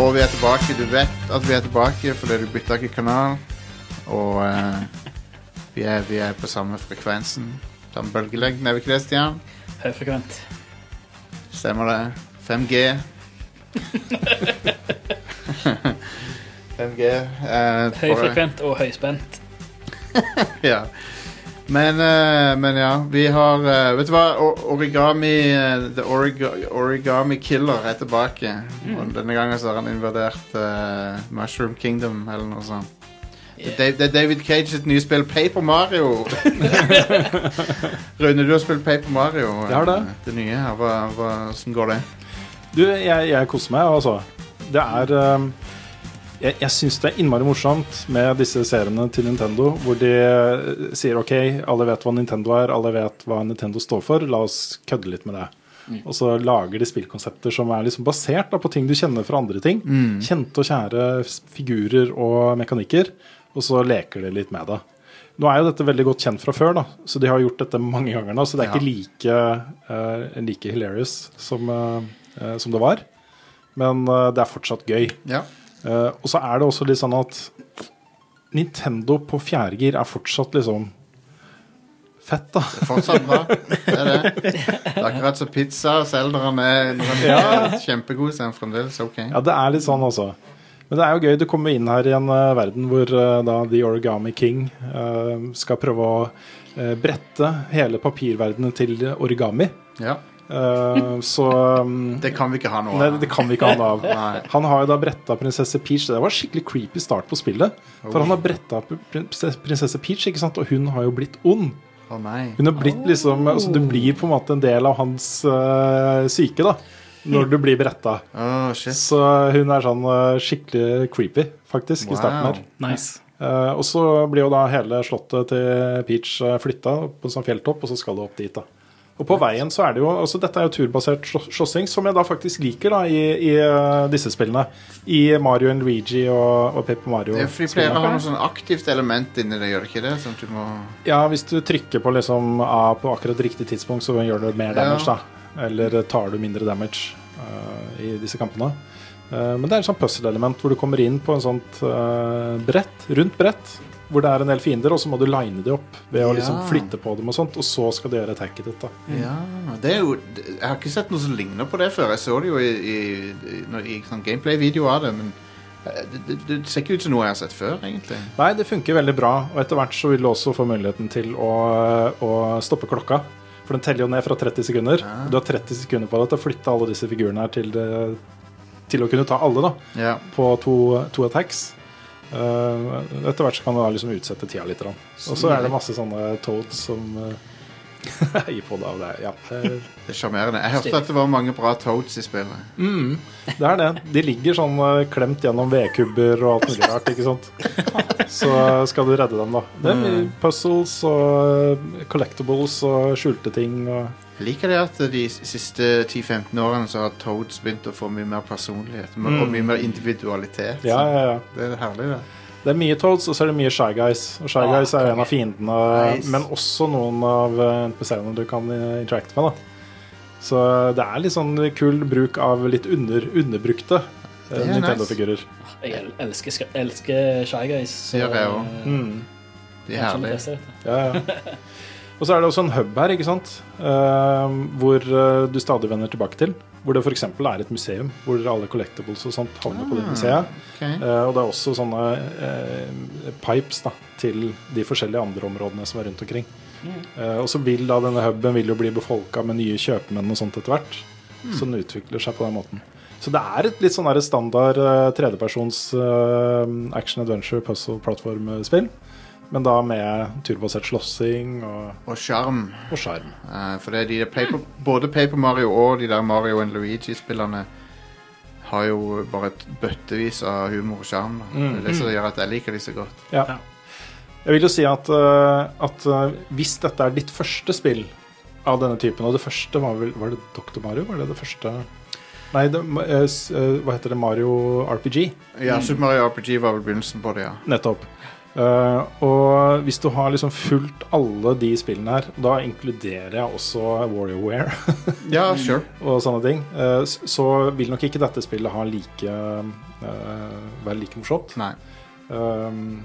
A: Og vi er tilbake. Du vet at vi er tilbake fordi du bytta ikke kanal. Og eh, vi, er, vi er på samme frekvensen. Samme bølgelengden, er vi ikke det, Stian?
B: Høyfrekvent.
A: Stemmer det. 5G. 5G. eh, for-
B: Høyfrekvent og høyspent.
A: ja. Men, eh, men ja, vi har eh, Vet du hva? O- Origami eh, The Origa- Origami Killer er tilbake. Og denne gangen så har han invadert eh, Mushroom Kingdom eller noe sånt. Det er Dave- Det er David Cage sitt nye spill Paper Mario. Rune, du har spilt Paper Mario. eh,
C: Jeg har det.
A: Det nye her. Hva, hva, hvordan går det?
C: Du, jeg, jeg koser meg, altså. Det er ehm, Jeg, jeg syns det er innmari morsomt med disse seriene til Nintendo, hvor de eh, sier OK, alle vet hva Nintendo er, alle vet hva Nintendo står for, la oss kødde litt med det. Og så lager de spillkonsepter som er liksom basert da, på ting du kjenner fra andre ting. Kjente og kjære s- figurer og mekanikker, og så leker de litt med det. Nå er jo dette veldig godt kjent fra før, da, så de har gjort dette mange ganger nå. Så det er ikke like, eh, like hilarious som, eh, eh, som det var. Men eh, det er fortsatt gøy.
A: Ja.
C: Eh, og så er det også litt sånn at Nintendo på fjerdegir er fortsatt liksom fett, da.
A: Fortsatt bra. Det er det. Det er akkurat som pizza og selgerne er når de er kjempegode, så er den fremdeles ok.
C: Ja, det er litt sånn, altså. Men det er jo gøy. Du kommer inn her i en eh, verden hvor eh, da The Origami King eh, skal prøve å eh, brette hele papirverdenen til origami.
A: Ja.
C: Eh, så um,
A: Det kan vi ikke ha nå.
C: Nei, det kan vi ikke ha noe av.
A: Nei.
C: Han har jo da bretta prinsesse Peach. Det var skikkelig creepy start på spillet. For han har bretta pr- prinses- prinsesse Peach, ikke sant? og hun har jo blitt ond.
A: Å nei.
C: Hun har blitt liksom altså, Du blir på en måte en del av hans eh, syke da når du blir bretta.
A: Å, shit.
C: Så hun er sånn eh, skikkelig creepy, faktisk, i starten
A: Wow.
C: her.
D: Nice.
C: Eh, og så blir jo da hele slottet til Peach eh, flytta på en sånn fjelltopp, og så skal det opp dit, da. Og på veien så er det jo altså Dette er jo turbasert slå- slåssing, som jeg da faktisk liker da i, i eh, disse spillene. I Mario and Luigi og, og Pepper Mario.
A: Det er fordi flere har noe sånn aktivt element inni det, gjør det ikke det? Sånn at du må
C: Ja, hvis du trykker på liksom A på akkurat riktig tidspunkt, så gjør du mer
A: Ja.
C: damage, da. Eller tar du mindre damage eh, i disse kampene. Eh, men det er et sånt puzzle-element hvor du kommer inn på en sånt eh, brett, rundt brett, hvor det er en del fiender, og så må du line de opp ved å
A: Ja.
C: liksom flytte på dem og sånt, og så skal du gjøre attacket ditt, da.
A: Ja, det er jo Jeg har ikke sett noe som ligner på det før. Jeg så det jo i, i, i, når- i sånn gameplay-video av det, men eh, det, det, det ser ikke ut som noe jeg har sett før, egentlig.
C: Nei, det funker veldig bra, og etter hvert så vil du også få muligheten til å, å stoppe klokka. For den teller jo ned fra 30 sekunder. Du har 30 sekunder på deg til å flytte alle disse figurene her til, det- til å kunne ta alle, da.
A: Ja.
C: på to, to attacks. Eh, etter hvert så kan du da liksom utsette tida litt. grann. Og så er det masse sånne toads som eh, heier på deg. og Det, er- ja. det-
A: Det er sjarmerende. Jeg hørte at det var mange bra toads i spillet.
C: det er det. De ligger sånn eh, klemt gjennom vedkubber og alt mulig rart. ikke sant? Så eh, skal du redde dem, da. Det er mye puzzles og eh, collectibles og skjulte ting. og
A: Jeg liker det at de siste 10-15 årene så har Toads begynt å få mye mer personlighet og mye mer individualitet.
C: Mm. Ja, ja, ja.
A: Det er herlig, det.
C: Det er mye Toads, og så er det mye Shy Guys. Og Shy
B: Ah,
C: Guys er en av fiendene,
A: Nice.
C: men også noen av eh, NPC-ene du kan eh, interacte med. da Så det er litt sånn kul bruk av litt under, underbrukte eh,
A: Det er nice.
C: Nintendo-figurer.
B: Jeg el- elsker, sk- elsker Shy Guys. så,
A: Det gjør jeg også.
B: eh,
C: Mm.
A: De er
B: kanskje vi
A: herlige.
B: tester dette.
C: Ja, ja. Og så er det også en hub her, ikke sant? Eh, hvor eh, du stadig vender tilbake til. Hvor det f.eks. er et museum, hvor alle collectibles og sånt havner på det
A: Ah.
C: museet.
A: Ok.
C: Eh, og det er også sånne eh, pipes da, til de forskjellige andre områdene som er rundt omkring. Eh, og så vil da denne huben vil jo bli befolka med nye kjøpmenn og sånt etter hvert. Så den utvikler seg på den måten. Så det er et litt sånn der standard eh, tredjepersons eh, action adventure puzzle plattformspill. Men da med turbasert slåssing og,
A: Og sjarm.
C: og sjarm.
A: Eh, for det er de der Paper, både Paper Mario og de der Mario and Luigi-spillerne har jo bare et bøttevis av humor og sjarm. da. Det er det som gjør at jeg liker de så godt.
C: Ja. Jeg vil jo si at, eh, at eh, hvis dette er ditt første spill av denne typen, og det første var vel Var det Dr. Mario? Var det det første Nei, det, eh, s- eh, hva heter det? Mario RPG.
A: Ja, Super Mario RPG var vel begynnelsen på det, ja.
C: Nettopp. Eh, og hvis du har liksom fulgt alle de spillene her, da inkluderer jeg også WarioWare
A: Ja, sure.
C: og sånne ting, eh, s- så vil nok ikke dette spillet ha like eh, være like morsomt.
A: Nei.
C: Um,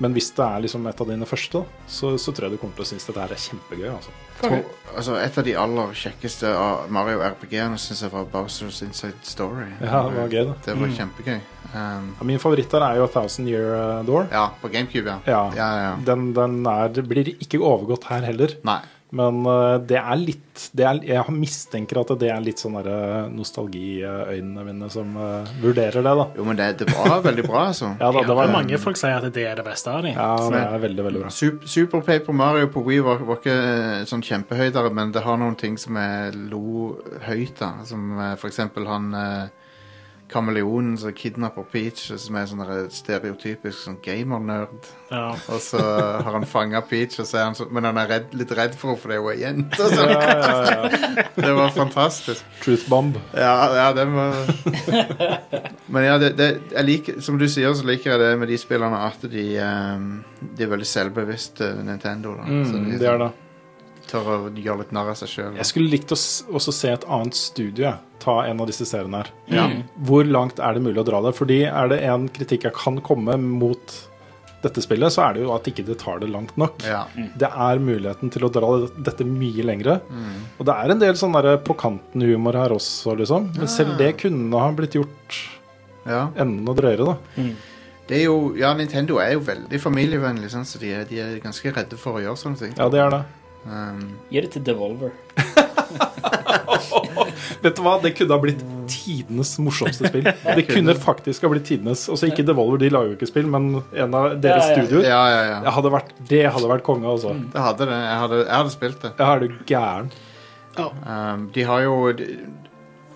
C: men hvis det er liksom et av dine første, da, så, så tror jeg du kommer til å synes dette her er kjempegøy. Altså.
A: Tror, altså, et av de aller kjekkeste av Mario RPG-ene syns jeg var Bowsers Inside Story.
C: Ja, det var gøy, da. Mm.
A: Det var kjempegøy. Um,
C: Ja, Min favoritt der er jo 1000 Year eh, Door.
A: ja, på GameCube, ja.
C: Ja.
A: ja, ja.
C: Den, den er, det blir ikke overgått her heller.
A: Nei.
C: Men eh, det er litt det er, Jeg har mistenker at det er litt sånn derre nostalgiøynene mine som eh, vurderer det, da.
A: Jo, men det, det var veldig bra, altså.
C: Ja da, det var
D: mange folk sier at det er det beste av dem.
C: Ja, det er veldig, veldig bra.
A: Sup- Super Paper Mario på Wii var, var ikke eh, sånn kjempehøydere, men det har noen ting som jeg lo høyt av. Som eh, for eksempel han eh, kameleonen som kidnapper Peach, som er sånn der stereotypisk sånn gamernerd.
D: Ja.
A: Og så har han fanga Peach, og så er han så, men han er redd, litt redd for henne fordi hun er jente. og
C: Ja,
A: sånn.
C: ja, ja.
A: Det var fantastisk.
C: Truth bomb.
A: Ja, ja den var Men ja, det, det, jeg liker, som du sier, så liker jeg det med de spillerne at de, ehm, de er veldig selvbevisste Nintendo. da Så sånn.
C: Mm, det er det.
A: tør å gjøre litt narr av seg sjøl.
C: Jeg skulle likt å s- også se et annet studio jeg. ta en av disse seriene her.
A: Ja.
B: Mm.
C: Hvor langt er det mulig å dra det? Fordi er det en kritikk jeg kan komme mot dette spillet, så er det jo at ikke det tar det langt nok.
A: Ja.
C: Det er muligheten til å dra det- dette mye lengre.
A: Mm.
C: Og det er en del sånn derre på kanten-humor her også, liksom.
B: Ah.
C: Men selv det kunne ha blitt gjort
A: ja.
C: enda drøyere, da.
A: Det er jo, ja, Nintendo er jo veldig familievennlig, sånn, så de er, de er ganske redde for å gjøre sånne ting.
C: Ja, det er det.
A: Ehm,
B: Gi det til Devolver.
C: Vet du hva, det kunne ha blitt tidenes morsomste spill. Det kunne faktisk ha blitt tidenes. Altså ikke Devolver, de lager jo ikke spill, men en av deres
B: Ja, ja.
C: studioer.
A: ja, ja, ja.
C: Det hadde vært, det hadde vært konge, altså.
A: Det hadde det. Jeg hadde, jeg hadde spilt det.
C: Ja, er du gæren?
A: Ehm, de har jo de,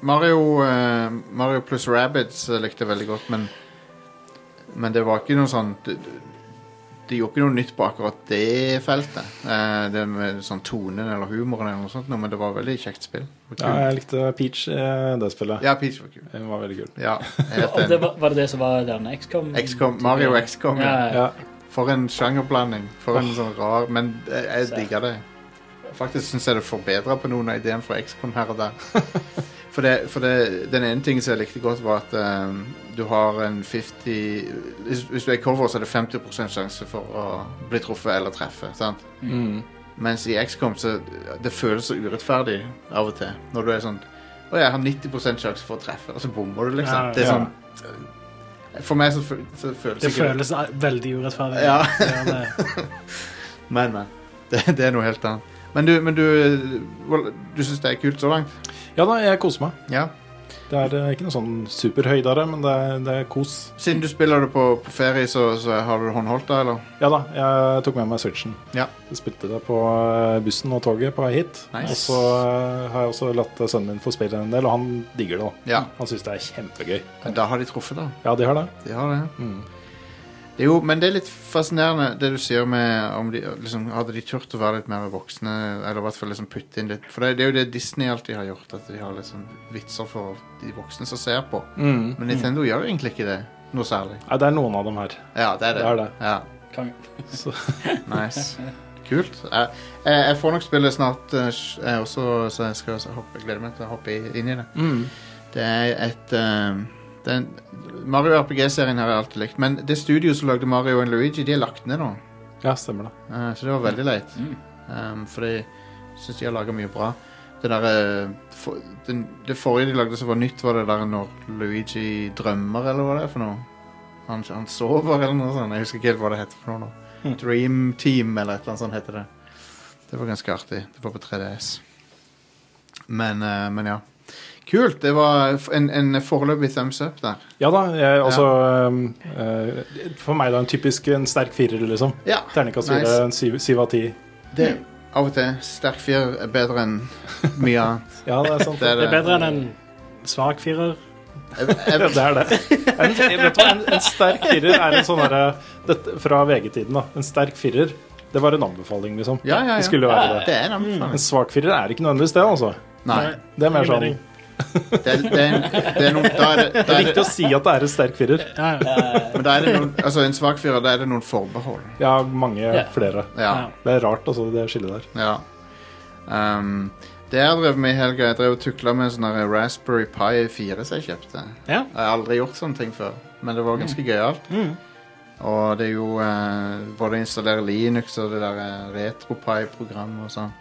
A: Mario, eh, Mario pluss Rabbids likte jeg veldig godt, men Men det var ikke noe sånn De, de- de gjorde ikke noe nytt på akkurat det feltet. Eh, det med sånn tonen eller humoren eller noe sånt, men det var veldig kjekt spill. Det var
C: Ja,
A: kult.
C: jeg likte Peach eh, det spillet.
A: Ja, Peach var kul.
C: Den var veldig kul.
A: Ja, jeg er helt
B: Og det
A: enig.
B: var, var det det som var denne XCOM?
A: XCOM, Mario XCOM. Ja.
B: Ja,
C: Ja.
A: For en sjangerblanding. For en sånn rar Men jeg, jeg digger det. Faktisk syns jeg det forbedra på noen av ideene fra XCOM her og der. For, det, for det, den ene tingen som jeg likte godt, var at ehm, du har en 50 hvis, hvis du er cover, så er det 50 sjanse for å bli truffet eller treffe. sant?
C: Mm.
A: Mens i XCOM så det føles så urettferdig av og til. Når du er sånn Å, jeg har 90 sjanse for å treffe, og så bommer du, liksom.
D: Ja,
A: Det er
C: ja.
A: sånn eh, For meg så, fø- så føles
D: Det
A: ikke
D: føles eh, veldig urettferdig.
A: Ja.
D: Det er det.
A: Men, men. Det, det er noe helt annet. Men du, men du, well, du syns det er kult så langt?
C: ja da, jeg koser meg.
A: Ja.
C: Det er eh, ikke noe sånn superhøydere, men det er, det er kos.
A: Siden du spiller det på, på ferie, så, så har du det håndholdt da, eller?
C: Ja da, jeg tok med meg Switchen.
A: Ja.
C: Jeg spilte det på eh, bussen og toget på vei hit.
A: Nice.
C: Og så eh, har jeg også latt eh, sønnen min få spille en del, og han digger det. da.
A: Ja.
C: Han syns det er kjempegøy.
A: Da har de truffet, da.
C: Ja, de har det.
A: De har det.
C: Mm.
A: Det er jo, men det er litt fascinerende det du sier med om de liksom, Hadde de turt å være litt mer voksne, eller i hvert fall liksom putte inn litt For det, det er jo det Disney alltid har gjort, at de har liksom vitser for de voksne som ser på. Men Nintendo gjør egentlig ikke det. noe særlig.
C: Mm. Nei, det er noen av dem her.
A: Ja, det er det.
C: Det er det.
A: Ja,
B: Konge.
C: Så,
A: nice. Kult. Jeg, jeg jeg får nok spille snart eh, sj- jeg også, så jeg skal hoppe, jeg gleder meg til å hoppe i- inn i det.
C: mm.
A: Det er et eh, det er en- Mario RPG-serien har jeg alltid likt, men det studioet som lagde Mario og Luigi, de er lagt ned nå.
C: ja, stemmer det.
A: Eh, så det var veldig leit.
B: Mm.
A: Um, for jeg syns de har laga mye bra. Det, der, eh, for, den, det forrige de lagde som var nytt, var det der når Luigi drømmer, eller hva det er for noe. Han, han sover, eller noe sånt. Jeg husker ikke helt hva det heter. for noe nå.
C: Mm.
A: Dream Team, eller et eller annet sånt heter det. Det var ganske artig. Det var på 3DS. Men, eh, men ja. Kult. Det var en, en foreløpig thumbs up der.
C: Ja da, jeg, altså ehm, eh, For meg da en typisk en sterk firer, liksom.
A: Ja,
C: Terningkast fire,
A: nice.
C: en syv syv av ti.
A: Det, av og til sterk firer er bedre enn mye annet.
C: Ja, det er sant.
A: Det er
D: Det
A: det.
D: er bedre enn en svak firer.
A: Jeg, jeg,
C: Det er det. En, jeg vet hva, en, en sterk firer er en sånn derre dette- Fra VG-tiden, da. En sterk firer, det var en anbefaling, liksom.
A: Ja, ja, ja.
C: Det skulle jo være det.
A: det er en anbefaling.
C: En svak firer er ikke nødvendigvis det, altså.
A: Nei.
C: Det er mer
D: Ingen
C: sånn
D: mening.
A: Det er, det er, en- det er noen da er det, da
C: Det
A: er
C: er viktig
A: det,
C: å si at det er en sterk firer.
D: Ja, ja.
A: Men da er det noen Altså, en svak firer, da er det noen forbehold.
C: Jeg har mange flere.
A: Ja.
C: Det er rart, altså, det skillet der.
A: ja. Um, det jeg drev med i helga, jeg drev og tukla med en sånn der Raspberry Pi 4 som jeg kjøpte.
D: Ja.
A: Jeg har aldri gjort sånne ting før, men det var ganske gøyalt.
D: Mm.
A: Og det er jo eh, både å installere Linux og det der eh, RetroPie-programmet og sånn.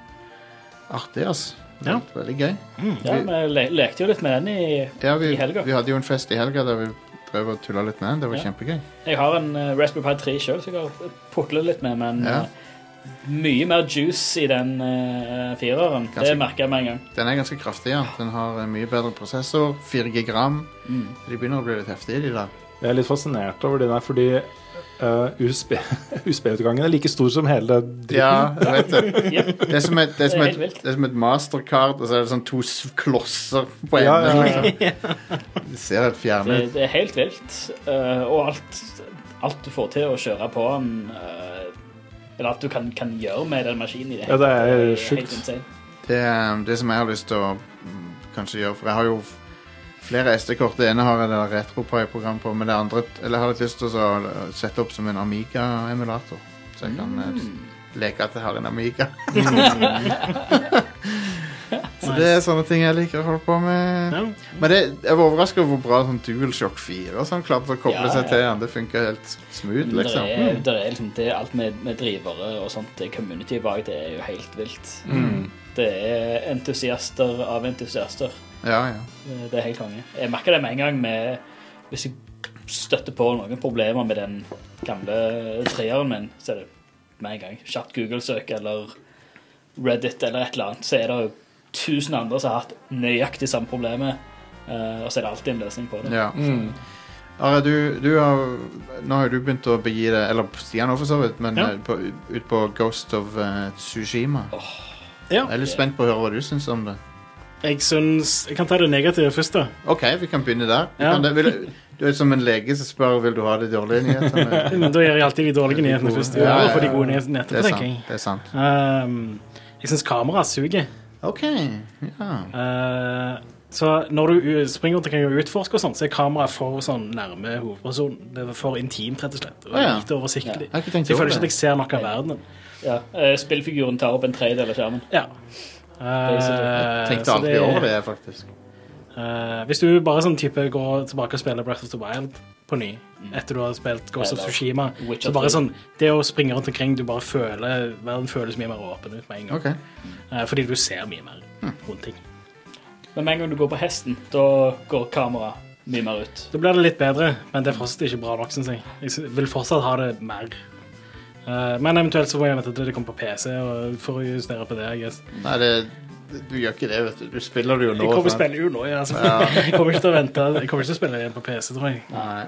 A: Artig, altså.
D: Ja.
A: Veldig gøy.
B: Mm. Ja, vi le lekte jo litt med den i
A: Ja, vi,
B: I helga.
A: vi hadde jo en fest i helga der vi drev og tulla litt med den. Det var
B: Ja.
A: kjempegøy.
B: Jeg har en eh, Raspberry Pi 3 sjøl som jeg har putlet litt med, men
A: Ja.
B: eh, mye mer juice i den eh, fireren. Det
A: Ganske-
B: merker jeg med en gang.
A: Den er ganske kraftig, ja. Den har eh, mye bedre prosessor. 4 gigram.
B: Mm.
A: De begynner å bli litt heftige, de der.
C: Jeg er litt fascinert over den der, fordi eh, USB USB-utgangen er like stor som hele dritten.
A: Ja, jeg vet det.
B: Jep.
A: Det er som et, det er som
B: Det
A: et,
B: er helt vilt.
A: det er som et mastercard, og så er det sånn to s- klosser på
C: Ja,
A: enden.
C: ja, ja.
A: Liksom. Det ser helt fjerne
B: Det,
A: ut.
B: det er helt vilt. eh, og alt, alt du får til å kjøre på den eh, Eller alt du kan, kan gjøre med den maskinen i det.
C: Ja, det er
B: hele-
C: sjukt.
B: helt insane.
A: Det, er det som jeg har lyst til å mm, kanskje gjøre, for jeg har jo f- flere SD-kort. Det ene har jeg det der RetroPie-program på, men det andre Eller jeg har litt lyst til å eh, sette opp som en Amiga-emulator. Så jeg kan eh,
B: Mm.
A: leke at jeg har en Amiga. så det er sånne ting jeg liker å holde på med.
D: Ja.
A: Men det, jeg var overraska over hvor bra sånn DualShock 4 og sånn klarte å koble
B: Ja,
A: seg
B: ja.
A: til den. Det funker helt smooth, liksom.
D: E.
B: Det er, der er liksom det er alt med, med drivere og sånt, det community bak, det er jo helt vilt.
C: Mm.
B: Det er entusiaster av entusiaster.
A: Ja, ja.
B: Eh, Det er helt konge. Jeg merker det med en gang med Hvis jeg støtter på noen problemer med den gamle treeren min, så er det med en gang kjapt Google-søk eller Reddit eller et eller annet, så er det jo tusen andre som har hatt nøyaktig samme problemet, eh, og så er det alltid en løsning på det.
A: ja.
C: Mm.
A: Are, du, du har Nå har jo du begynt å begi deg Eller Stian òg, for så vidt, men
D: Ja.
A: eh, på, ut på Ghost of eh, Tsushima.
D: Ja.
A: Jeg er litt spent på å høre hva du syns om det.
D: Jeg syns Jeg kan ta det negative først, da.
A: OK, vi kan begynne der. Vi
D: Ja.
A: kan, det, vil, du er som en lege som spør vil du ha de dårlige nyhetene.
D: Men da gjør jeg alltid de dårlige nyhetene først.
A: Ja, ja, ja.
D: Og får de gode nyhetene
A: Det
D: etterpå,
A: er
D: tenker jeg.
A: sant. Det er sant.
D: Ehm, jeg syns kameraet suger.
A: OK. Ja.
D: Eh, så når du u- springer til og utforsker, og sånt, så er kameraet for sånn nærme hovedpersonen. Det er for intimt, rett og slett. Og
A: Å, ja.
D: lite oversiktlig.
A: Jeg har ikke tenkt
D: Så jeg
A: over
D: føler ikke at
A: det.
D: jeg ser noe av verden.
B: Ja. eh, Spillfiguren tar opp en tredjedel av skjermen.
D: Ja.
B: Basically.
D: Eh,
A: Tenkte
D: så
A: aldri over det, faktisk.
D: eh, hvis du bare sånn type går tilbake og spiller Breath of the Wild på ny, etter du har spilt Ghost of
B: Mm. Eller
D: Tsushima,
B: Witcher
D: så bare
B: 3.
D: sånn Det å springe rundt omkring, du bare føler Verden føles mye mer åpen ut med en gang.
A: OK.
D: Eh, fordi du ser mye mer
B: Hm.
D: rundt ting.
B: Men med en gang du går på hesten, da går kameraet mye mer ut.
D: Da blir det litt bedre, men det er fortsatt ikke bra nok, syns jeg. Jeg sy- vil fortsatt ha det mer. Eh, men eventuelt så må jeg vente til det kommer på PC og for å justere på det. I guess.
A: Nei, det, du gjør ikke det, vet du. Du spiller det jo nå.
D: Jeg kommer
A: sant?
D: spille jo nå, ja. Altså. Jeg kommer ikke til å vente. Jeg kommer ikke til å spille igjen på PC, tror jeg.
A: Nei.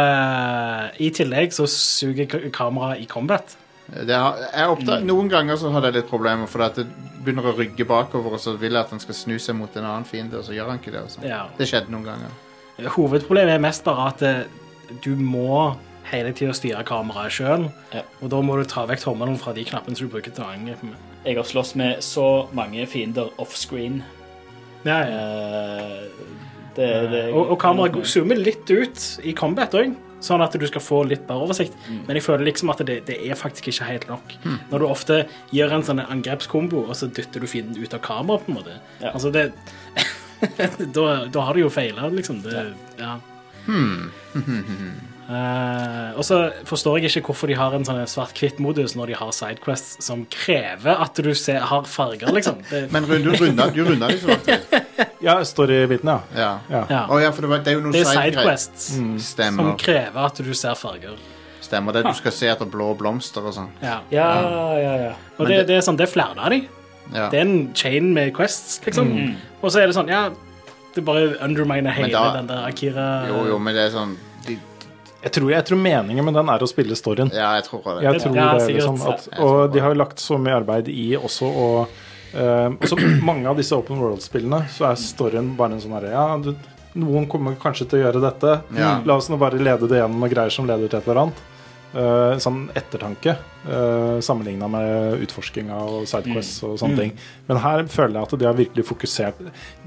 D: Eh, I tillegg så suger k- kameraet i combat.
A: Det har, jeg oppdag, noen ganger så hadde jeg litt problemer, for at det begynner å rygge bakover, og så vil jeg at han skal snu seg mot en annen fiende, og så gjør han ikke det. og sånn.
D: Ja.
A: Det skjedde noen ganger.
D: Hovedproblemet er mest bare at eh, du må hele tida styre kameraet sjøl,
B: Ja.
D: og da må du ta vekk tommelen fra de knappene som du bruker til å angripe med.
B: Jeg har
D: Eh,
B: slåss med så mange fiender offscreen.
D: Ja, ja.
B: Eh, Det, det,
D: Og, og kameraet zoomer litt ut i combat òg, sånn at du skal få litt bedre oversikt. Men jeg føler liksom at det, det er faktisk ikke helt nok. Når du ofte gjør en sånn angrepskombo, og så dytter du fienden ut av kameraet, på en måte.
B: Ja.
D: Altså, det da, da har du jo feila, liksom. Det, ja. Eh, og så forstår jeg ikke hvorfor de har en sånn svart-hvitt-modus når de har sidequests som krever at du ser, har farger, liksom. Det,
A: Men Rune, du runda, du runda det så langt.
C: Ja, storybiten, ja.
A: Ja.
C: ja.
D: ja.
A: Å ja, for det, var, det er jo noen
D: det er
A: side-greier.
D: sidequests
A: Mm.
D: som
A: Stemmer.
D: krever at du ser farger.
A: Stemmer det. Du skal se etter blå blomster og sånn.
D: Ja.
B: Ja, ja, ja.
D: Og
A: Men
D: det,
A: det-
D: det er sånn, det er flere av dem.
A: Ja.
D: Det er en chain med quests, liksom. Og så er det sånn, ja Det bare underminer hele
A: da-
D: den der Akira
A: Jo, jo, men det er sånn de,
C: Jeg tror, jeg tror meningen med den er å spille storyen.
A: Ja, jeg tror det.
C: Jeg tror
D: Ja,
C: det, er
D: sikkert.
C: liksom, at,
A: Jeg tror
C: og
A: det.
C: de har jo lagt så mye arbeid i også å eh, også mange av disse open world-spillene så er storyen bare en sånn herre Ja, du, noen kommer kanskje til å gjøre dette.
A: Ja.
C: La oss nå bare lede det gjennom og greier som leder til et eller annet. Eh, sånn ettertanke uh, sammenligna med utforskinga og sidequests
A: Mm.
C: og sånne ting. Men her føler jeg at de har virkelig fokusert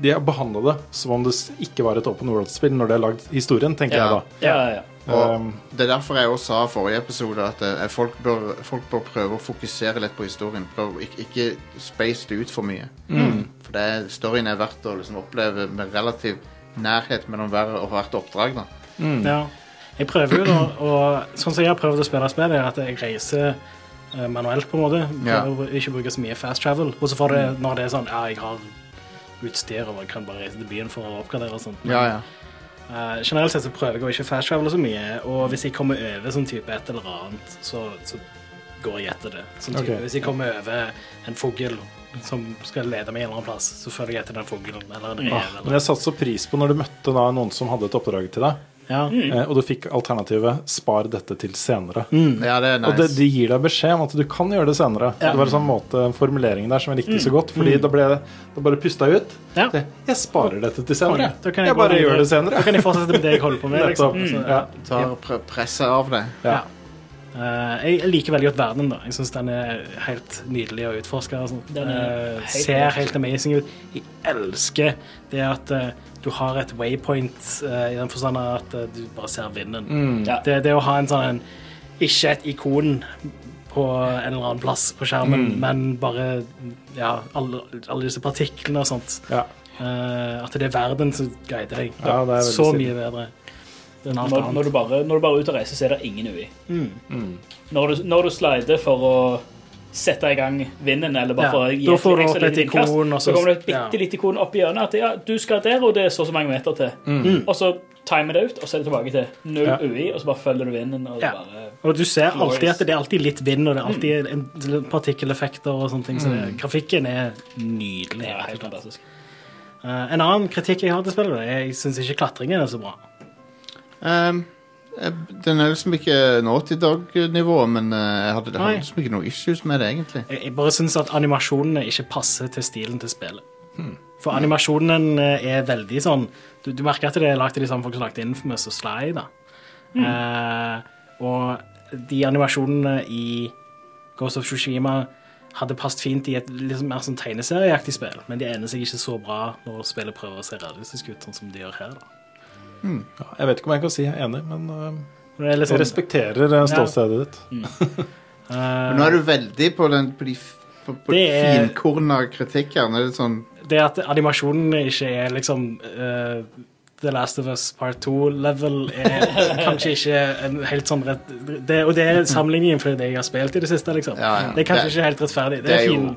C: De har behandla det som om det s- ikke var et open world-spill når de har lagd historien, tenker
A: Ja.
C: jeg da.
B: ja, ja, ja.
A: Og
C: Um,
A: det er derfor jeg også sa i forrige episode at eh, folk, bør, folk bør prøve å fokusere litt på historien. Prøv, ikke, ikke space det ut for mye. For det, er- storyen er verdt å liksom oppleve med relativ nærhet mellom hver og hvert oppdrag. da
D: Ja. Jeg prøver jo da å Sånn som jeg har prøvd å spille spillet, er at jeg reiser eh, manuelt, på en måte.
A: Ja. Mm.
D: Prøver å ikke bruke så mye fast travel. Og så får det når det er sånn Ja, jeg har utstyr og jeg kan bare reise til byen for å oppgradere og sånt.
A: ja.
D: Eh, generelt sett så prøver jeg å ikke fast travele så mye, og hvis jeg kommer over sånn type et eller annet, så, så går jeg etter det. Sånn type,
C: Ok.
D: Hvis jeg kommer over en fugl som skal lede meg en eller annen plass, så følger jeg etter den fuglen eller en rev.
C: Men
D: Eller.
C: jeg satte så pris på når du møtte da noen som hadde et oppdrag til deg,
D: Ja.
C: eh, og du fikk alternativet 'spar dette til senere'.
D: Mm.
A: Mm. ja, det er
C: Og det,
A: nice.
C: de gir deg beskjed om at du kan gjøre det senere.
D: Ja. Mm.
C: Det var en sånn måte, en formulering der som jeg likte så godt, fordi da ble det da bare pusta jeg ut.
D: Ja.
C: Det, jeg sparer dette til senere.
D: Da kan
C: jeg,
D: gå
C: bare gjør
D: videre.
C: det
D: Da
C: senere.
D: kan jeg fortsette med det jeg holder på med.
C: Nettopp. Mm.
D: Liksom. Så,
C: Ja.
A: Tar pre presset av det.
C: Ja.
D: Eh, jeg liker veldig godt verden, da. Jeg syns den er helt nydelig å utforske. og sånt.
B: Den er
D: Eh,
B: helt
D: ser helt amazing ut. Jeg elsker det at eh, du har et waypoint eh, i den forstand at eh, du bare ser vinden.
C: Mm.
B: Ja.
D: Det, det å ha en sånn en, Ikke et ikon på en eller annen plass på skjermen,
C: Mm.
D: men bare ja, alle, alle disse partiklene og sånt.
C: Ja.
D: Eh, at det er verden som guider deg.
C: Ja, det er veldig
D: Så
C: stilig.
D: mye bedre enn alt
B: Når,
D: annet. Mm.
B: når, du bare, når du bare er ute og reiser, så er det ingen ui. Når, du, når du slider for å sette i gang vinden, eller bare
D: Ja,
B: for å gi
D: da får du
B: ekstra
D: opp
B: lite
D: et
B: vindkast,
D: ikon, og så-
B: så kommer det et
D: ja.
B: bitte lite ikon opp i hjørnet at ja, du skal der, og det er så og så mange meter til.
D: Mm.
B: Og så timer det ut, og så er det tilbake til null
C: Ja.
B: ui, og så bare følger du vinden. Og
D: Ja.
B: det bare,
D: Og du ser
B: Glorious.
D: alltid at det er alltid litt vind, og det er alltid en- partikkeleffekter og sånne ting. Så det, grafikken er nydelig.
B: det er
D: rett og
B: helt altså.
D: slett.
B: fantastisk.
D: Eh, en annen kritikk jeg har til spillet, er jeg syns ikke klatringen er så bra.
A: Ehm, eh, den er liksom ikke Naughty Dog-nivå, men eh, jeg hadde, jeg
D: Nei.
A: hadde liksom ikke noe issues med det, egentlig.
D: Jeg, jeg bare syns at animasjonene ikke passer til stilen til spillet. For animasjonen eh, er veldig sånn Du, du merker at det er lagd av de samme folk som lagde Infamous og Sly. da. Eh, og de animasjonene i Ghost of Tsushima hadde passet fint i et liksom mer sånn tegneserieaktig spill, men de egner seg ikke så bra når spillet prøver å se realistisk ut, sånn som de gjør her. da.
C: Ja, jeg vet ikke om jeg kan si jeg er enig, men eh,
D: Og Det er litt
C: jeg
D: sånn,
C: respekterer eh, ståstedet ditt.
D: eh,
A: Men nå er du veldig på den på de f- på, på
D: Det er-
A: finkorna kritikk her. Nå er det sånn
D: det at animasjonen ikke er liksom eh, The Last of Us Part 2-level er kanskje ikke en helt sånn rett det, Og det er sammenligningen for det jeg har spilt i det siste, liksom.
A: Mm. Ja, ja.
D: Det er kanskje
A: Det-
D: ikke helt rettferdig. Det,
A: Det er
D: er
A: jo
D: fin.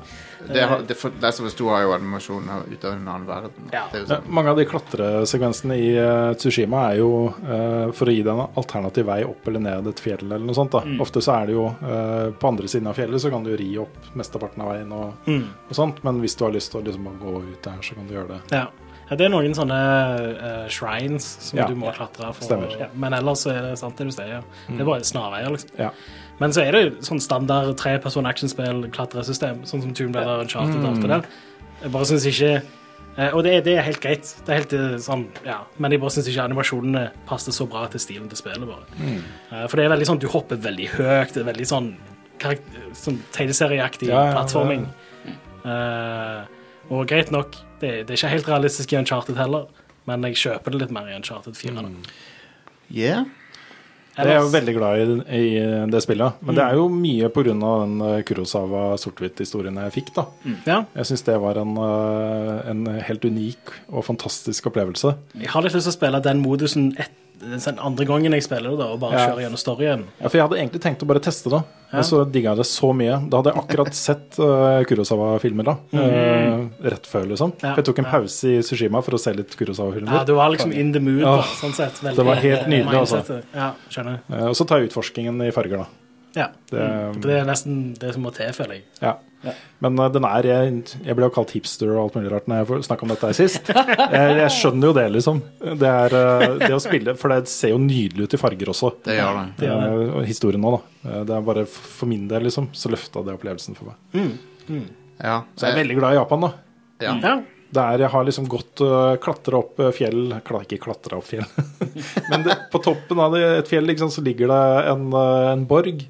A: det, har, det, for, det som det sto, har jo animasjon her ut av en annen verden.
D: Ja.
A: Det er jo
C: Ja,
A: sånn.
C: Mange av de klatresekvensene i eh, Tsushima er jo eh, for å gi deg en alternativ vei opp eller ned et fjell eller noe sånt. da. Ofte så er det jo eh, på andre siden av fjellet så kan du ri opp mesteparten av veien og, og sånt, men hvis du har lyst til å liksom bare gå ut der, så kan du gjøre det.
D: Ja. Ja, det er noen sånne eh, shrines som
C: Ja.
D: du må klatre for.
C: Stemmer.
D: Ja, men ellers så er det sant det du sier. Ja.
A: Mm.
D: Det er bare snarveier, liksom.
C: Ja.
D: Men så er det jo sånn standard treperson actionspill, klatresystem, sånn som Tomb Raider og Uncharted og alt
C: Mm.
D: det der. Jeg bare syns ikke eh, Og det, er- det er helt greit, det er helt eh, sånn, ja. men jeg bare syns ikke animasjonene passer så bra til stilen til spillet, bare.
C: Mm.
D: Eh, For det er veldig sånn, du hopper veldig høyt, det er veldig sånn, karakter, sånn tegneserieaktig
C: Ja, ja, ja.
D: plattforming. Eh, og greit nok, det, det er ikke helt realistisk i Uncharted heller. Men jeg kjøper det litt mer i Uncharted 4. nå.
A: Yeah.
C: Jeg Mm. er jo
D: Ellers-
C: veldig glad i, i det spillet. Men det er jo mye pga. den eh, Kurosawa sort-hvitt-historien jeg fikk. da.
D: Ja,
C: Jeg syns det var en, eh, en helt unik og fantastisk opplevelse.
D: jeg har litt lyst til å spille den modusen et, den andre gangen jeg spiller det, da, og bare
C: Ja.
D: kjøre gjennom storyen.
C: Ja, For jeg hadde egentlig tenkt å bare teste det, men så digga jeg det så mye. Da hadde jeg akkurat sett eh, Kurosawa-filmer, da. eh, rett før, liksom.
D: Mm. Ja,
C: Jeg tok en
D: ja.
C: pause i Sushima for å se litt
D: Ja,
C: Kurosawa-filmer.
D: du var liksom in the mood, da,
C: Åh,
D: sånn sett. Veldig-
C: det var helt nydelig, altså.
D: mindsetet. Ja, skjønner.
C: Eh, og så tar jeg utforskingen i farger, da.
D: Ja.
C: Det, um,
D: For Mm, det er nesten det som må til, føler jeg.
C: Ja.
B: Ja.
C: Men eh, den er Jeg, jeg ble jo kalt hipster og alt mulig rart når jeg snakka om dette her sist. jeg, jeg skjønner jo det, liksom. Det, er, eh, det å spille For det ser jo nydelig ut i farger også.
A: Det gjør det.
D: Det gjør
C: Eh, og historien nå, da. Eh, Det er bare f- for min del, liksom, så løfta det opplevelsen for meg.
A: Ja.
C: Så jeg
D: Eh.
C: er veldig glad i Japan, da.
A: ja.
D: Ja.
C: Det er, jeg har liksom gått uh, klatra opp eh, fjell kla- Ikke klatra opp fjell, men det, på toppen av det, et fjell ikke sant, så ligger det en, eh, en borg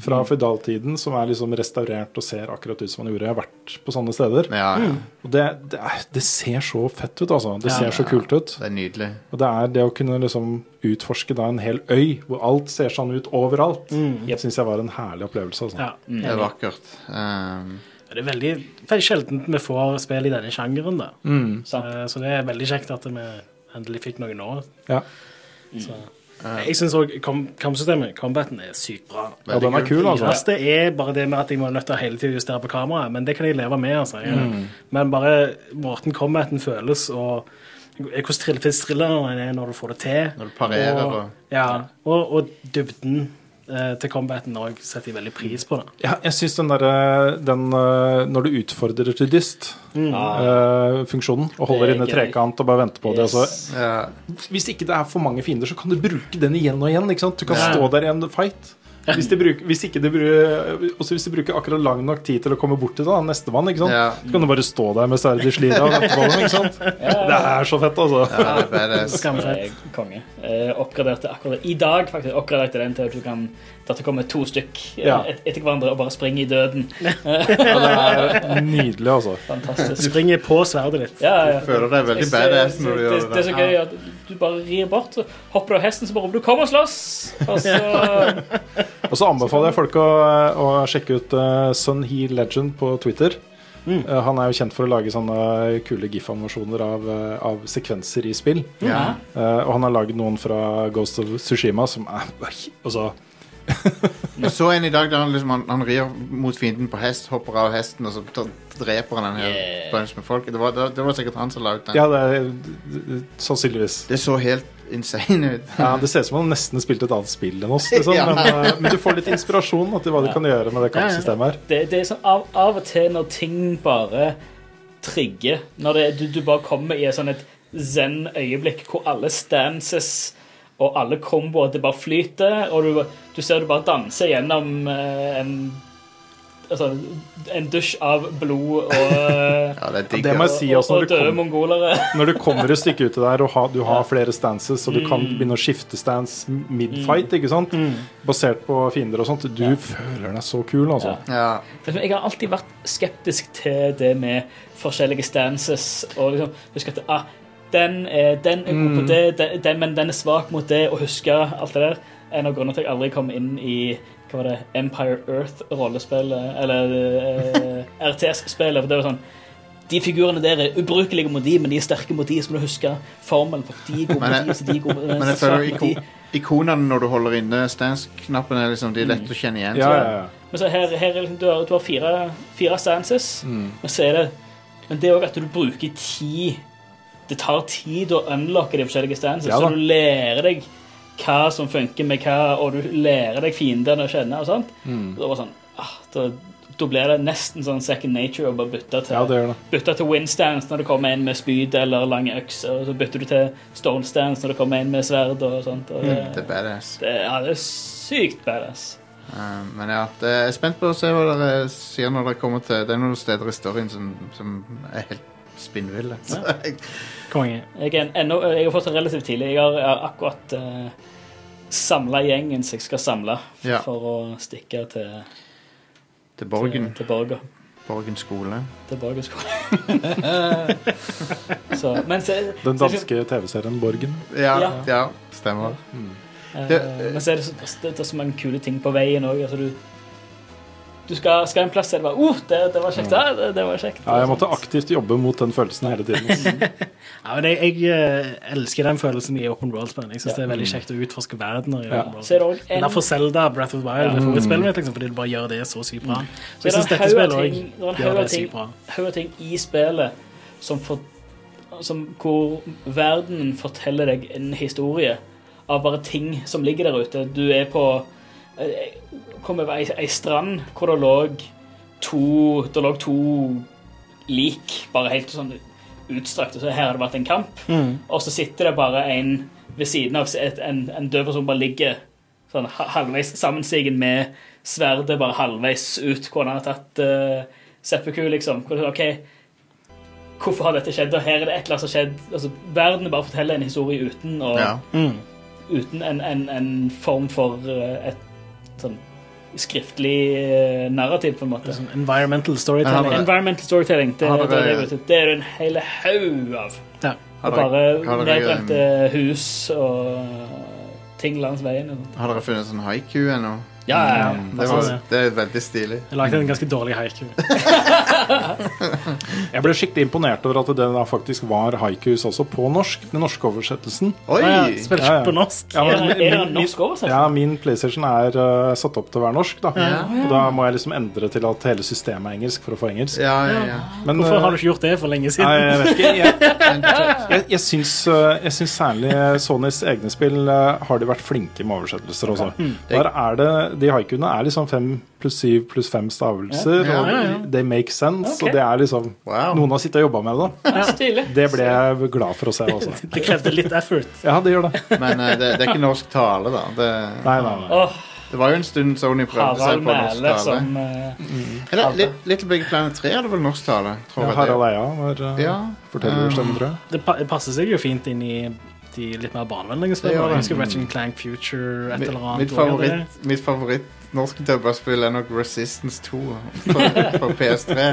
C: fra føydaltiden som er liksom restaurert og ser akkurat ut som man gjorde. Jeg har vært på sånne steder.
A: Ja, ja.
C: Og det, det, er, det ser så fett ut, altså. Det
D: Ja.
C: ser så kult ut.
A: Det er nydelig.
C: Og det er det å kunne liksom utforske da en hel øy hvor alt ser sånn ut overalt,
B: Yep.
C: syns jeg var en herlig opplevelse. Altså.
D: ja.
A: Det er vakkert. Um,
D: Det er veldig, veldig sjeldent vi får spill i denne sjangeren, da.
C: Mm.
B: Sant.
D: Eh, Så det er veldig kjekt at vi endelig fikk noe nå.
C: Ja.
D: Så. Jeg syns òg kampsystemet, combaten, er sykt bra.
C: ja, den er kul,
D: Det
C: altså.
D: eneste er bare det med at jeg må nødt til å hele tiden justere på kameraet, men det kan jeg leve med. altså. Jeg, Men bare måten combaten føles, og hvordan trill- thrilleren er når du får det til.
A: Når du parerer
D: og,
A: og-
D: Ja, og, og dybden eh, til combaten òg setter jeg veldig pris på. det.
C: Ja, jeg syns den derre den, eh, Når du utfordrer til dyst, eh, funksjonen, og holder
B: Ah. Det er
C: inne
B: gøy.
C: trekant og bare venter på det altså,
B: Yes.
A: ja.
C: Hvis ikke det er for mange fiender, så kan du bruke den igjen og igjen. Ikke sant? Du kan
D: Ja.
C: stå der i en fight. Hvis de, bruker, hvis, ikke de bruker, også hvis de bruker akkurat lang nok tid til å komme bort til da, nestemann, ikke sant?
A: Ja.
C: så kan du bare stå der med sverdet i slira og vente på dem. Ikke sant? Det er så fett, altså.
A: Ja, det er badass.
D: Skamfett.
B: Eh, Konge. Eh, oppgraderte akkurat i dag faktisk, oppgraderte den til at du kan at det kommer to stykk eh,
C: Ja.
B: et, etter hverandre og bare springer i døden.
C: Ja, det er nydelig, altså.
B: Fantastisk.
D: Springer på sverdet ditt.
B: Ja, ja.
A: Føler deg veldig
B: Jeg ser-
A: badass når du
B: det,
A: gjør
B: det er
A: det.
B: så gøy at du bare rir bort, så hopper du av hesten, så bare roper du 'kom og slåss'! Og så
C: Og så anbefaler jeg folk å, å sjekke ut eh, Sun He Legend på Twitter. Eh, han er jo kjent for å lage sånne kule gif-animasjoner av, eh, av sekvenser i spill.
A: Ja.
C: Eh, og han har lagd noen fra Ghost of Sushima som er altså,
A: Jeg så en i dag der han, liksom, han, han rir mot fienden på hest, hopper av hesten, og så tar- dreper han en hel
B: Yeah.
A: bunch med folk. Det var, det, det var sikkert han som la ut den.
C: Ja, det er sannsynligvis.
A: Det så helt insane ut.
C: Ja, det ser ut som han nesten spilte et annet spill enn oss. Liksom.
A: Ja.
C: Men, eh, men du får litt inspirasjon da, til hva du kan gjøre med det kampsystemet her.
B: det, det er sånn av, av og til når ting bare trigger Når det, du, du bare kommer i et sånn et zen-øyeblikk hvor alle stances og alle komboer det bare flyter, og du, du ser du bare danser gjennom eh, en Altså, en dusj av blod og, eh,
A: Ja, det er digg.
C: Det må
A: ass.
C: jeg si
B: og,
C: også, når
B: og
C: du
B: døde
C: kommer-
B: mongolere.
C: Når du kommer et stykke uti der og har, du har flere stances, og du kan begynne å skifte stance mid-fight, ikke sant? basert på fiender og sånt, du føler deg så kul, altså.
A: Ja.
B: Liksom, Jeg har alltid vært skeptisk til det med forskjellige stances. Og liksom, husk at ah, den, er, den er
A: Mm.
B: god på det, den, den, men den er svak mot det, og huske alt det der. En av grunnene til at jeg aldri kom inn i hva var det, Empire Earth-rollespillet, eller eh, RTS-spillet. for det var sånn, De figurene der er ubrukelige mot de, men de er sterke mot de, så må du huske formelen. for de er gode
A: Men jeg-
B: mot de, så de er gode
A: Men jeg føler iko ikonene når du holder inne stance-knappen, er liksom, de er lett å kjenne igjen.
C: Ja, ja, ja.
B: Men så her, her er liksom, du har, du har fire, fire stances,
C: Mm.
B: men så er det Men det er òg at du bruker tid Det tar tid å unlocke de forskjellige stances,
C: Ja da.
B: så du lærer deg hva som funker med hva, og du lærer deg fiendene å kjenne og sånt.
C: Mm.
B: Og da var det sånn ah, da, da blir det nesten sånn second nature å bare bytte til
C: ja, det gjør det.
B: bytte til wind stance når det kommer en med spyd eller lange økser, og så bytter du til stone stance når det kommer en med sverd og sånt. Og det,
C: Mm.
A: Det er badass.
B: det, ja, det er sykt badass.
A: Eh, men ja, det, jeg er spent på å se hva dere sier når dere kommer til Det er noen steder i storyen som, som er helt spinnville. Så jeg-
D: Konge.
B: Jeg er, en- ennå, jeg er fortsatt relativt tidlig. Jeg har, jeg har akkurat uh, samla gjengen som jeg skal samle
A: Ja.
B: for å stikke til,
A: Til Borgen.
B: til Borger.
A: Borgen skole.
B: Tilbake i skolen. så, men så,
C: Den
B: så-
C: danske TV-serien Borgen.
A: Ja, ja.
B: Ja.
A: stemmer.
B: Eh,
A: Det-
B: men så er det, så, det er så mange kule ting på veien òg. Altså, du, du skal, skal en plass der det bare uh, det, det var kjekt. Ja, det, det var kjekt.
C: Ja, jeg måtte aktivt jobbe mot den følelsen hele tiden.
D: Ja, men jeg, jeg eh, elsker den følelsen i open world-spill. Jeg synes
B: Ja.
D: det er veldig kjekt å utforske verdener i
C: Ja.
D: open world.
B: Så er det også en-
D: Men Derfor Zelda, Breath of the Wild,
C: Mm.
D: er favorittspillet mitt, liksom, fordi det bare gjør det så sykt bra. Så jeg
B: Mm. Så
D: synes
B: det er
D: dette
B: en haug
D: spillet
B: av
D: òg
B: ting- det er en haug
D: gjør
B: av
D: det
B: ting-
D: sykt bra.
B: haug av ting i spillet som, for, som Hvor verden forteller deg en historie av bare ting som ligger der ute. Du er på eh, Jeg kom over ei, ei strand hvor det lå to Det lå to lik, bare helt sånn utstrakte. Så her har det vært en kamp.
C: Mm,
B: Og så sitter det bare en ved siden av et, en, en død person bare ligger sånn ha- halvveis sammenstigen med sverdet bare halvveis ut hvor han har tatt uh, seppuku, liksom. Hvor, det er, ok, hvorfor har dette skjedd? Og her er det et eller annet som har skjedd. Altså, verden bare forteller en historie uten, å-
A: Ja.
C: mm.
B: uten en, en, en form for eh, et sånn skriftlig eh, narrativ, på en måte.
D: Sånn environmental
A: Men har
D: storytelling.
A: dere-
B: Environmental storytelling, det,
A: Har
B: det,
A: dere-
B: er det, jeg vet ut. det er det en hel haug av.
D: Ja.
A: Har
B: Og
A: dere,
B: bare
A: har dere,
B: nedbrente hus og ting langs veien. og sånt.
A: har dere funnet sånn haiku ennå? Mm.
B: Ja, ja, ja.
A: Det, var,
D: sånn,
A: det er veldig stilig.
D: Jeg lagde en ganske dårlig haiku.
C: Jeg ble skikkelig imponert over at det da faktisk var haikus også på norsk. Den norske oversettelsen.
A: Oi!
D: Ja, ja, Spiller
C: Ja,
D: ikke
C: ja.
D: på norsk.
C: Ja,
B: Er
C: men
B: det- er det en
C: min-
B: norsk oversettelse?
C: Ja, min PlayStation er eh, satt opp til å være norsk, da.
A: Ja.
C: Og da må jeg liksom endre til at hele systemet er engelsk for å få engelsk.
A: Ja, ja, ja.
C: Men,
D: Hvorfor har
C: eh,
D: du ikke gjort det for lenge
C: Nei,
D: siden?
C: jeg vet ikke. Jeg, jeg, jeg, syns, eh, jeg syns særlig Sonys egne spill eh, har de vært flinke med oversettelser også.
A: Mm,
C: Der er det, De haikuene er liksom fem pluss syv pluss fem stavelser,
A: Ja. Ja,
D: ja, ja.
C: og they make sense.
B: Ok.
C: Og det er liksom
A: Wow.
C: Noen har sittet og jobba med det. da.
B: Så stilig.
C: Det ble jeg glad for å se også.
D: Det krevde litt effort.
C: Ja, det gjør det.
A: Men eh, det, det er ikke norsk tale, da. Det,
C: Nei, nei, nei.
B: Åh,
A: det var jo en stund Sony prøvde seg
B: Harald
A: på norsk
B: Mæle
A: tale.
B: som eh,
A: Eller, Li- Little Big Planet 3 hadde vel norsk tale, tror jeg.
C: Harald Eia var eh,
A: Ja.
C: fortellerstemmen, tror jeg.
D: Det pa det passer seg jo fint inn i de litt mer barnevennlige
A: Det gjør det.
D: spillene. Jeg husker Ratchet Clank Future, et eller annet.
A: Mitt
D: og gjør det det.
A: favoritt, mitt favoritt norsk dubbaspill er nok Resistance 2 på, på PS3.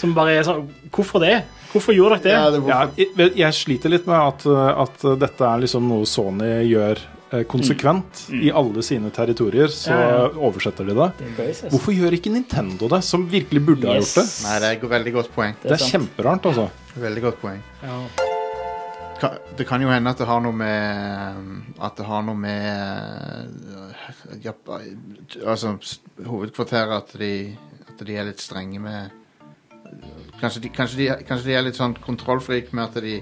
D: Som bare er sånn Hvorfor det? Hvorfor gjorde dere det?
A: Ja, det
C: Ja,
A: var,
C: jeg, jeg sliter litt med at, eh, at dette er liksom noe Sony gjør eh, konsekvent
D: Mm.
C: i alle sine territorier. Så
D: Ja, ja.
C: oversetter de det.
B: det er crazy, altså.
C: Hvorfor gjør ikke Nintendo det, som virkelig burde ha
B: Yes.
C: gjort det?
A: nei, det er et veldig godt poeng.
C: Det er
B: sant.
C: kjemperart, altså.
A: Veldig godt poeng.
D: Ja.
A: Ka- Det kan jo hende at det har noe med um, At det har noe med uh, Jap- Altså s- hovedkvarteret at de, at de er litt strenge med Kanskje de, kanskje de, kanskje de er litt sånn kontrollfrik med at de,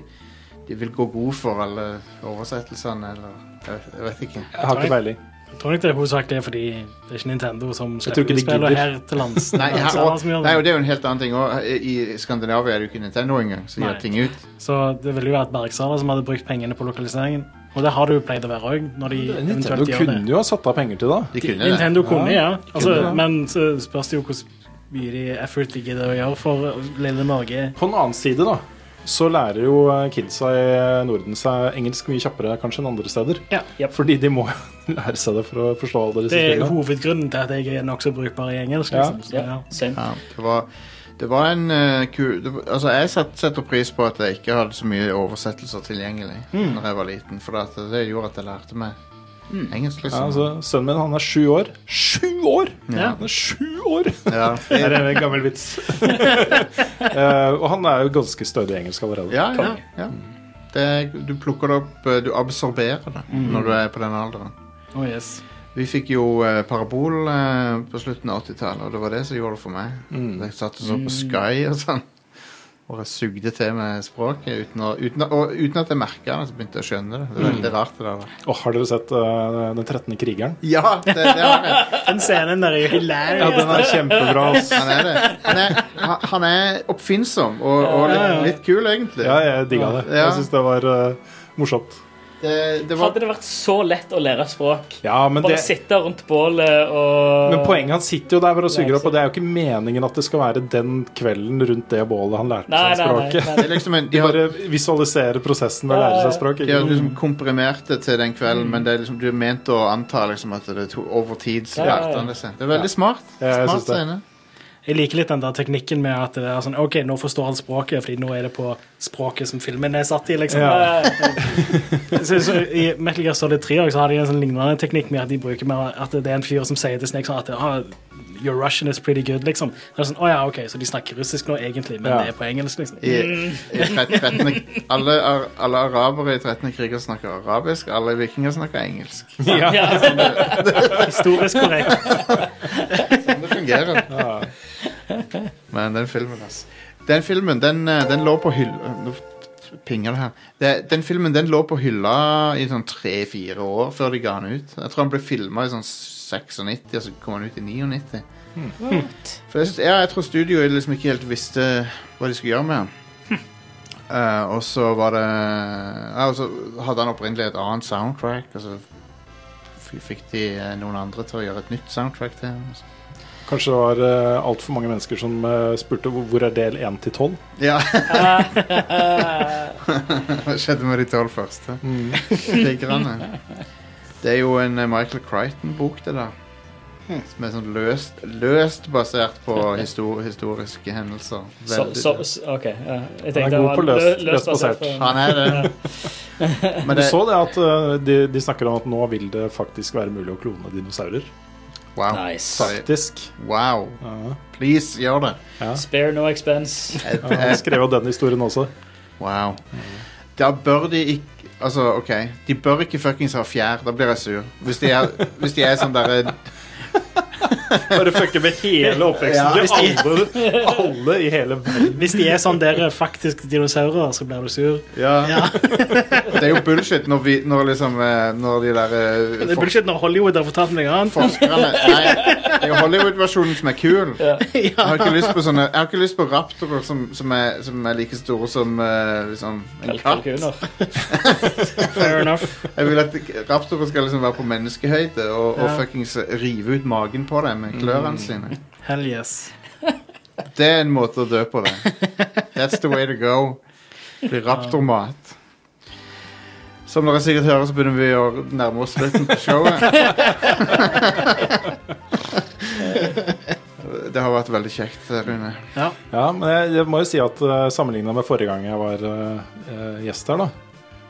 A: de vil gå god for alle oversettelsene, eller jeg vet, jeg vet ikke.
C: Jeg har ikke peiling.
D: Jeg tror nok det er hovedsakelig fordi det er ikke Nintendo som
C: tror ikke de
D: slipper ut spillet
C: gidder.
D: her til lands.
A: Nei,
D: Det er
A: her,
D: Sara
A: og,
D: som gjør
A: nei, og
D: det.
A: det er jo en helt annen ting også. I i Skandinavia er det jo ikke Nintendo engang som
D: Nei.
A: gjør ting ut.
D: Så det ville jo vært Bergsala som hadde brukt pengene på lokaliseringen. Og det har det jo pleid å være òg, når de
C: Nintendo
D: eventuelt gjør det.
C: kunne jo ha satt av penger til det.
A: De kunne det.
D: Nintendo kunne,
C: Ja,
D: ja.
C: de
D: Altså,
C: kunne det.
D: men så spørs det jo hvor mye de effort de gidder å gjøre for lille Norge.
C: På den annen side, da, så lærer jo eh, kidsa i Norden seg engelsk mye kjappere kanskje enn andre steder.
D: Ja.
B: Yep.
C: Fordi de må lære seg det for å forstå alle disse
D: Det er
C: spillene.
D: hovedgrunnen til at jeg er nokså brukbar i engelsk.
C: Ja.
D: Liksom. Så,
B: Ja,
D: ja.
B: same.
A: Ja, det var, det var en eh, ku... Det, var- altså, jeg set, setter pris på at jeg ikke hadde så mye oversettelser tilgjengelig Når jeg var liten, for at det gjorde at jeg lærte meg engelsk,
C: Ja,
A: liksom.
C: altså, sønnen min han er sju år. Sju år!
D: Ja.
C: Han er sju år!
A: Ja,
C: Det
A: det,
C: er en gammel vits. Eh, og han er jo ganske stødig i engelsk allerede.
A: ja, ja, ja. Det, du plukker det opp eh, Du absorberer det når du er på den alderen.
D: Oh, yes.
A: Vi fikk jo eh, parabol eh, på slutten av 80-tallet, og det var det som gjorde det for meg. Mm.
C: Mm.
A: Jeg satt og så på Sky og sånn, og jeg sugde til meg språket uten, å, uten, å- og uten at jeg merka det. Så begynte jeg å skjønne det. Det
C: Mm.
A: er veldig rart, det der. da.
C: Og har dere sett eh, Den 13. krigeren?
A: Ja, det, det har jeg.
D: Den scenen der er jo
C: Ja,
D: hilarious.
C: den er kjempebra. ass.
A: Han er det. Han er, han- han er oppfinnsom og, og litt, litt kul, egentlig.
C: Ja, jeg digga det.
A: Ja.
C: Jeg syns det var eh, morsomt.
A: Det, det var
B: Hadde det vært så lett å lære språk?
C: Ja, men,
B: Bare
C: det,
B: sitte rundt bålet og
C: men poenget han sitter jo der bare og suger
B: Lærer
C: opp, og det er jo ikke meningen at det skal være den kvelden rundt det bålet han lærte
B: Nei,
C: seg
B: nei, nei.
C: Sånn språket.
A: det
B: nei.
A: er liksom en, de,
C: De
A: har,
C: bare visualiserer prosessen med å lære seg språk.
A: de har
C: Ikke?
A: liksom komprimert det til den kvelden,
C: Mm.
A: men det er liksom, du er ment å anta liksom, at det to, over tid så
B: Ja, ja, ja.
A: lærte han det seg. Det er veldig smart.
C: Ja, jeg
A: smart
C: synes det.
A: scene.
D: Jeg liker litt den der teknikken med at det er sånn, ok, nå forstår han språket, fordi nå er det på språket som filmen er satt i. liksom.
C: Ja.
D: så, så I Metal Gear Solid 3 også, har de en sånn lignende teknikk med at de bruker med at det er en fyr som sier til Snake sånn at ah, Your Russian is pretty good, liksom. Så det er sånn, å ja, ok, Så de snakker russisk nå, egentlig, men
C: Ja.
D: det er på engelsk, liksom.
A: I, i tret- trettende, alle, ar, alle arabere i 13. kriger snakker arabisk, alle vikinger snakker engelsk.
C: Ja.
D: Historisk korrekt.
A: Sånn det fungerer. Men den filmen, altså. Den filmen, den, eh, den lå på hylla Nå pinger det her. Det, den filmen den lå på hylla i sånn tre-fire år før de ga den ut. Jeg tror han ble filma i sånn 96, og så kom han ut i 99. For jeg, synes, ja, jeg tror studioet liksom ikke helt visste hva de skulle gjøre med han. Eh, og så var det ja, Og så hadde han opprinnelig et annet soundtrack, og så f- fikk de eh, noen andre til å gjøre et nytt soundtrack til. han, altså. og så-
C: Kanskje det var uh, altfor mange mennesker som eh, spurte hvor, hvor er del 1 til 12?
A: Ja. Hva skjedde med de tolv første? Tigrene. Det er jo en eh, Michael Crichton-bok, det der. Som er sånn løst, løst basert på histor historiske hendelser.
B: Så,
A: Veldig-
B: så, så, ok. ja. Jeg
C: Han er
B: tenkte
C: god
B: det var
C: på løst-
B: lø-
C: løst basert.
B: på-
A: Han er det. Men
C: Du
A: det
C: så det at eh, de, de snakker om at nå vil det faktisk være mulig å klone dinosaurer.
A: Wow.
B: Nice.
A: Sorry.
C: Faktisk.
A: Wow.
C: Ja.
A: Please, gjør det.
B: Spare no expense.
A: Jeg-
C: Ja, Jeg skrev jo den historien også.
A: Wow. Da bør de ikke Altså, OK. De bør ikke fuckings ha fjær. Da blir jeg sur. Hvis de er, hvis de er sånn derre
C: Bare fucke med hele
A: Ja.
C: oppveksten til alle, alle i hele verden.
D: Hvis de er sånn dere er faktisk dinosaurer, så blir du sur.
A: Ja. det er jo bullshit når, vi, når, liksom, eh, når de der eh,
D: Men det er
A: for-
D: bullshit når Hollywood har fortalt meg noe annet.
A: forskerne Nei, det er jo Hollywood-versjonen som er kul. Jeg har ikke lyst på sånne Jeg har ikke lyst på raptorer som, som, er, som er like store som eh, liksom, en katt.
B: Kalkuner.
D: Fair enough.
A: Jeg vil at raptorer skal liksom være på menneskehøyde og, og
D: Ja.
A: fuckings rive ut magen på dem med klørne sine.
D: Hell yes.
A: Det er en måte å dø på det. That's the way to go. Bli raptormat. Som dere sikkert hører, så begynner vi å nærme oss slutten på showet. Det har vært veldig kjekt, Rune.
D: Ja.
C: Ja, men jeg, jeg må jo si at uh, sammenligna med forrige gang jeg var eh, eh, gjest her, da,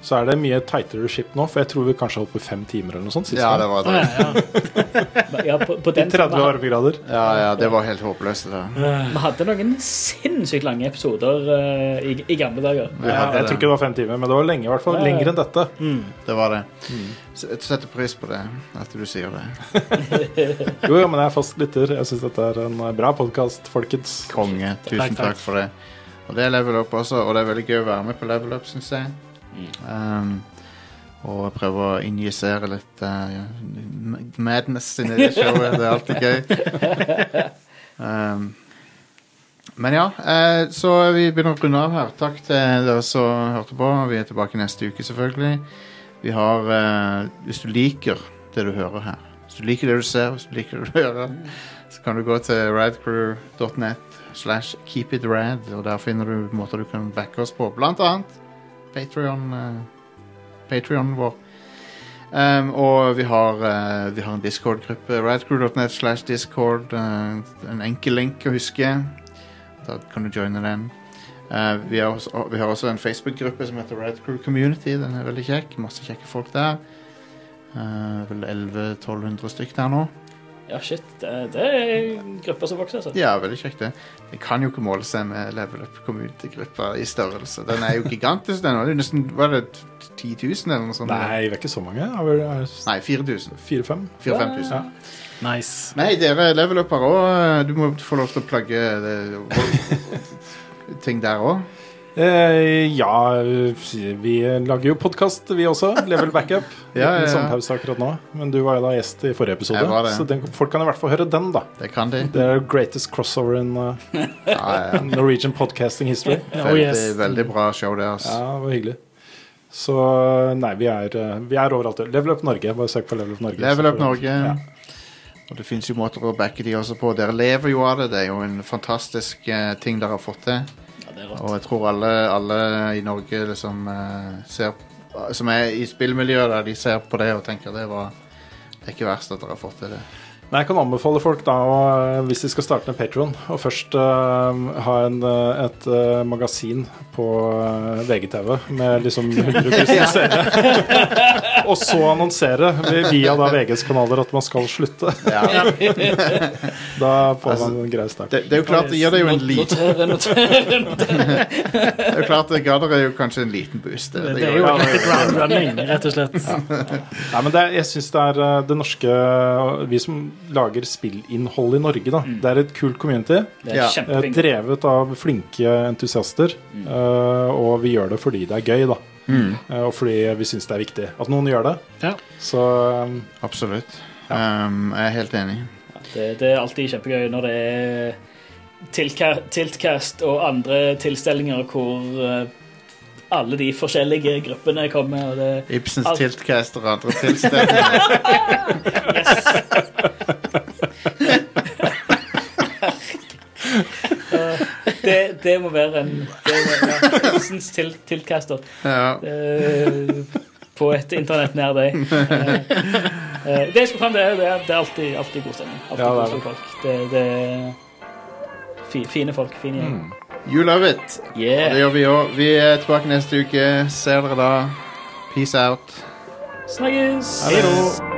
C: så er det mye tightere skip nå, for jeg tror vi kanskje holdt på fem timer eller noe sånt. sist
A: Ja,
C: gang.
A: det var
D: Å,
A: det.
D: ja, ja.
B: Ja, på, på den tiden
C: 30
B: vi hadde-
C: varmegrader.
A: Ja, ja, det var helt håpløst. det der.
B: vi hadde noen sinnssykt lange episoder eh, i, i gamle dager.
A: Vi
C: Ja,
A: hadde
C: jeg tror ikke
A: det.
C: det var fem timer, men det var lenge i hvert fall.
B: Ja, ja.
C: Lenger enn dette.
A: Det var det. Så Jeg setter pris på det, at du sier det.
C: Jo, ja, men jeg er fast lytter. Jeg syns dette er en eh, bra podkast, folkens.
A: Konge. Tusen
D: Takk, takk.
A: takk for det. Og det er level up også, og det er veldig gøy å være med på level up, syns jeg.
D: Mm.
A: Um, og prøve å injisere litt uh, ja, m- madness inn i det showet. Det er alltid gøy. Um, men ja, eh, så vi begynner å runde av her. Takk til dere som hørte på. Vi er tilbake neste uke, selvfølgelig. Vi har eh, Hvis du liker det du hører her, hvis du liker det du ser, hvis du liker det du hører,
D: Mm.
A: så kan du gå til radcrew.net slash keepitrad, og der finner du måter du kan backe oss på, blant annet Patreon, eh, Patreon vår. Ehm, og vi har, eh, vi har en Discord-gruppe, radcrew.net slash discord, eh, en enkel link å huske, da kan du joine den. Eh, vi, har også, vi har også en Facebook-gruppe som heter Radcrew Community, den er veldig kjekk, masse kjekke folk der. Eh, vel 1100-1200 stykk der nå.
B: Ja, shit. Det, det er grupper som vokser, altså.
A: Ja, veldig kjekt det. Det kan jo ikke måle seg med Level Up Community-gruppa i størrelse. Den er jo gigantisk, den. Det er jo nesten, var det 10 000 eller noe sånt?
C: Nei, vi er ikke så mange. Er vi- er vi
A: Nei, 4000.
C: Fire-fem?
A: 4000-5000.
C: Ja.
D: Nice.
A: Nei, dere Level Up har òg Du må få lov til å plugge det- ting der òg.
C: Eh, ja, vi lager jo podkast, vi også. Level Backup.
A: Ja, ja, ja.
C: En sommerpause sånn akkurat nå. Men du var jo da gjest i forrige episode,
A: Jeg var det.
C: så den, folk kan i hvert fall høre den, da.
A: Det kan de.
C: Det er jo greatest crossover in uh,
A: Ja, ja.
C: Norwegian podcasting history.
D: Oh, yes.
A: Veldig, veldig bra show, det.
C: Ja,
A: Altså.
C: det var hyggelig. Så nei, vi er, eh, vi er overalt. Level Up Norge. Bare søk på Level Up Norge.
A: Level
C: så
A: Up
C: får-
A: Norge.
C: Ja.
A: Og det fins jo måter å backe de også på. Dere lever jo av det. Det er jo en fantastisk eh, ting dere har fått til.
B: Ja, det er rått.
A: Og jeg tror alle, alle i Norge liksom, eh, ser, som er i spillmiljøet der, de ser på det og tenker det var det er ikke verst at dere har fått til det.
C: Men jeg kan anbefale folk, da, å, eh, hvis de skal starte med Patron, å først eh, ha en, eh, et eh, magasin på eh, VGTV med liksom 100 000 seere. Og så annonsere vi- via da VGs kanaler at man skal slutte.
A: Ja.
C: Da får
A: Altså,
C: man en grei start.
A: Det, det er jo klart det gir deg jo en liten
B: Notere, notere, notere.
A: Det er jo klart det ga dere jo kanskje en liten boost. Det,
D: Det er jo litt ground running, rett og slett.
C: Nei, men det er, jeg synes det er eh, det norske Vi som lager spillinnhold i Norge, da.
A: Mm.
C: Det er et kult community.
B: Det er
A: Ja.
C: eh,
B: kjempefint.
C: Drevet av flinke entusiaster.
A: Mm.
C: eh, Og vi gjør det fordi det er gøy, da.
B: Mm.
C: Eh, Og fordi vi syns det er viktig at noen gjør det.
D: Ja.
C: Så eh,
A: Absolutt. Um, jeg er helt enig.
B: Det, det er alltid kjempegøy når det er tilka- Tiltcast og andre tilstelninger hvor eh, alle de forskjellige gruppene kommer. Og det,
A: Ibsens
B: Alt-
A: tiltcast og andre tilstelninger.
B: eh, det, det må være en det må være Ibsens til, tiltcaster
A: Ja.
B: eh, på et internett nær deg. Eh, eh, det jeg skulle fram, det er, det er, det er alltid, alltid god stemning. Alltid
C: Ja, det er
B: koselige folk. Det, det er fi, fine folk. Fine gjeng.
C: Mm.
A: You love it. Og det
B: Yeah.
A: gjør vi òg. Vi er tilbake neste uke. Ser dere da. Peace out.
B: Snakkes!
C: Hallo.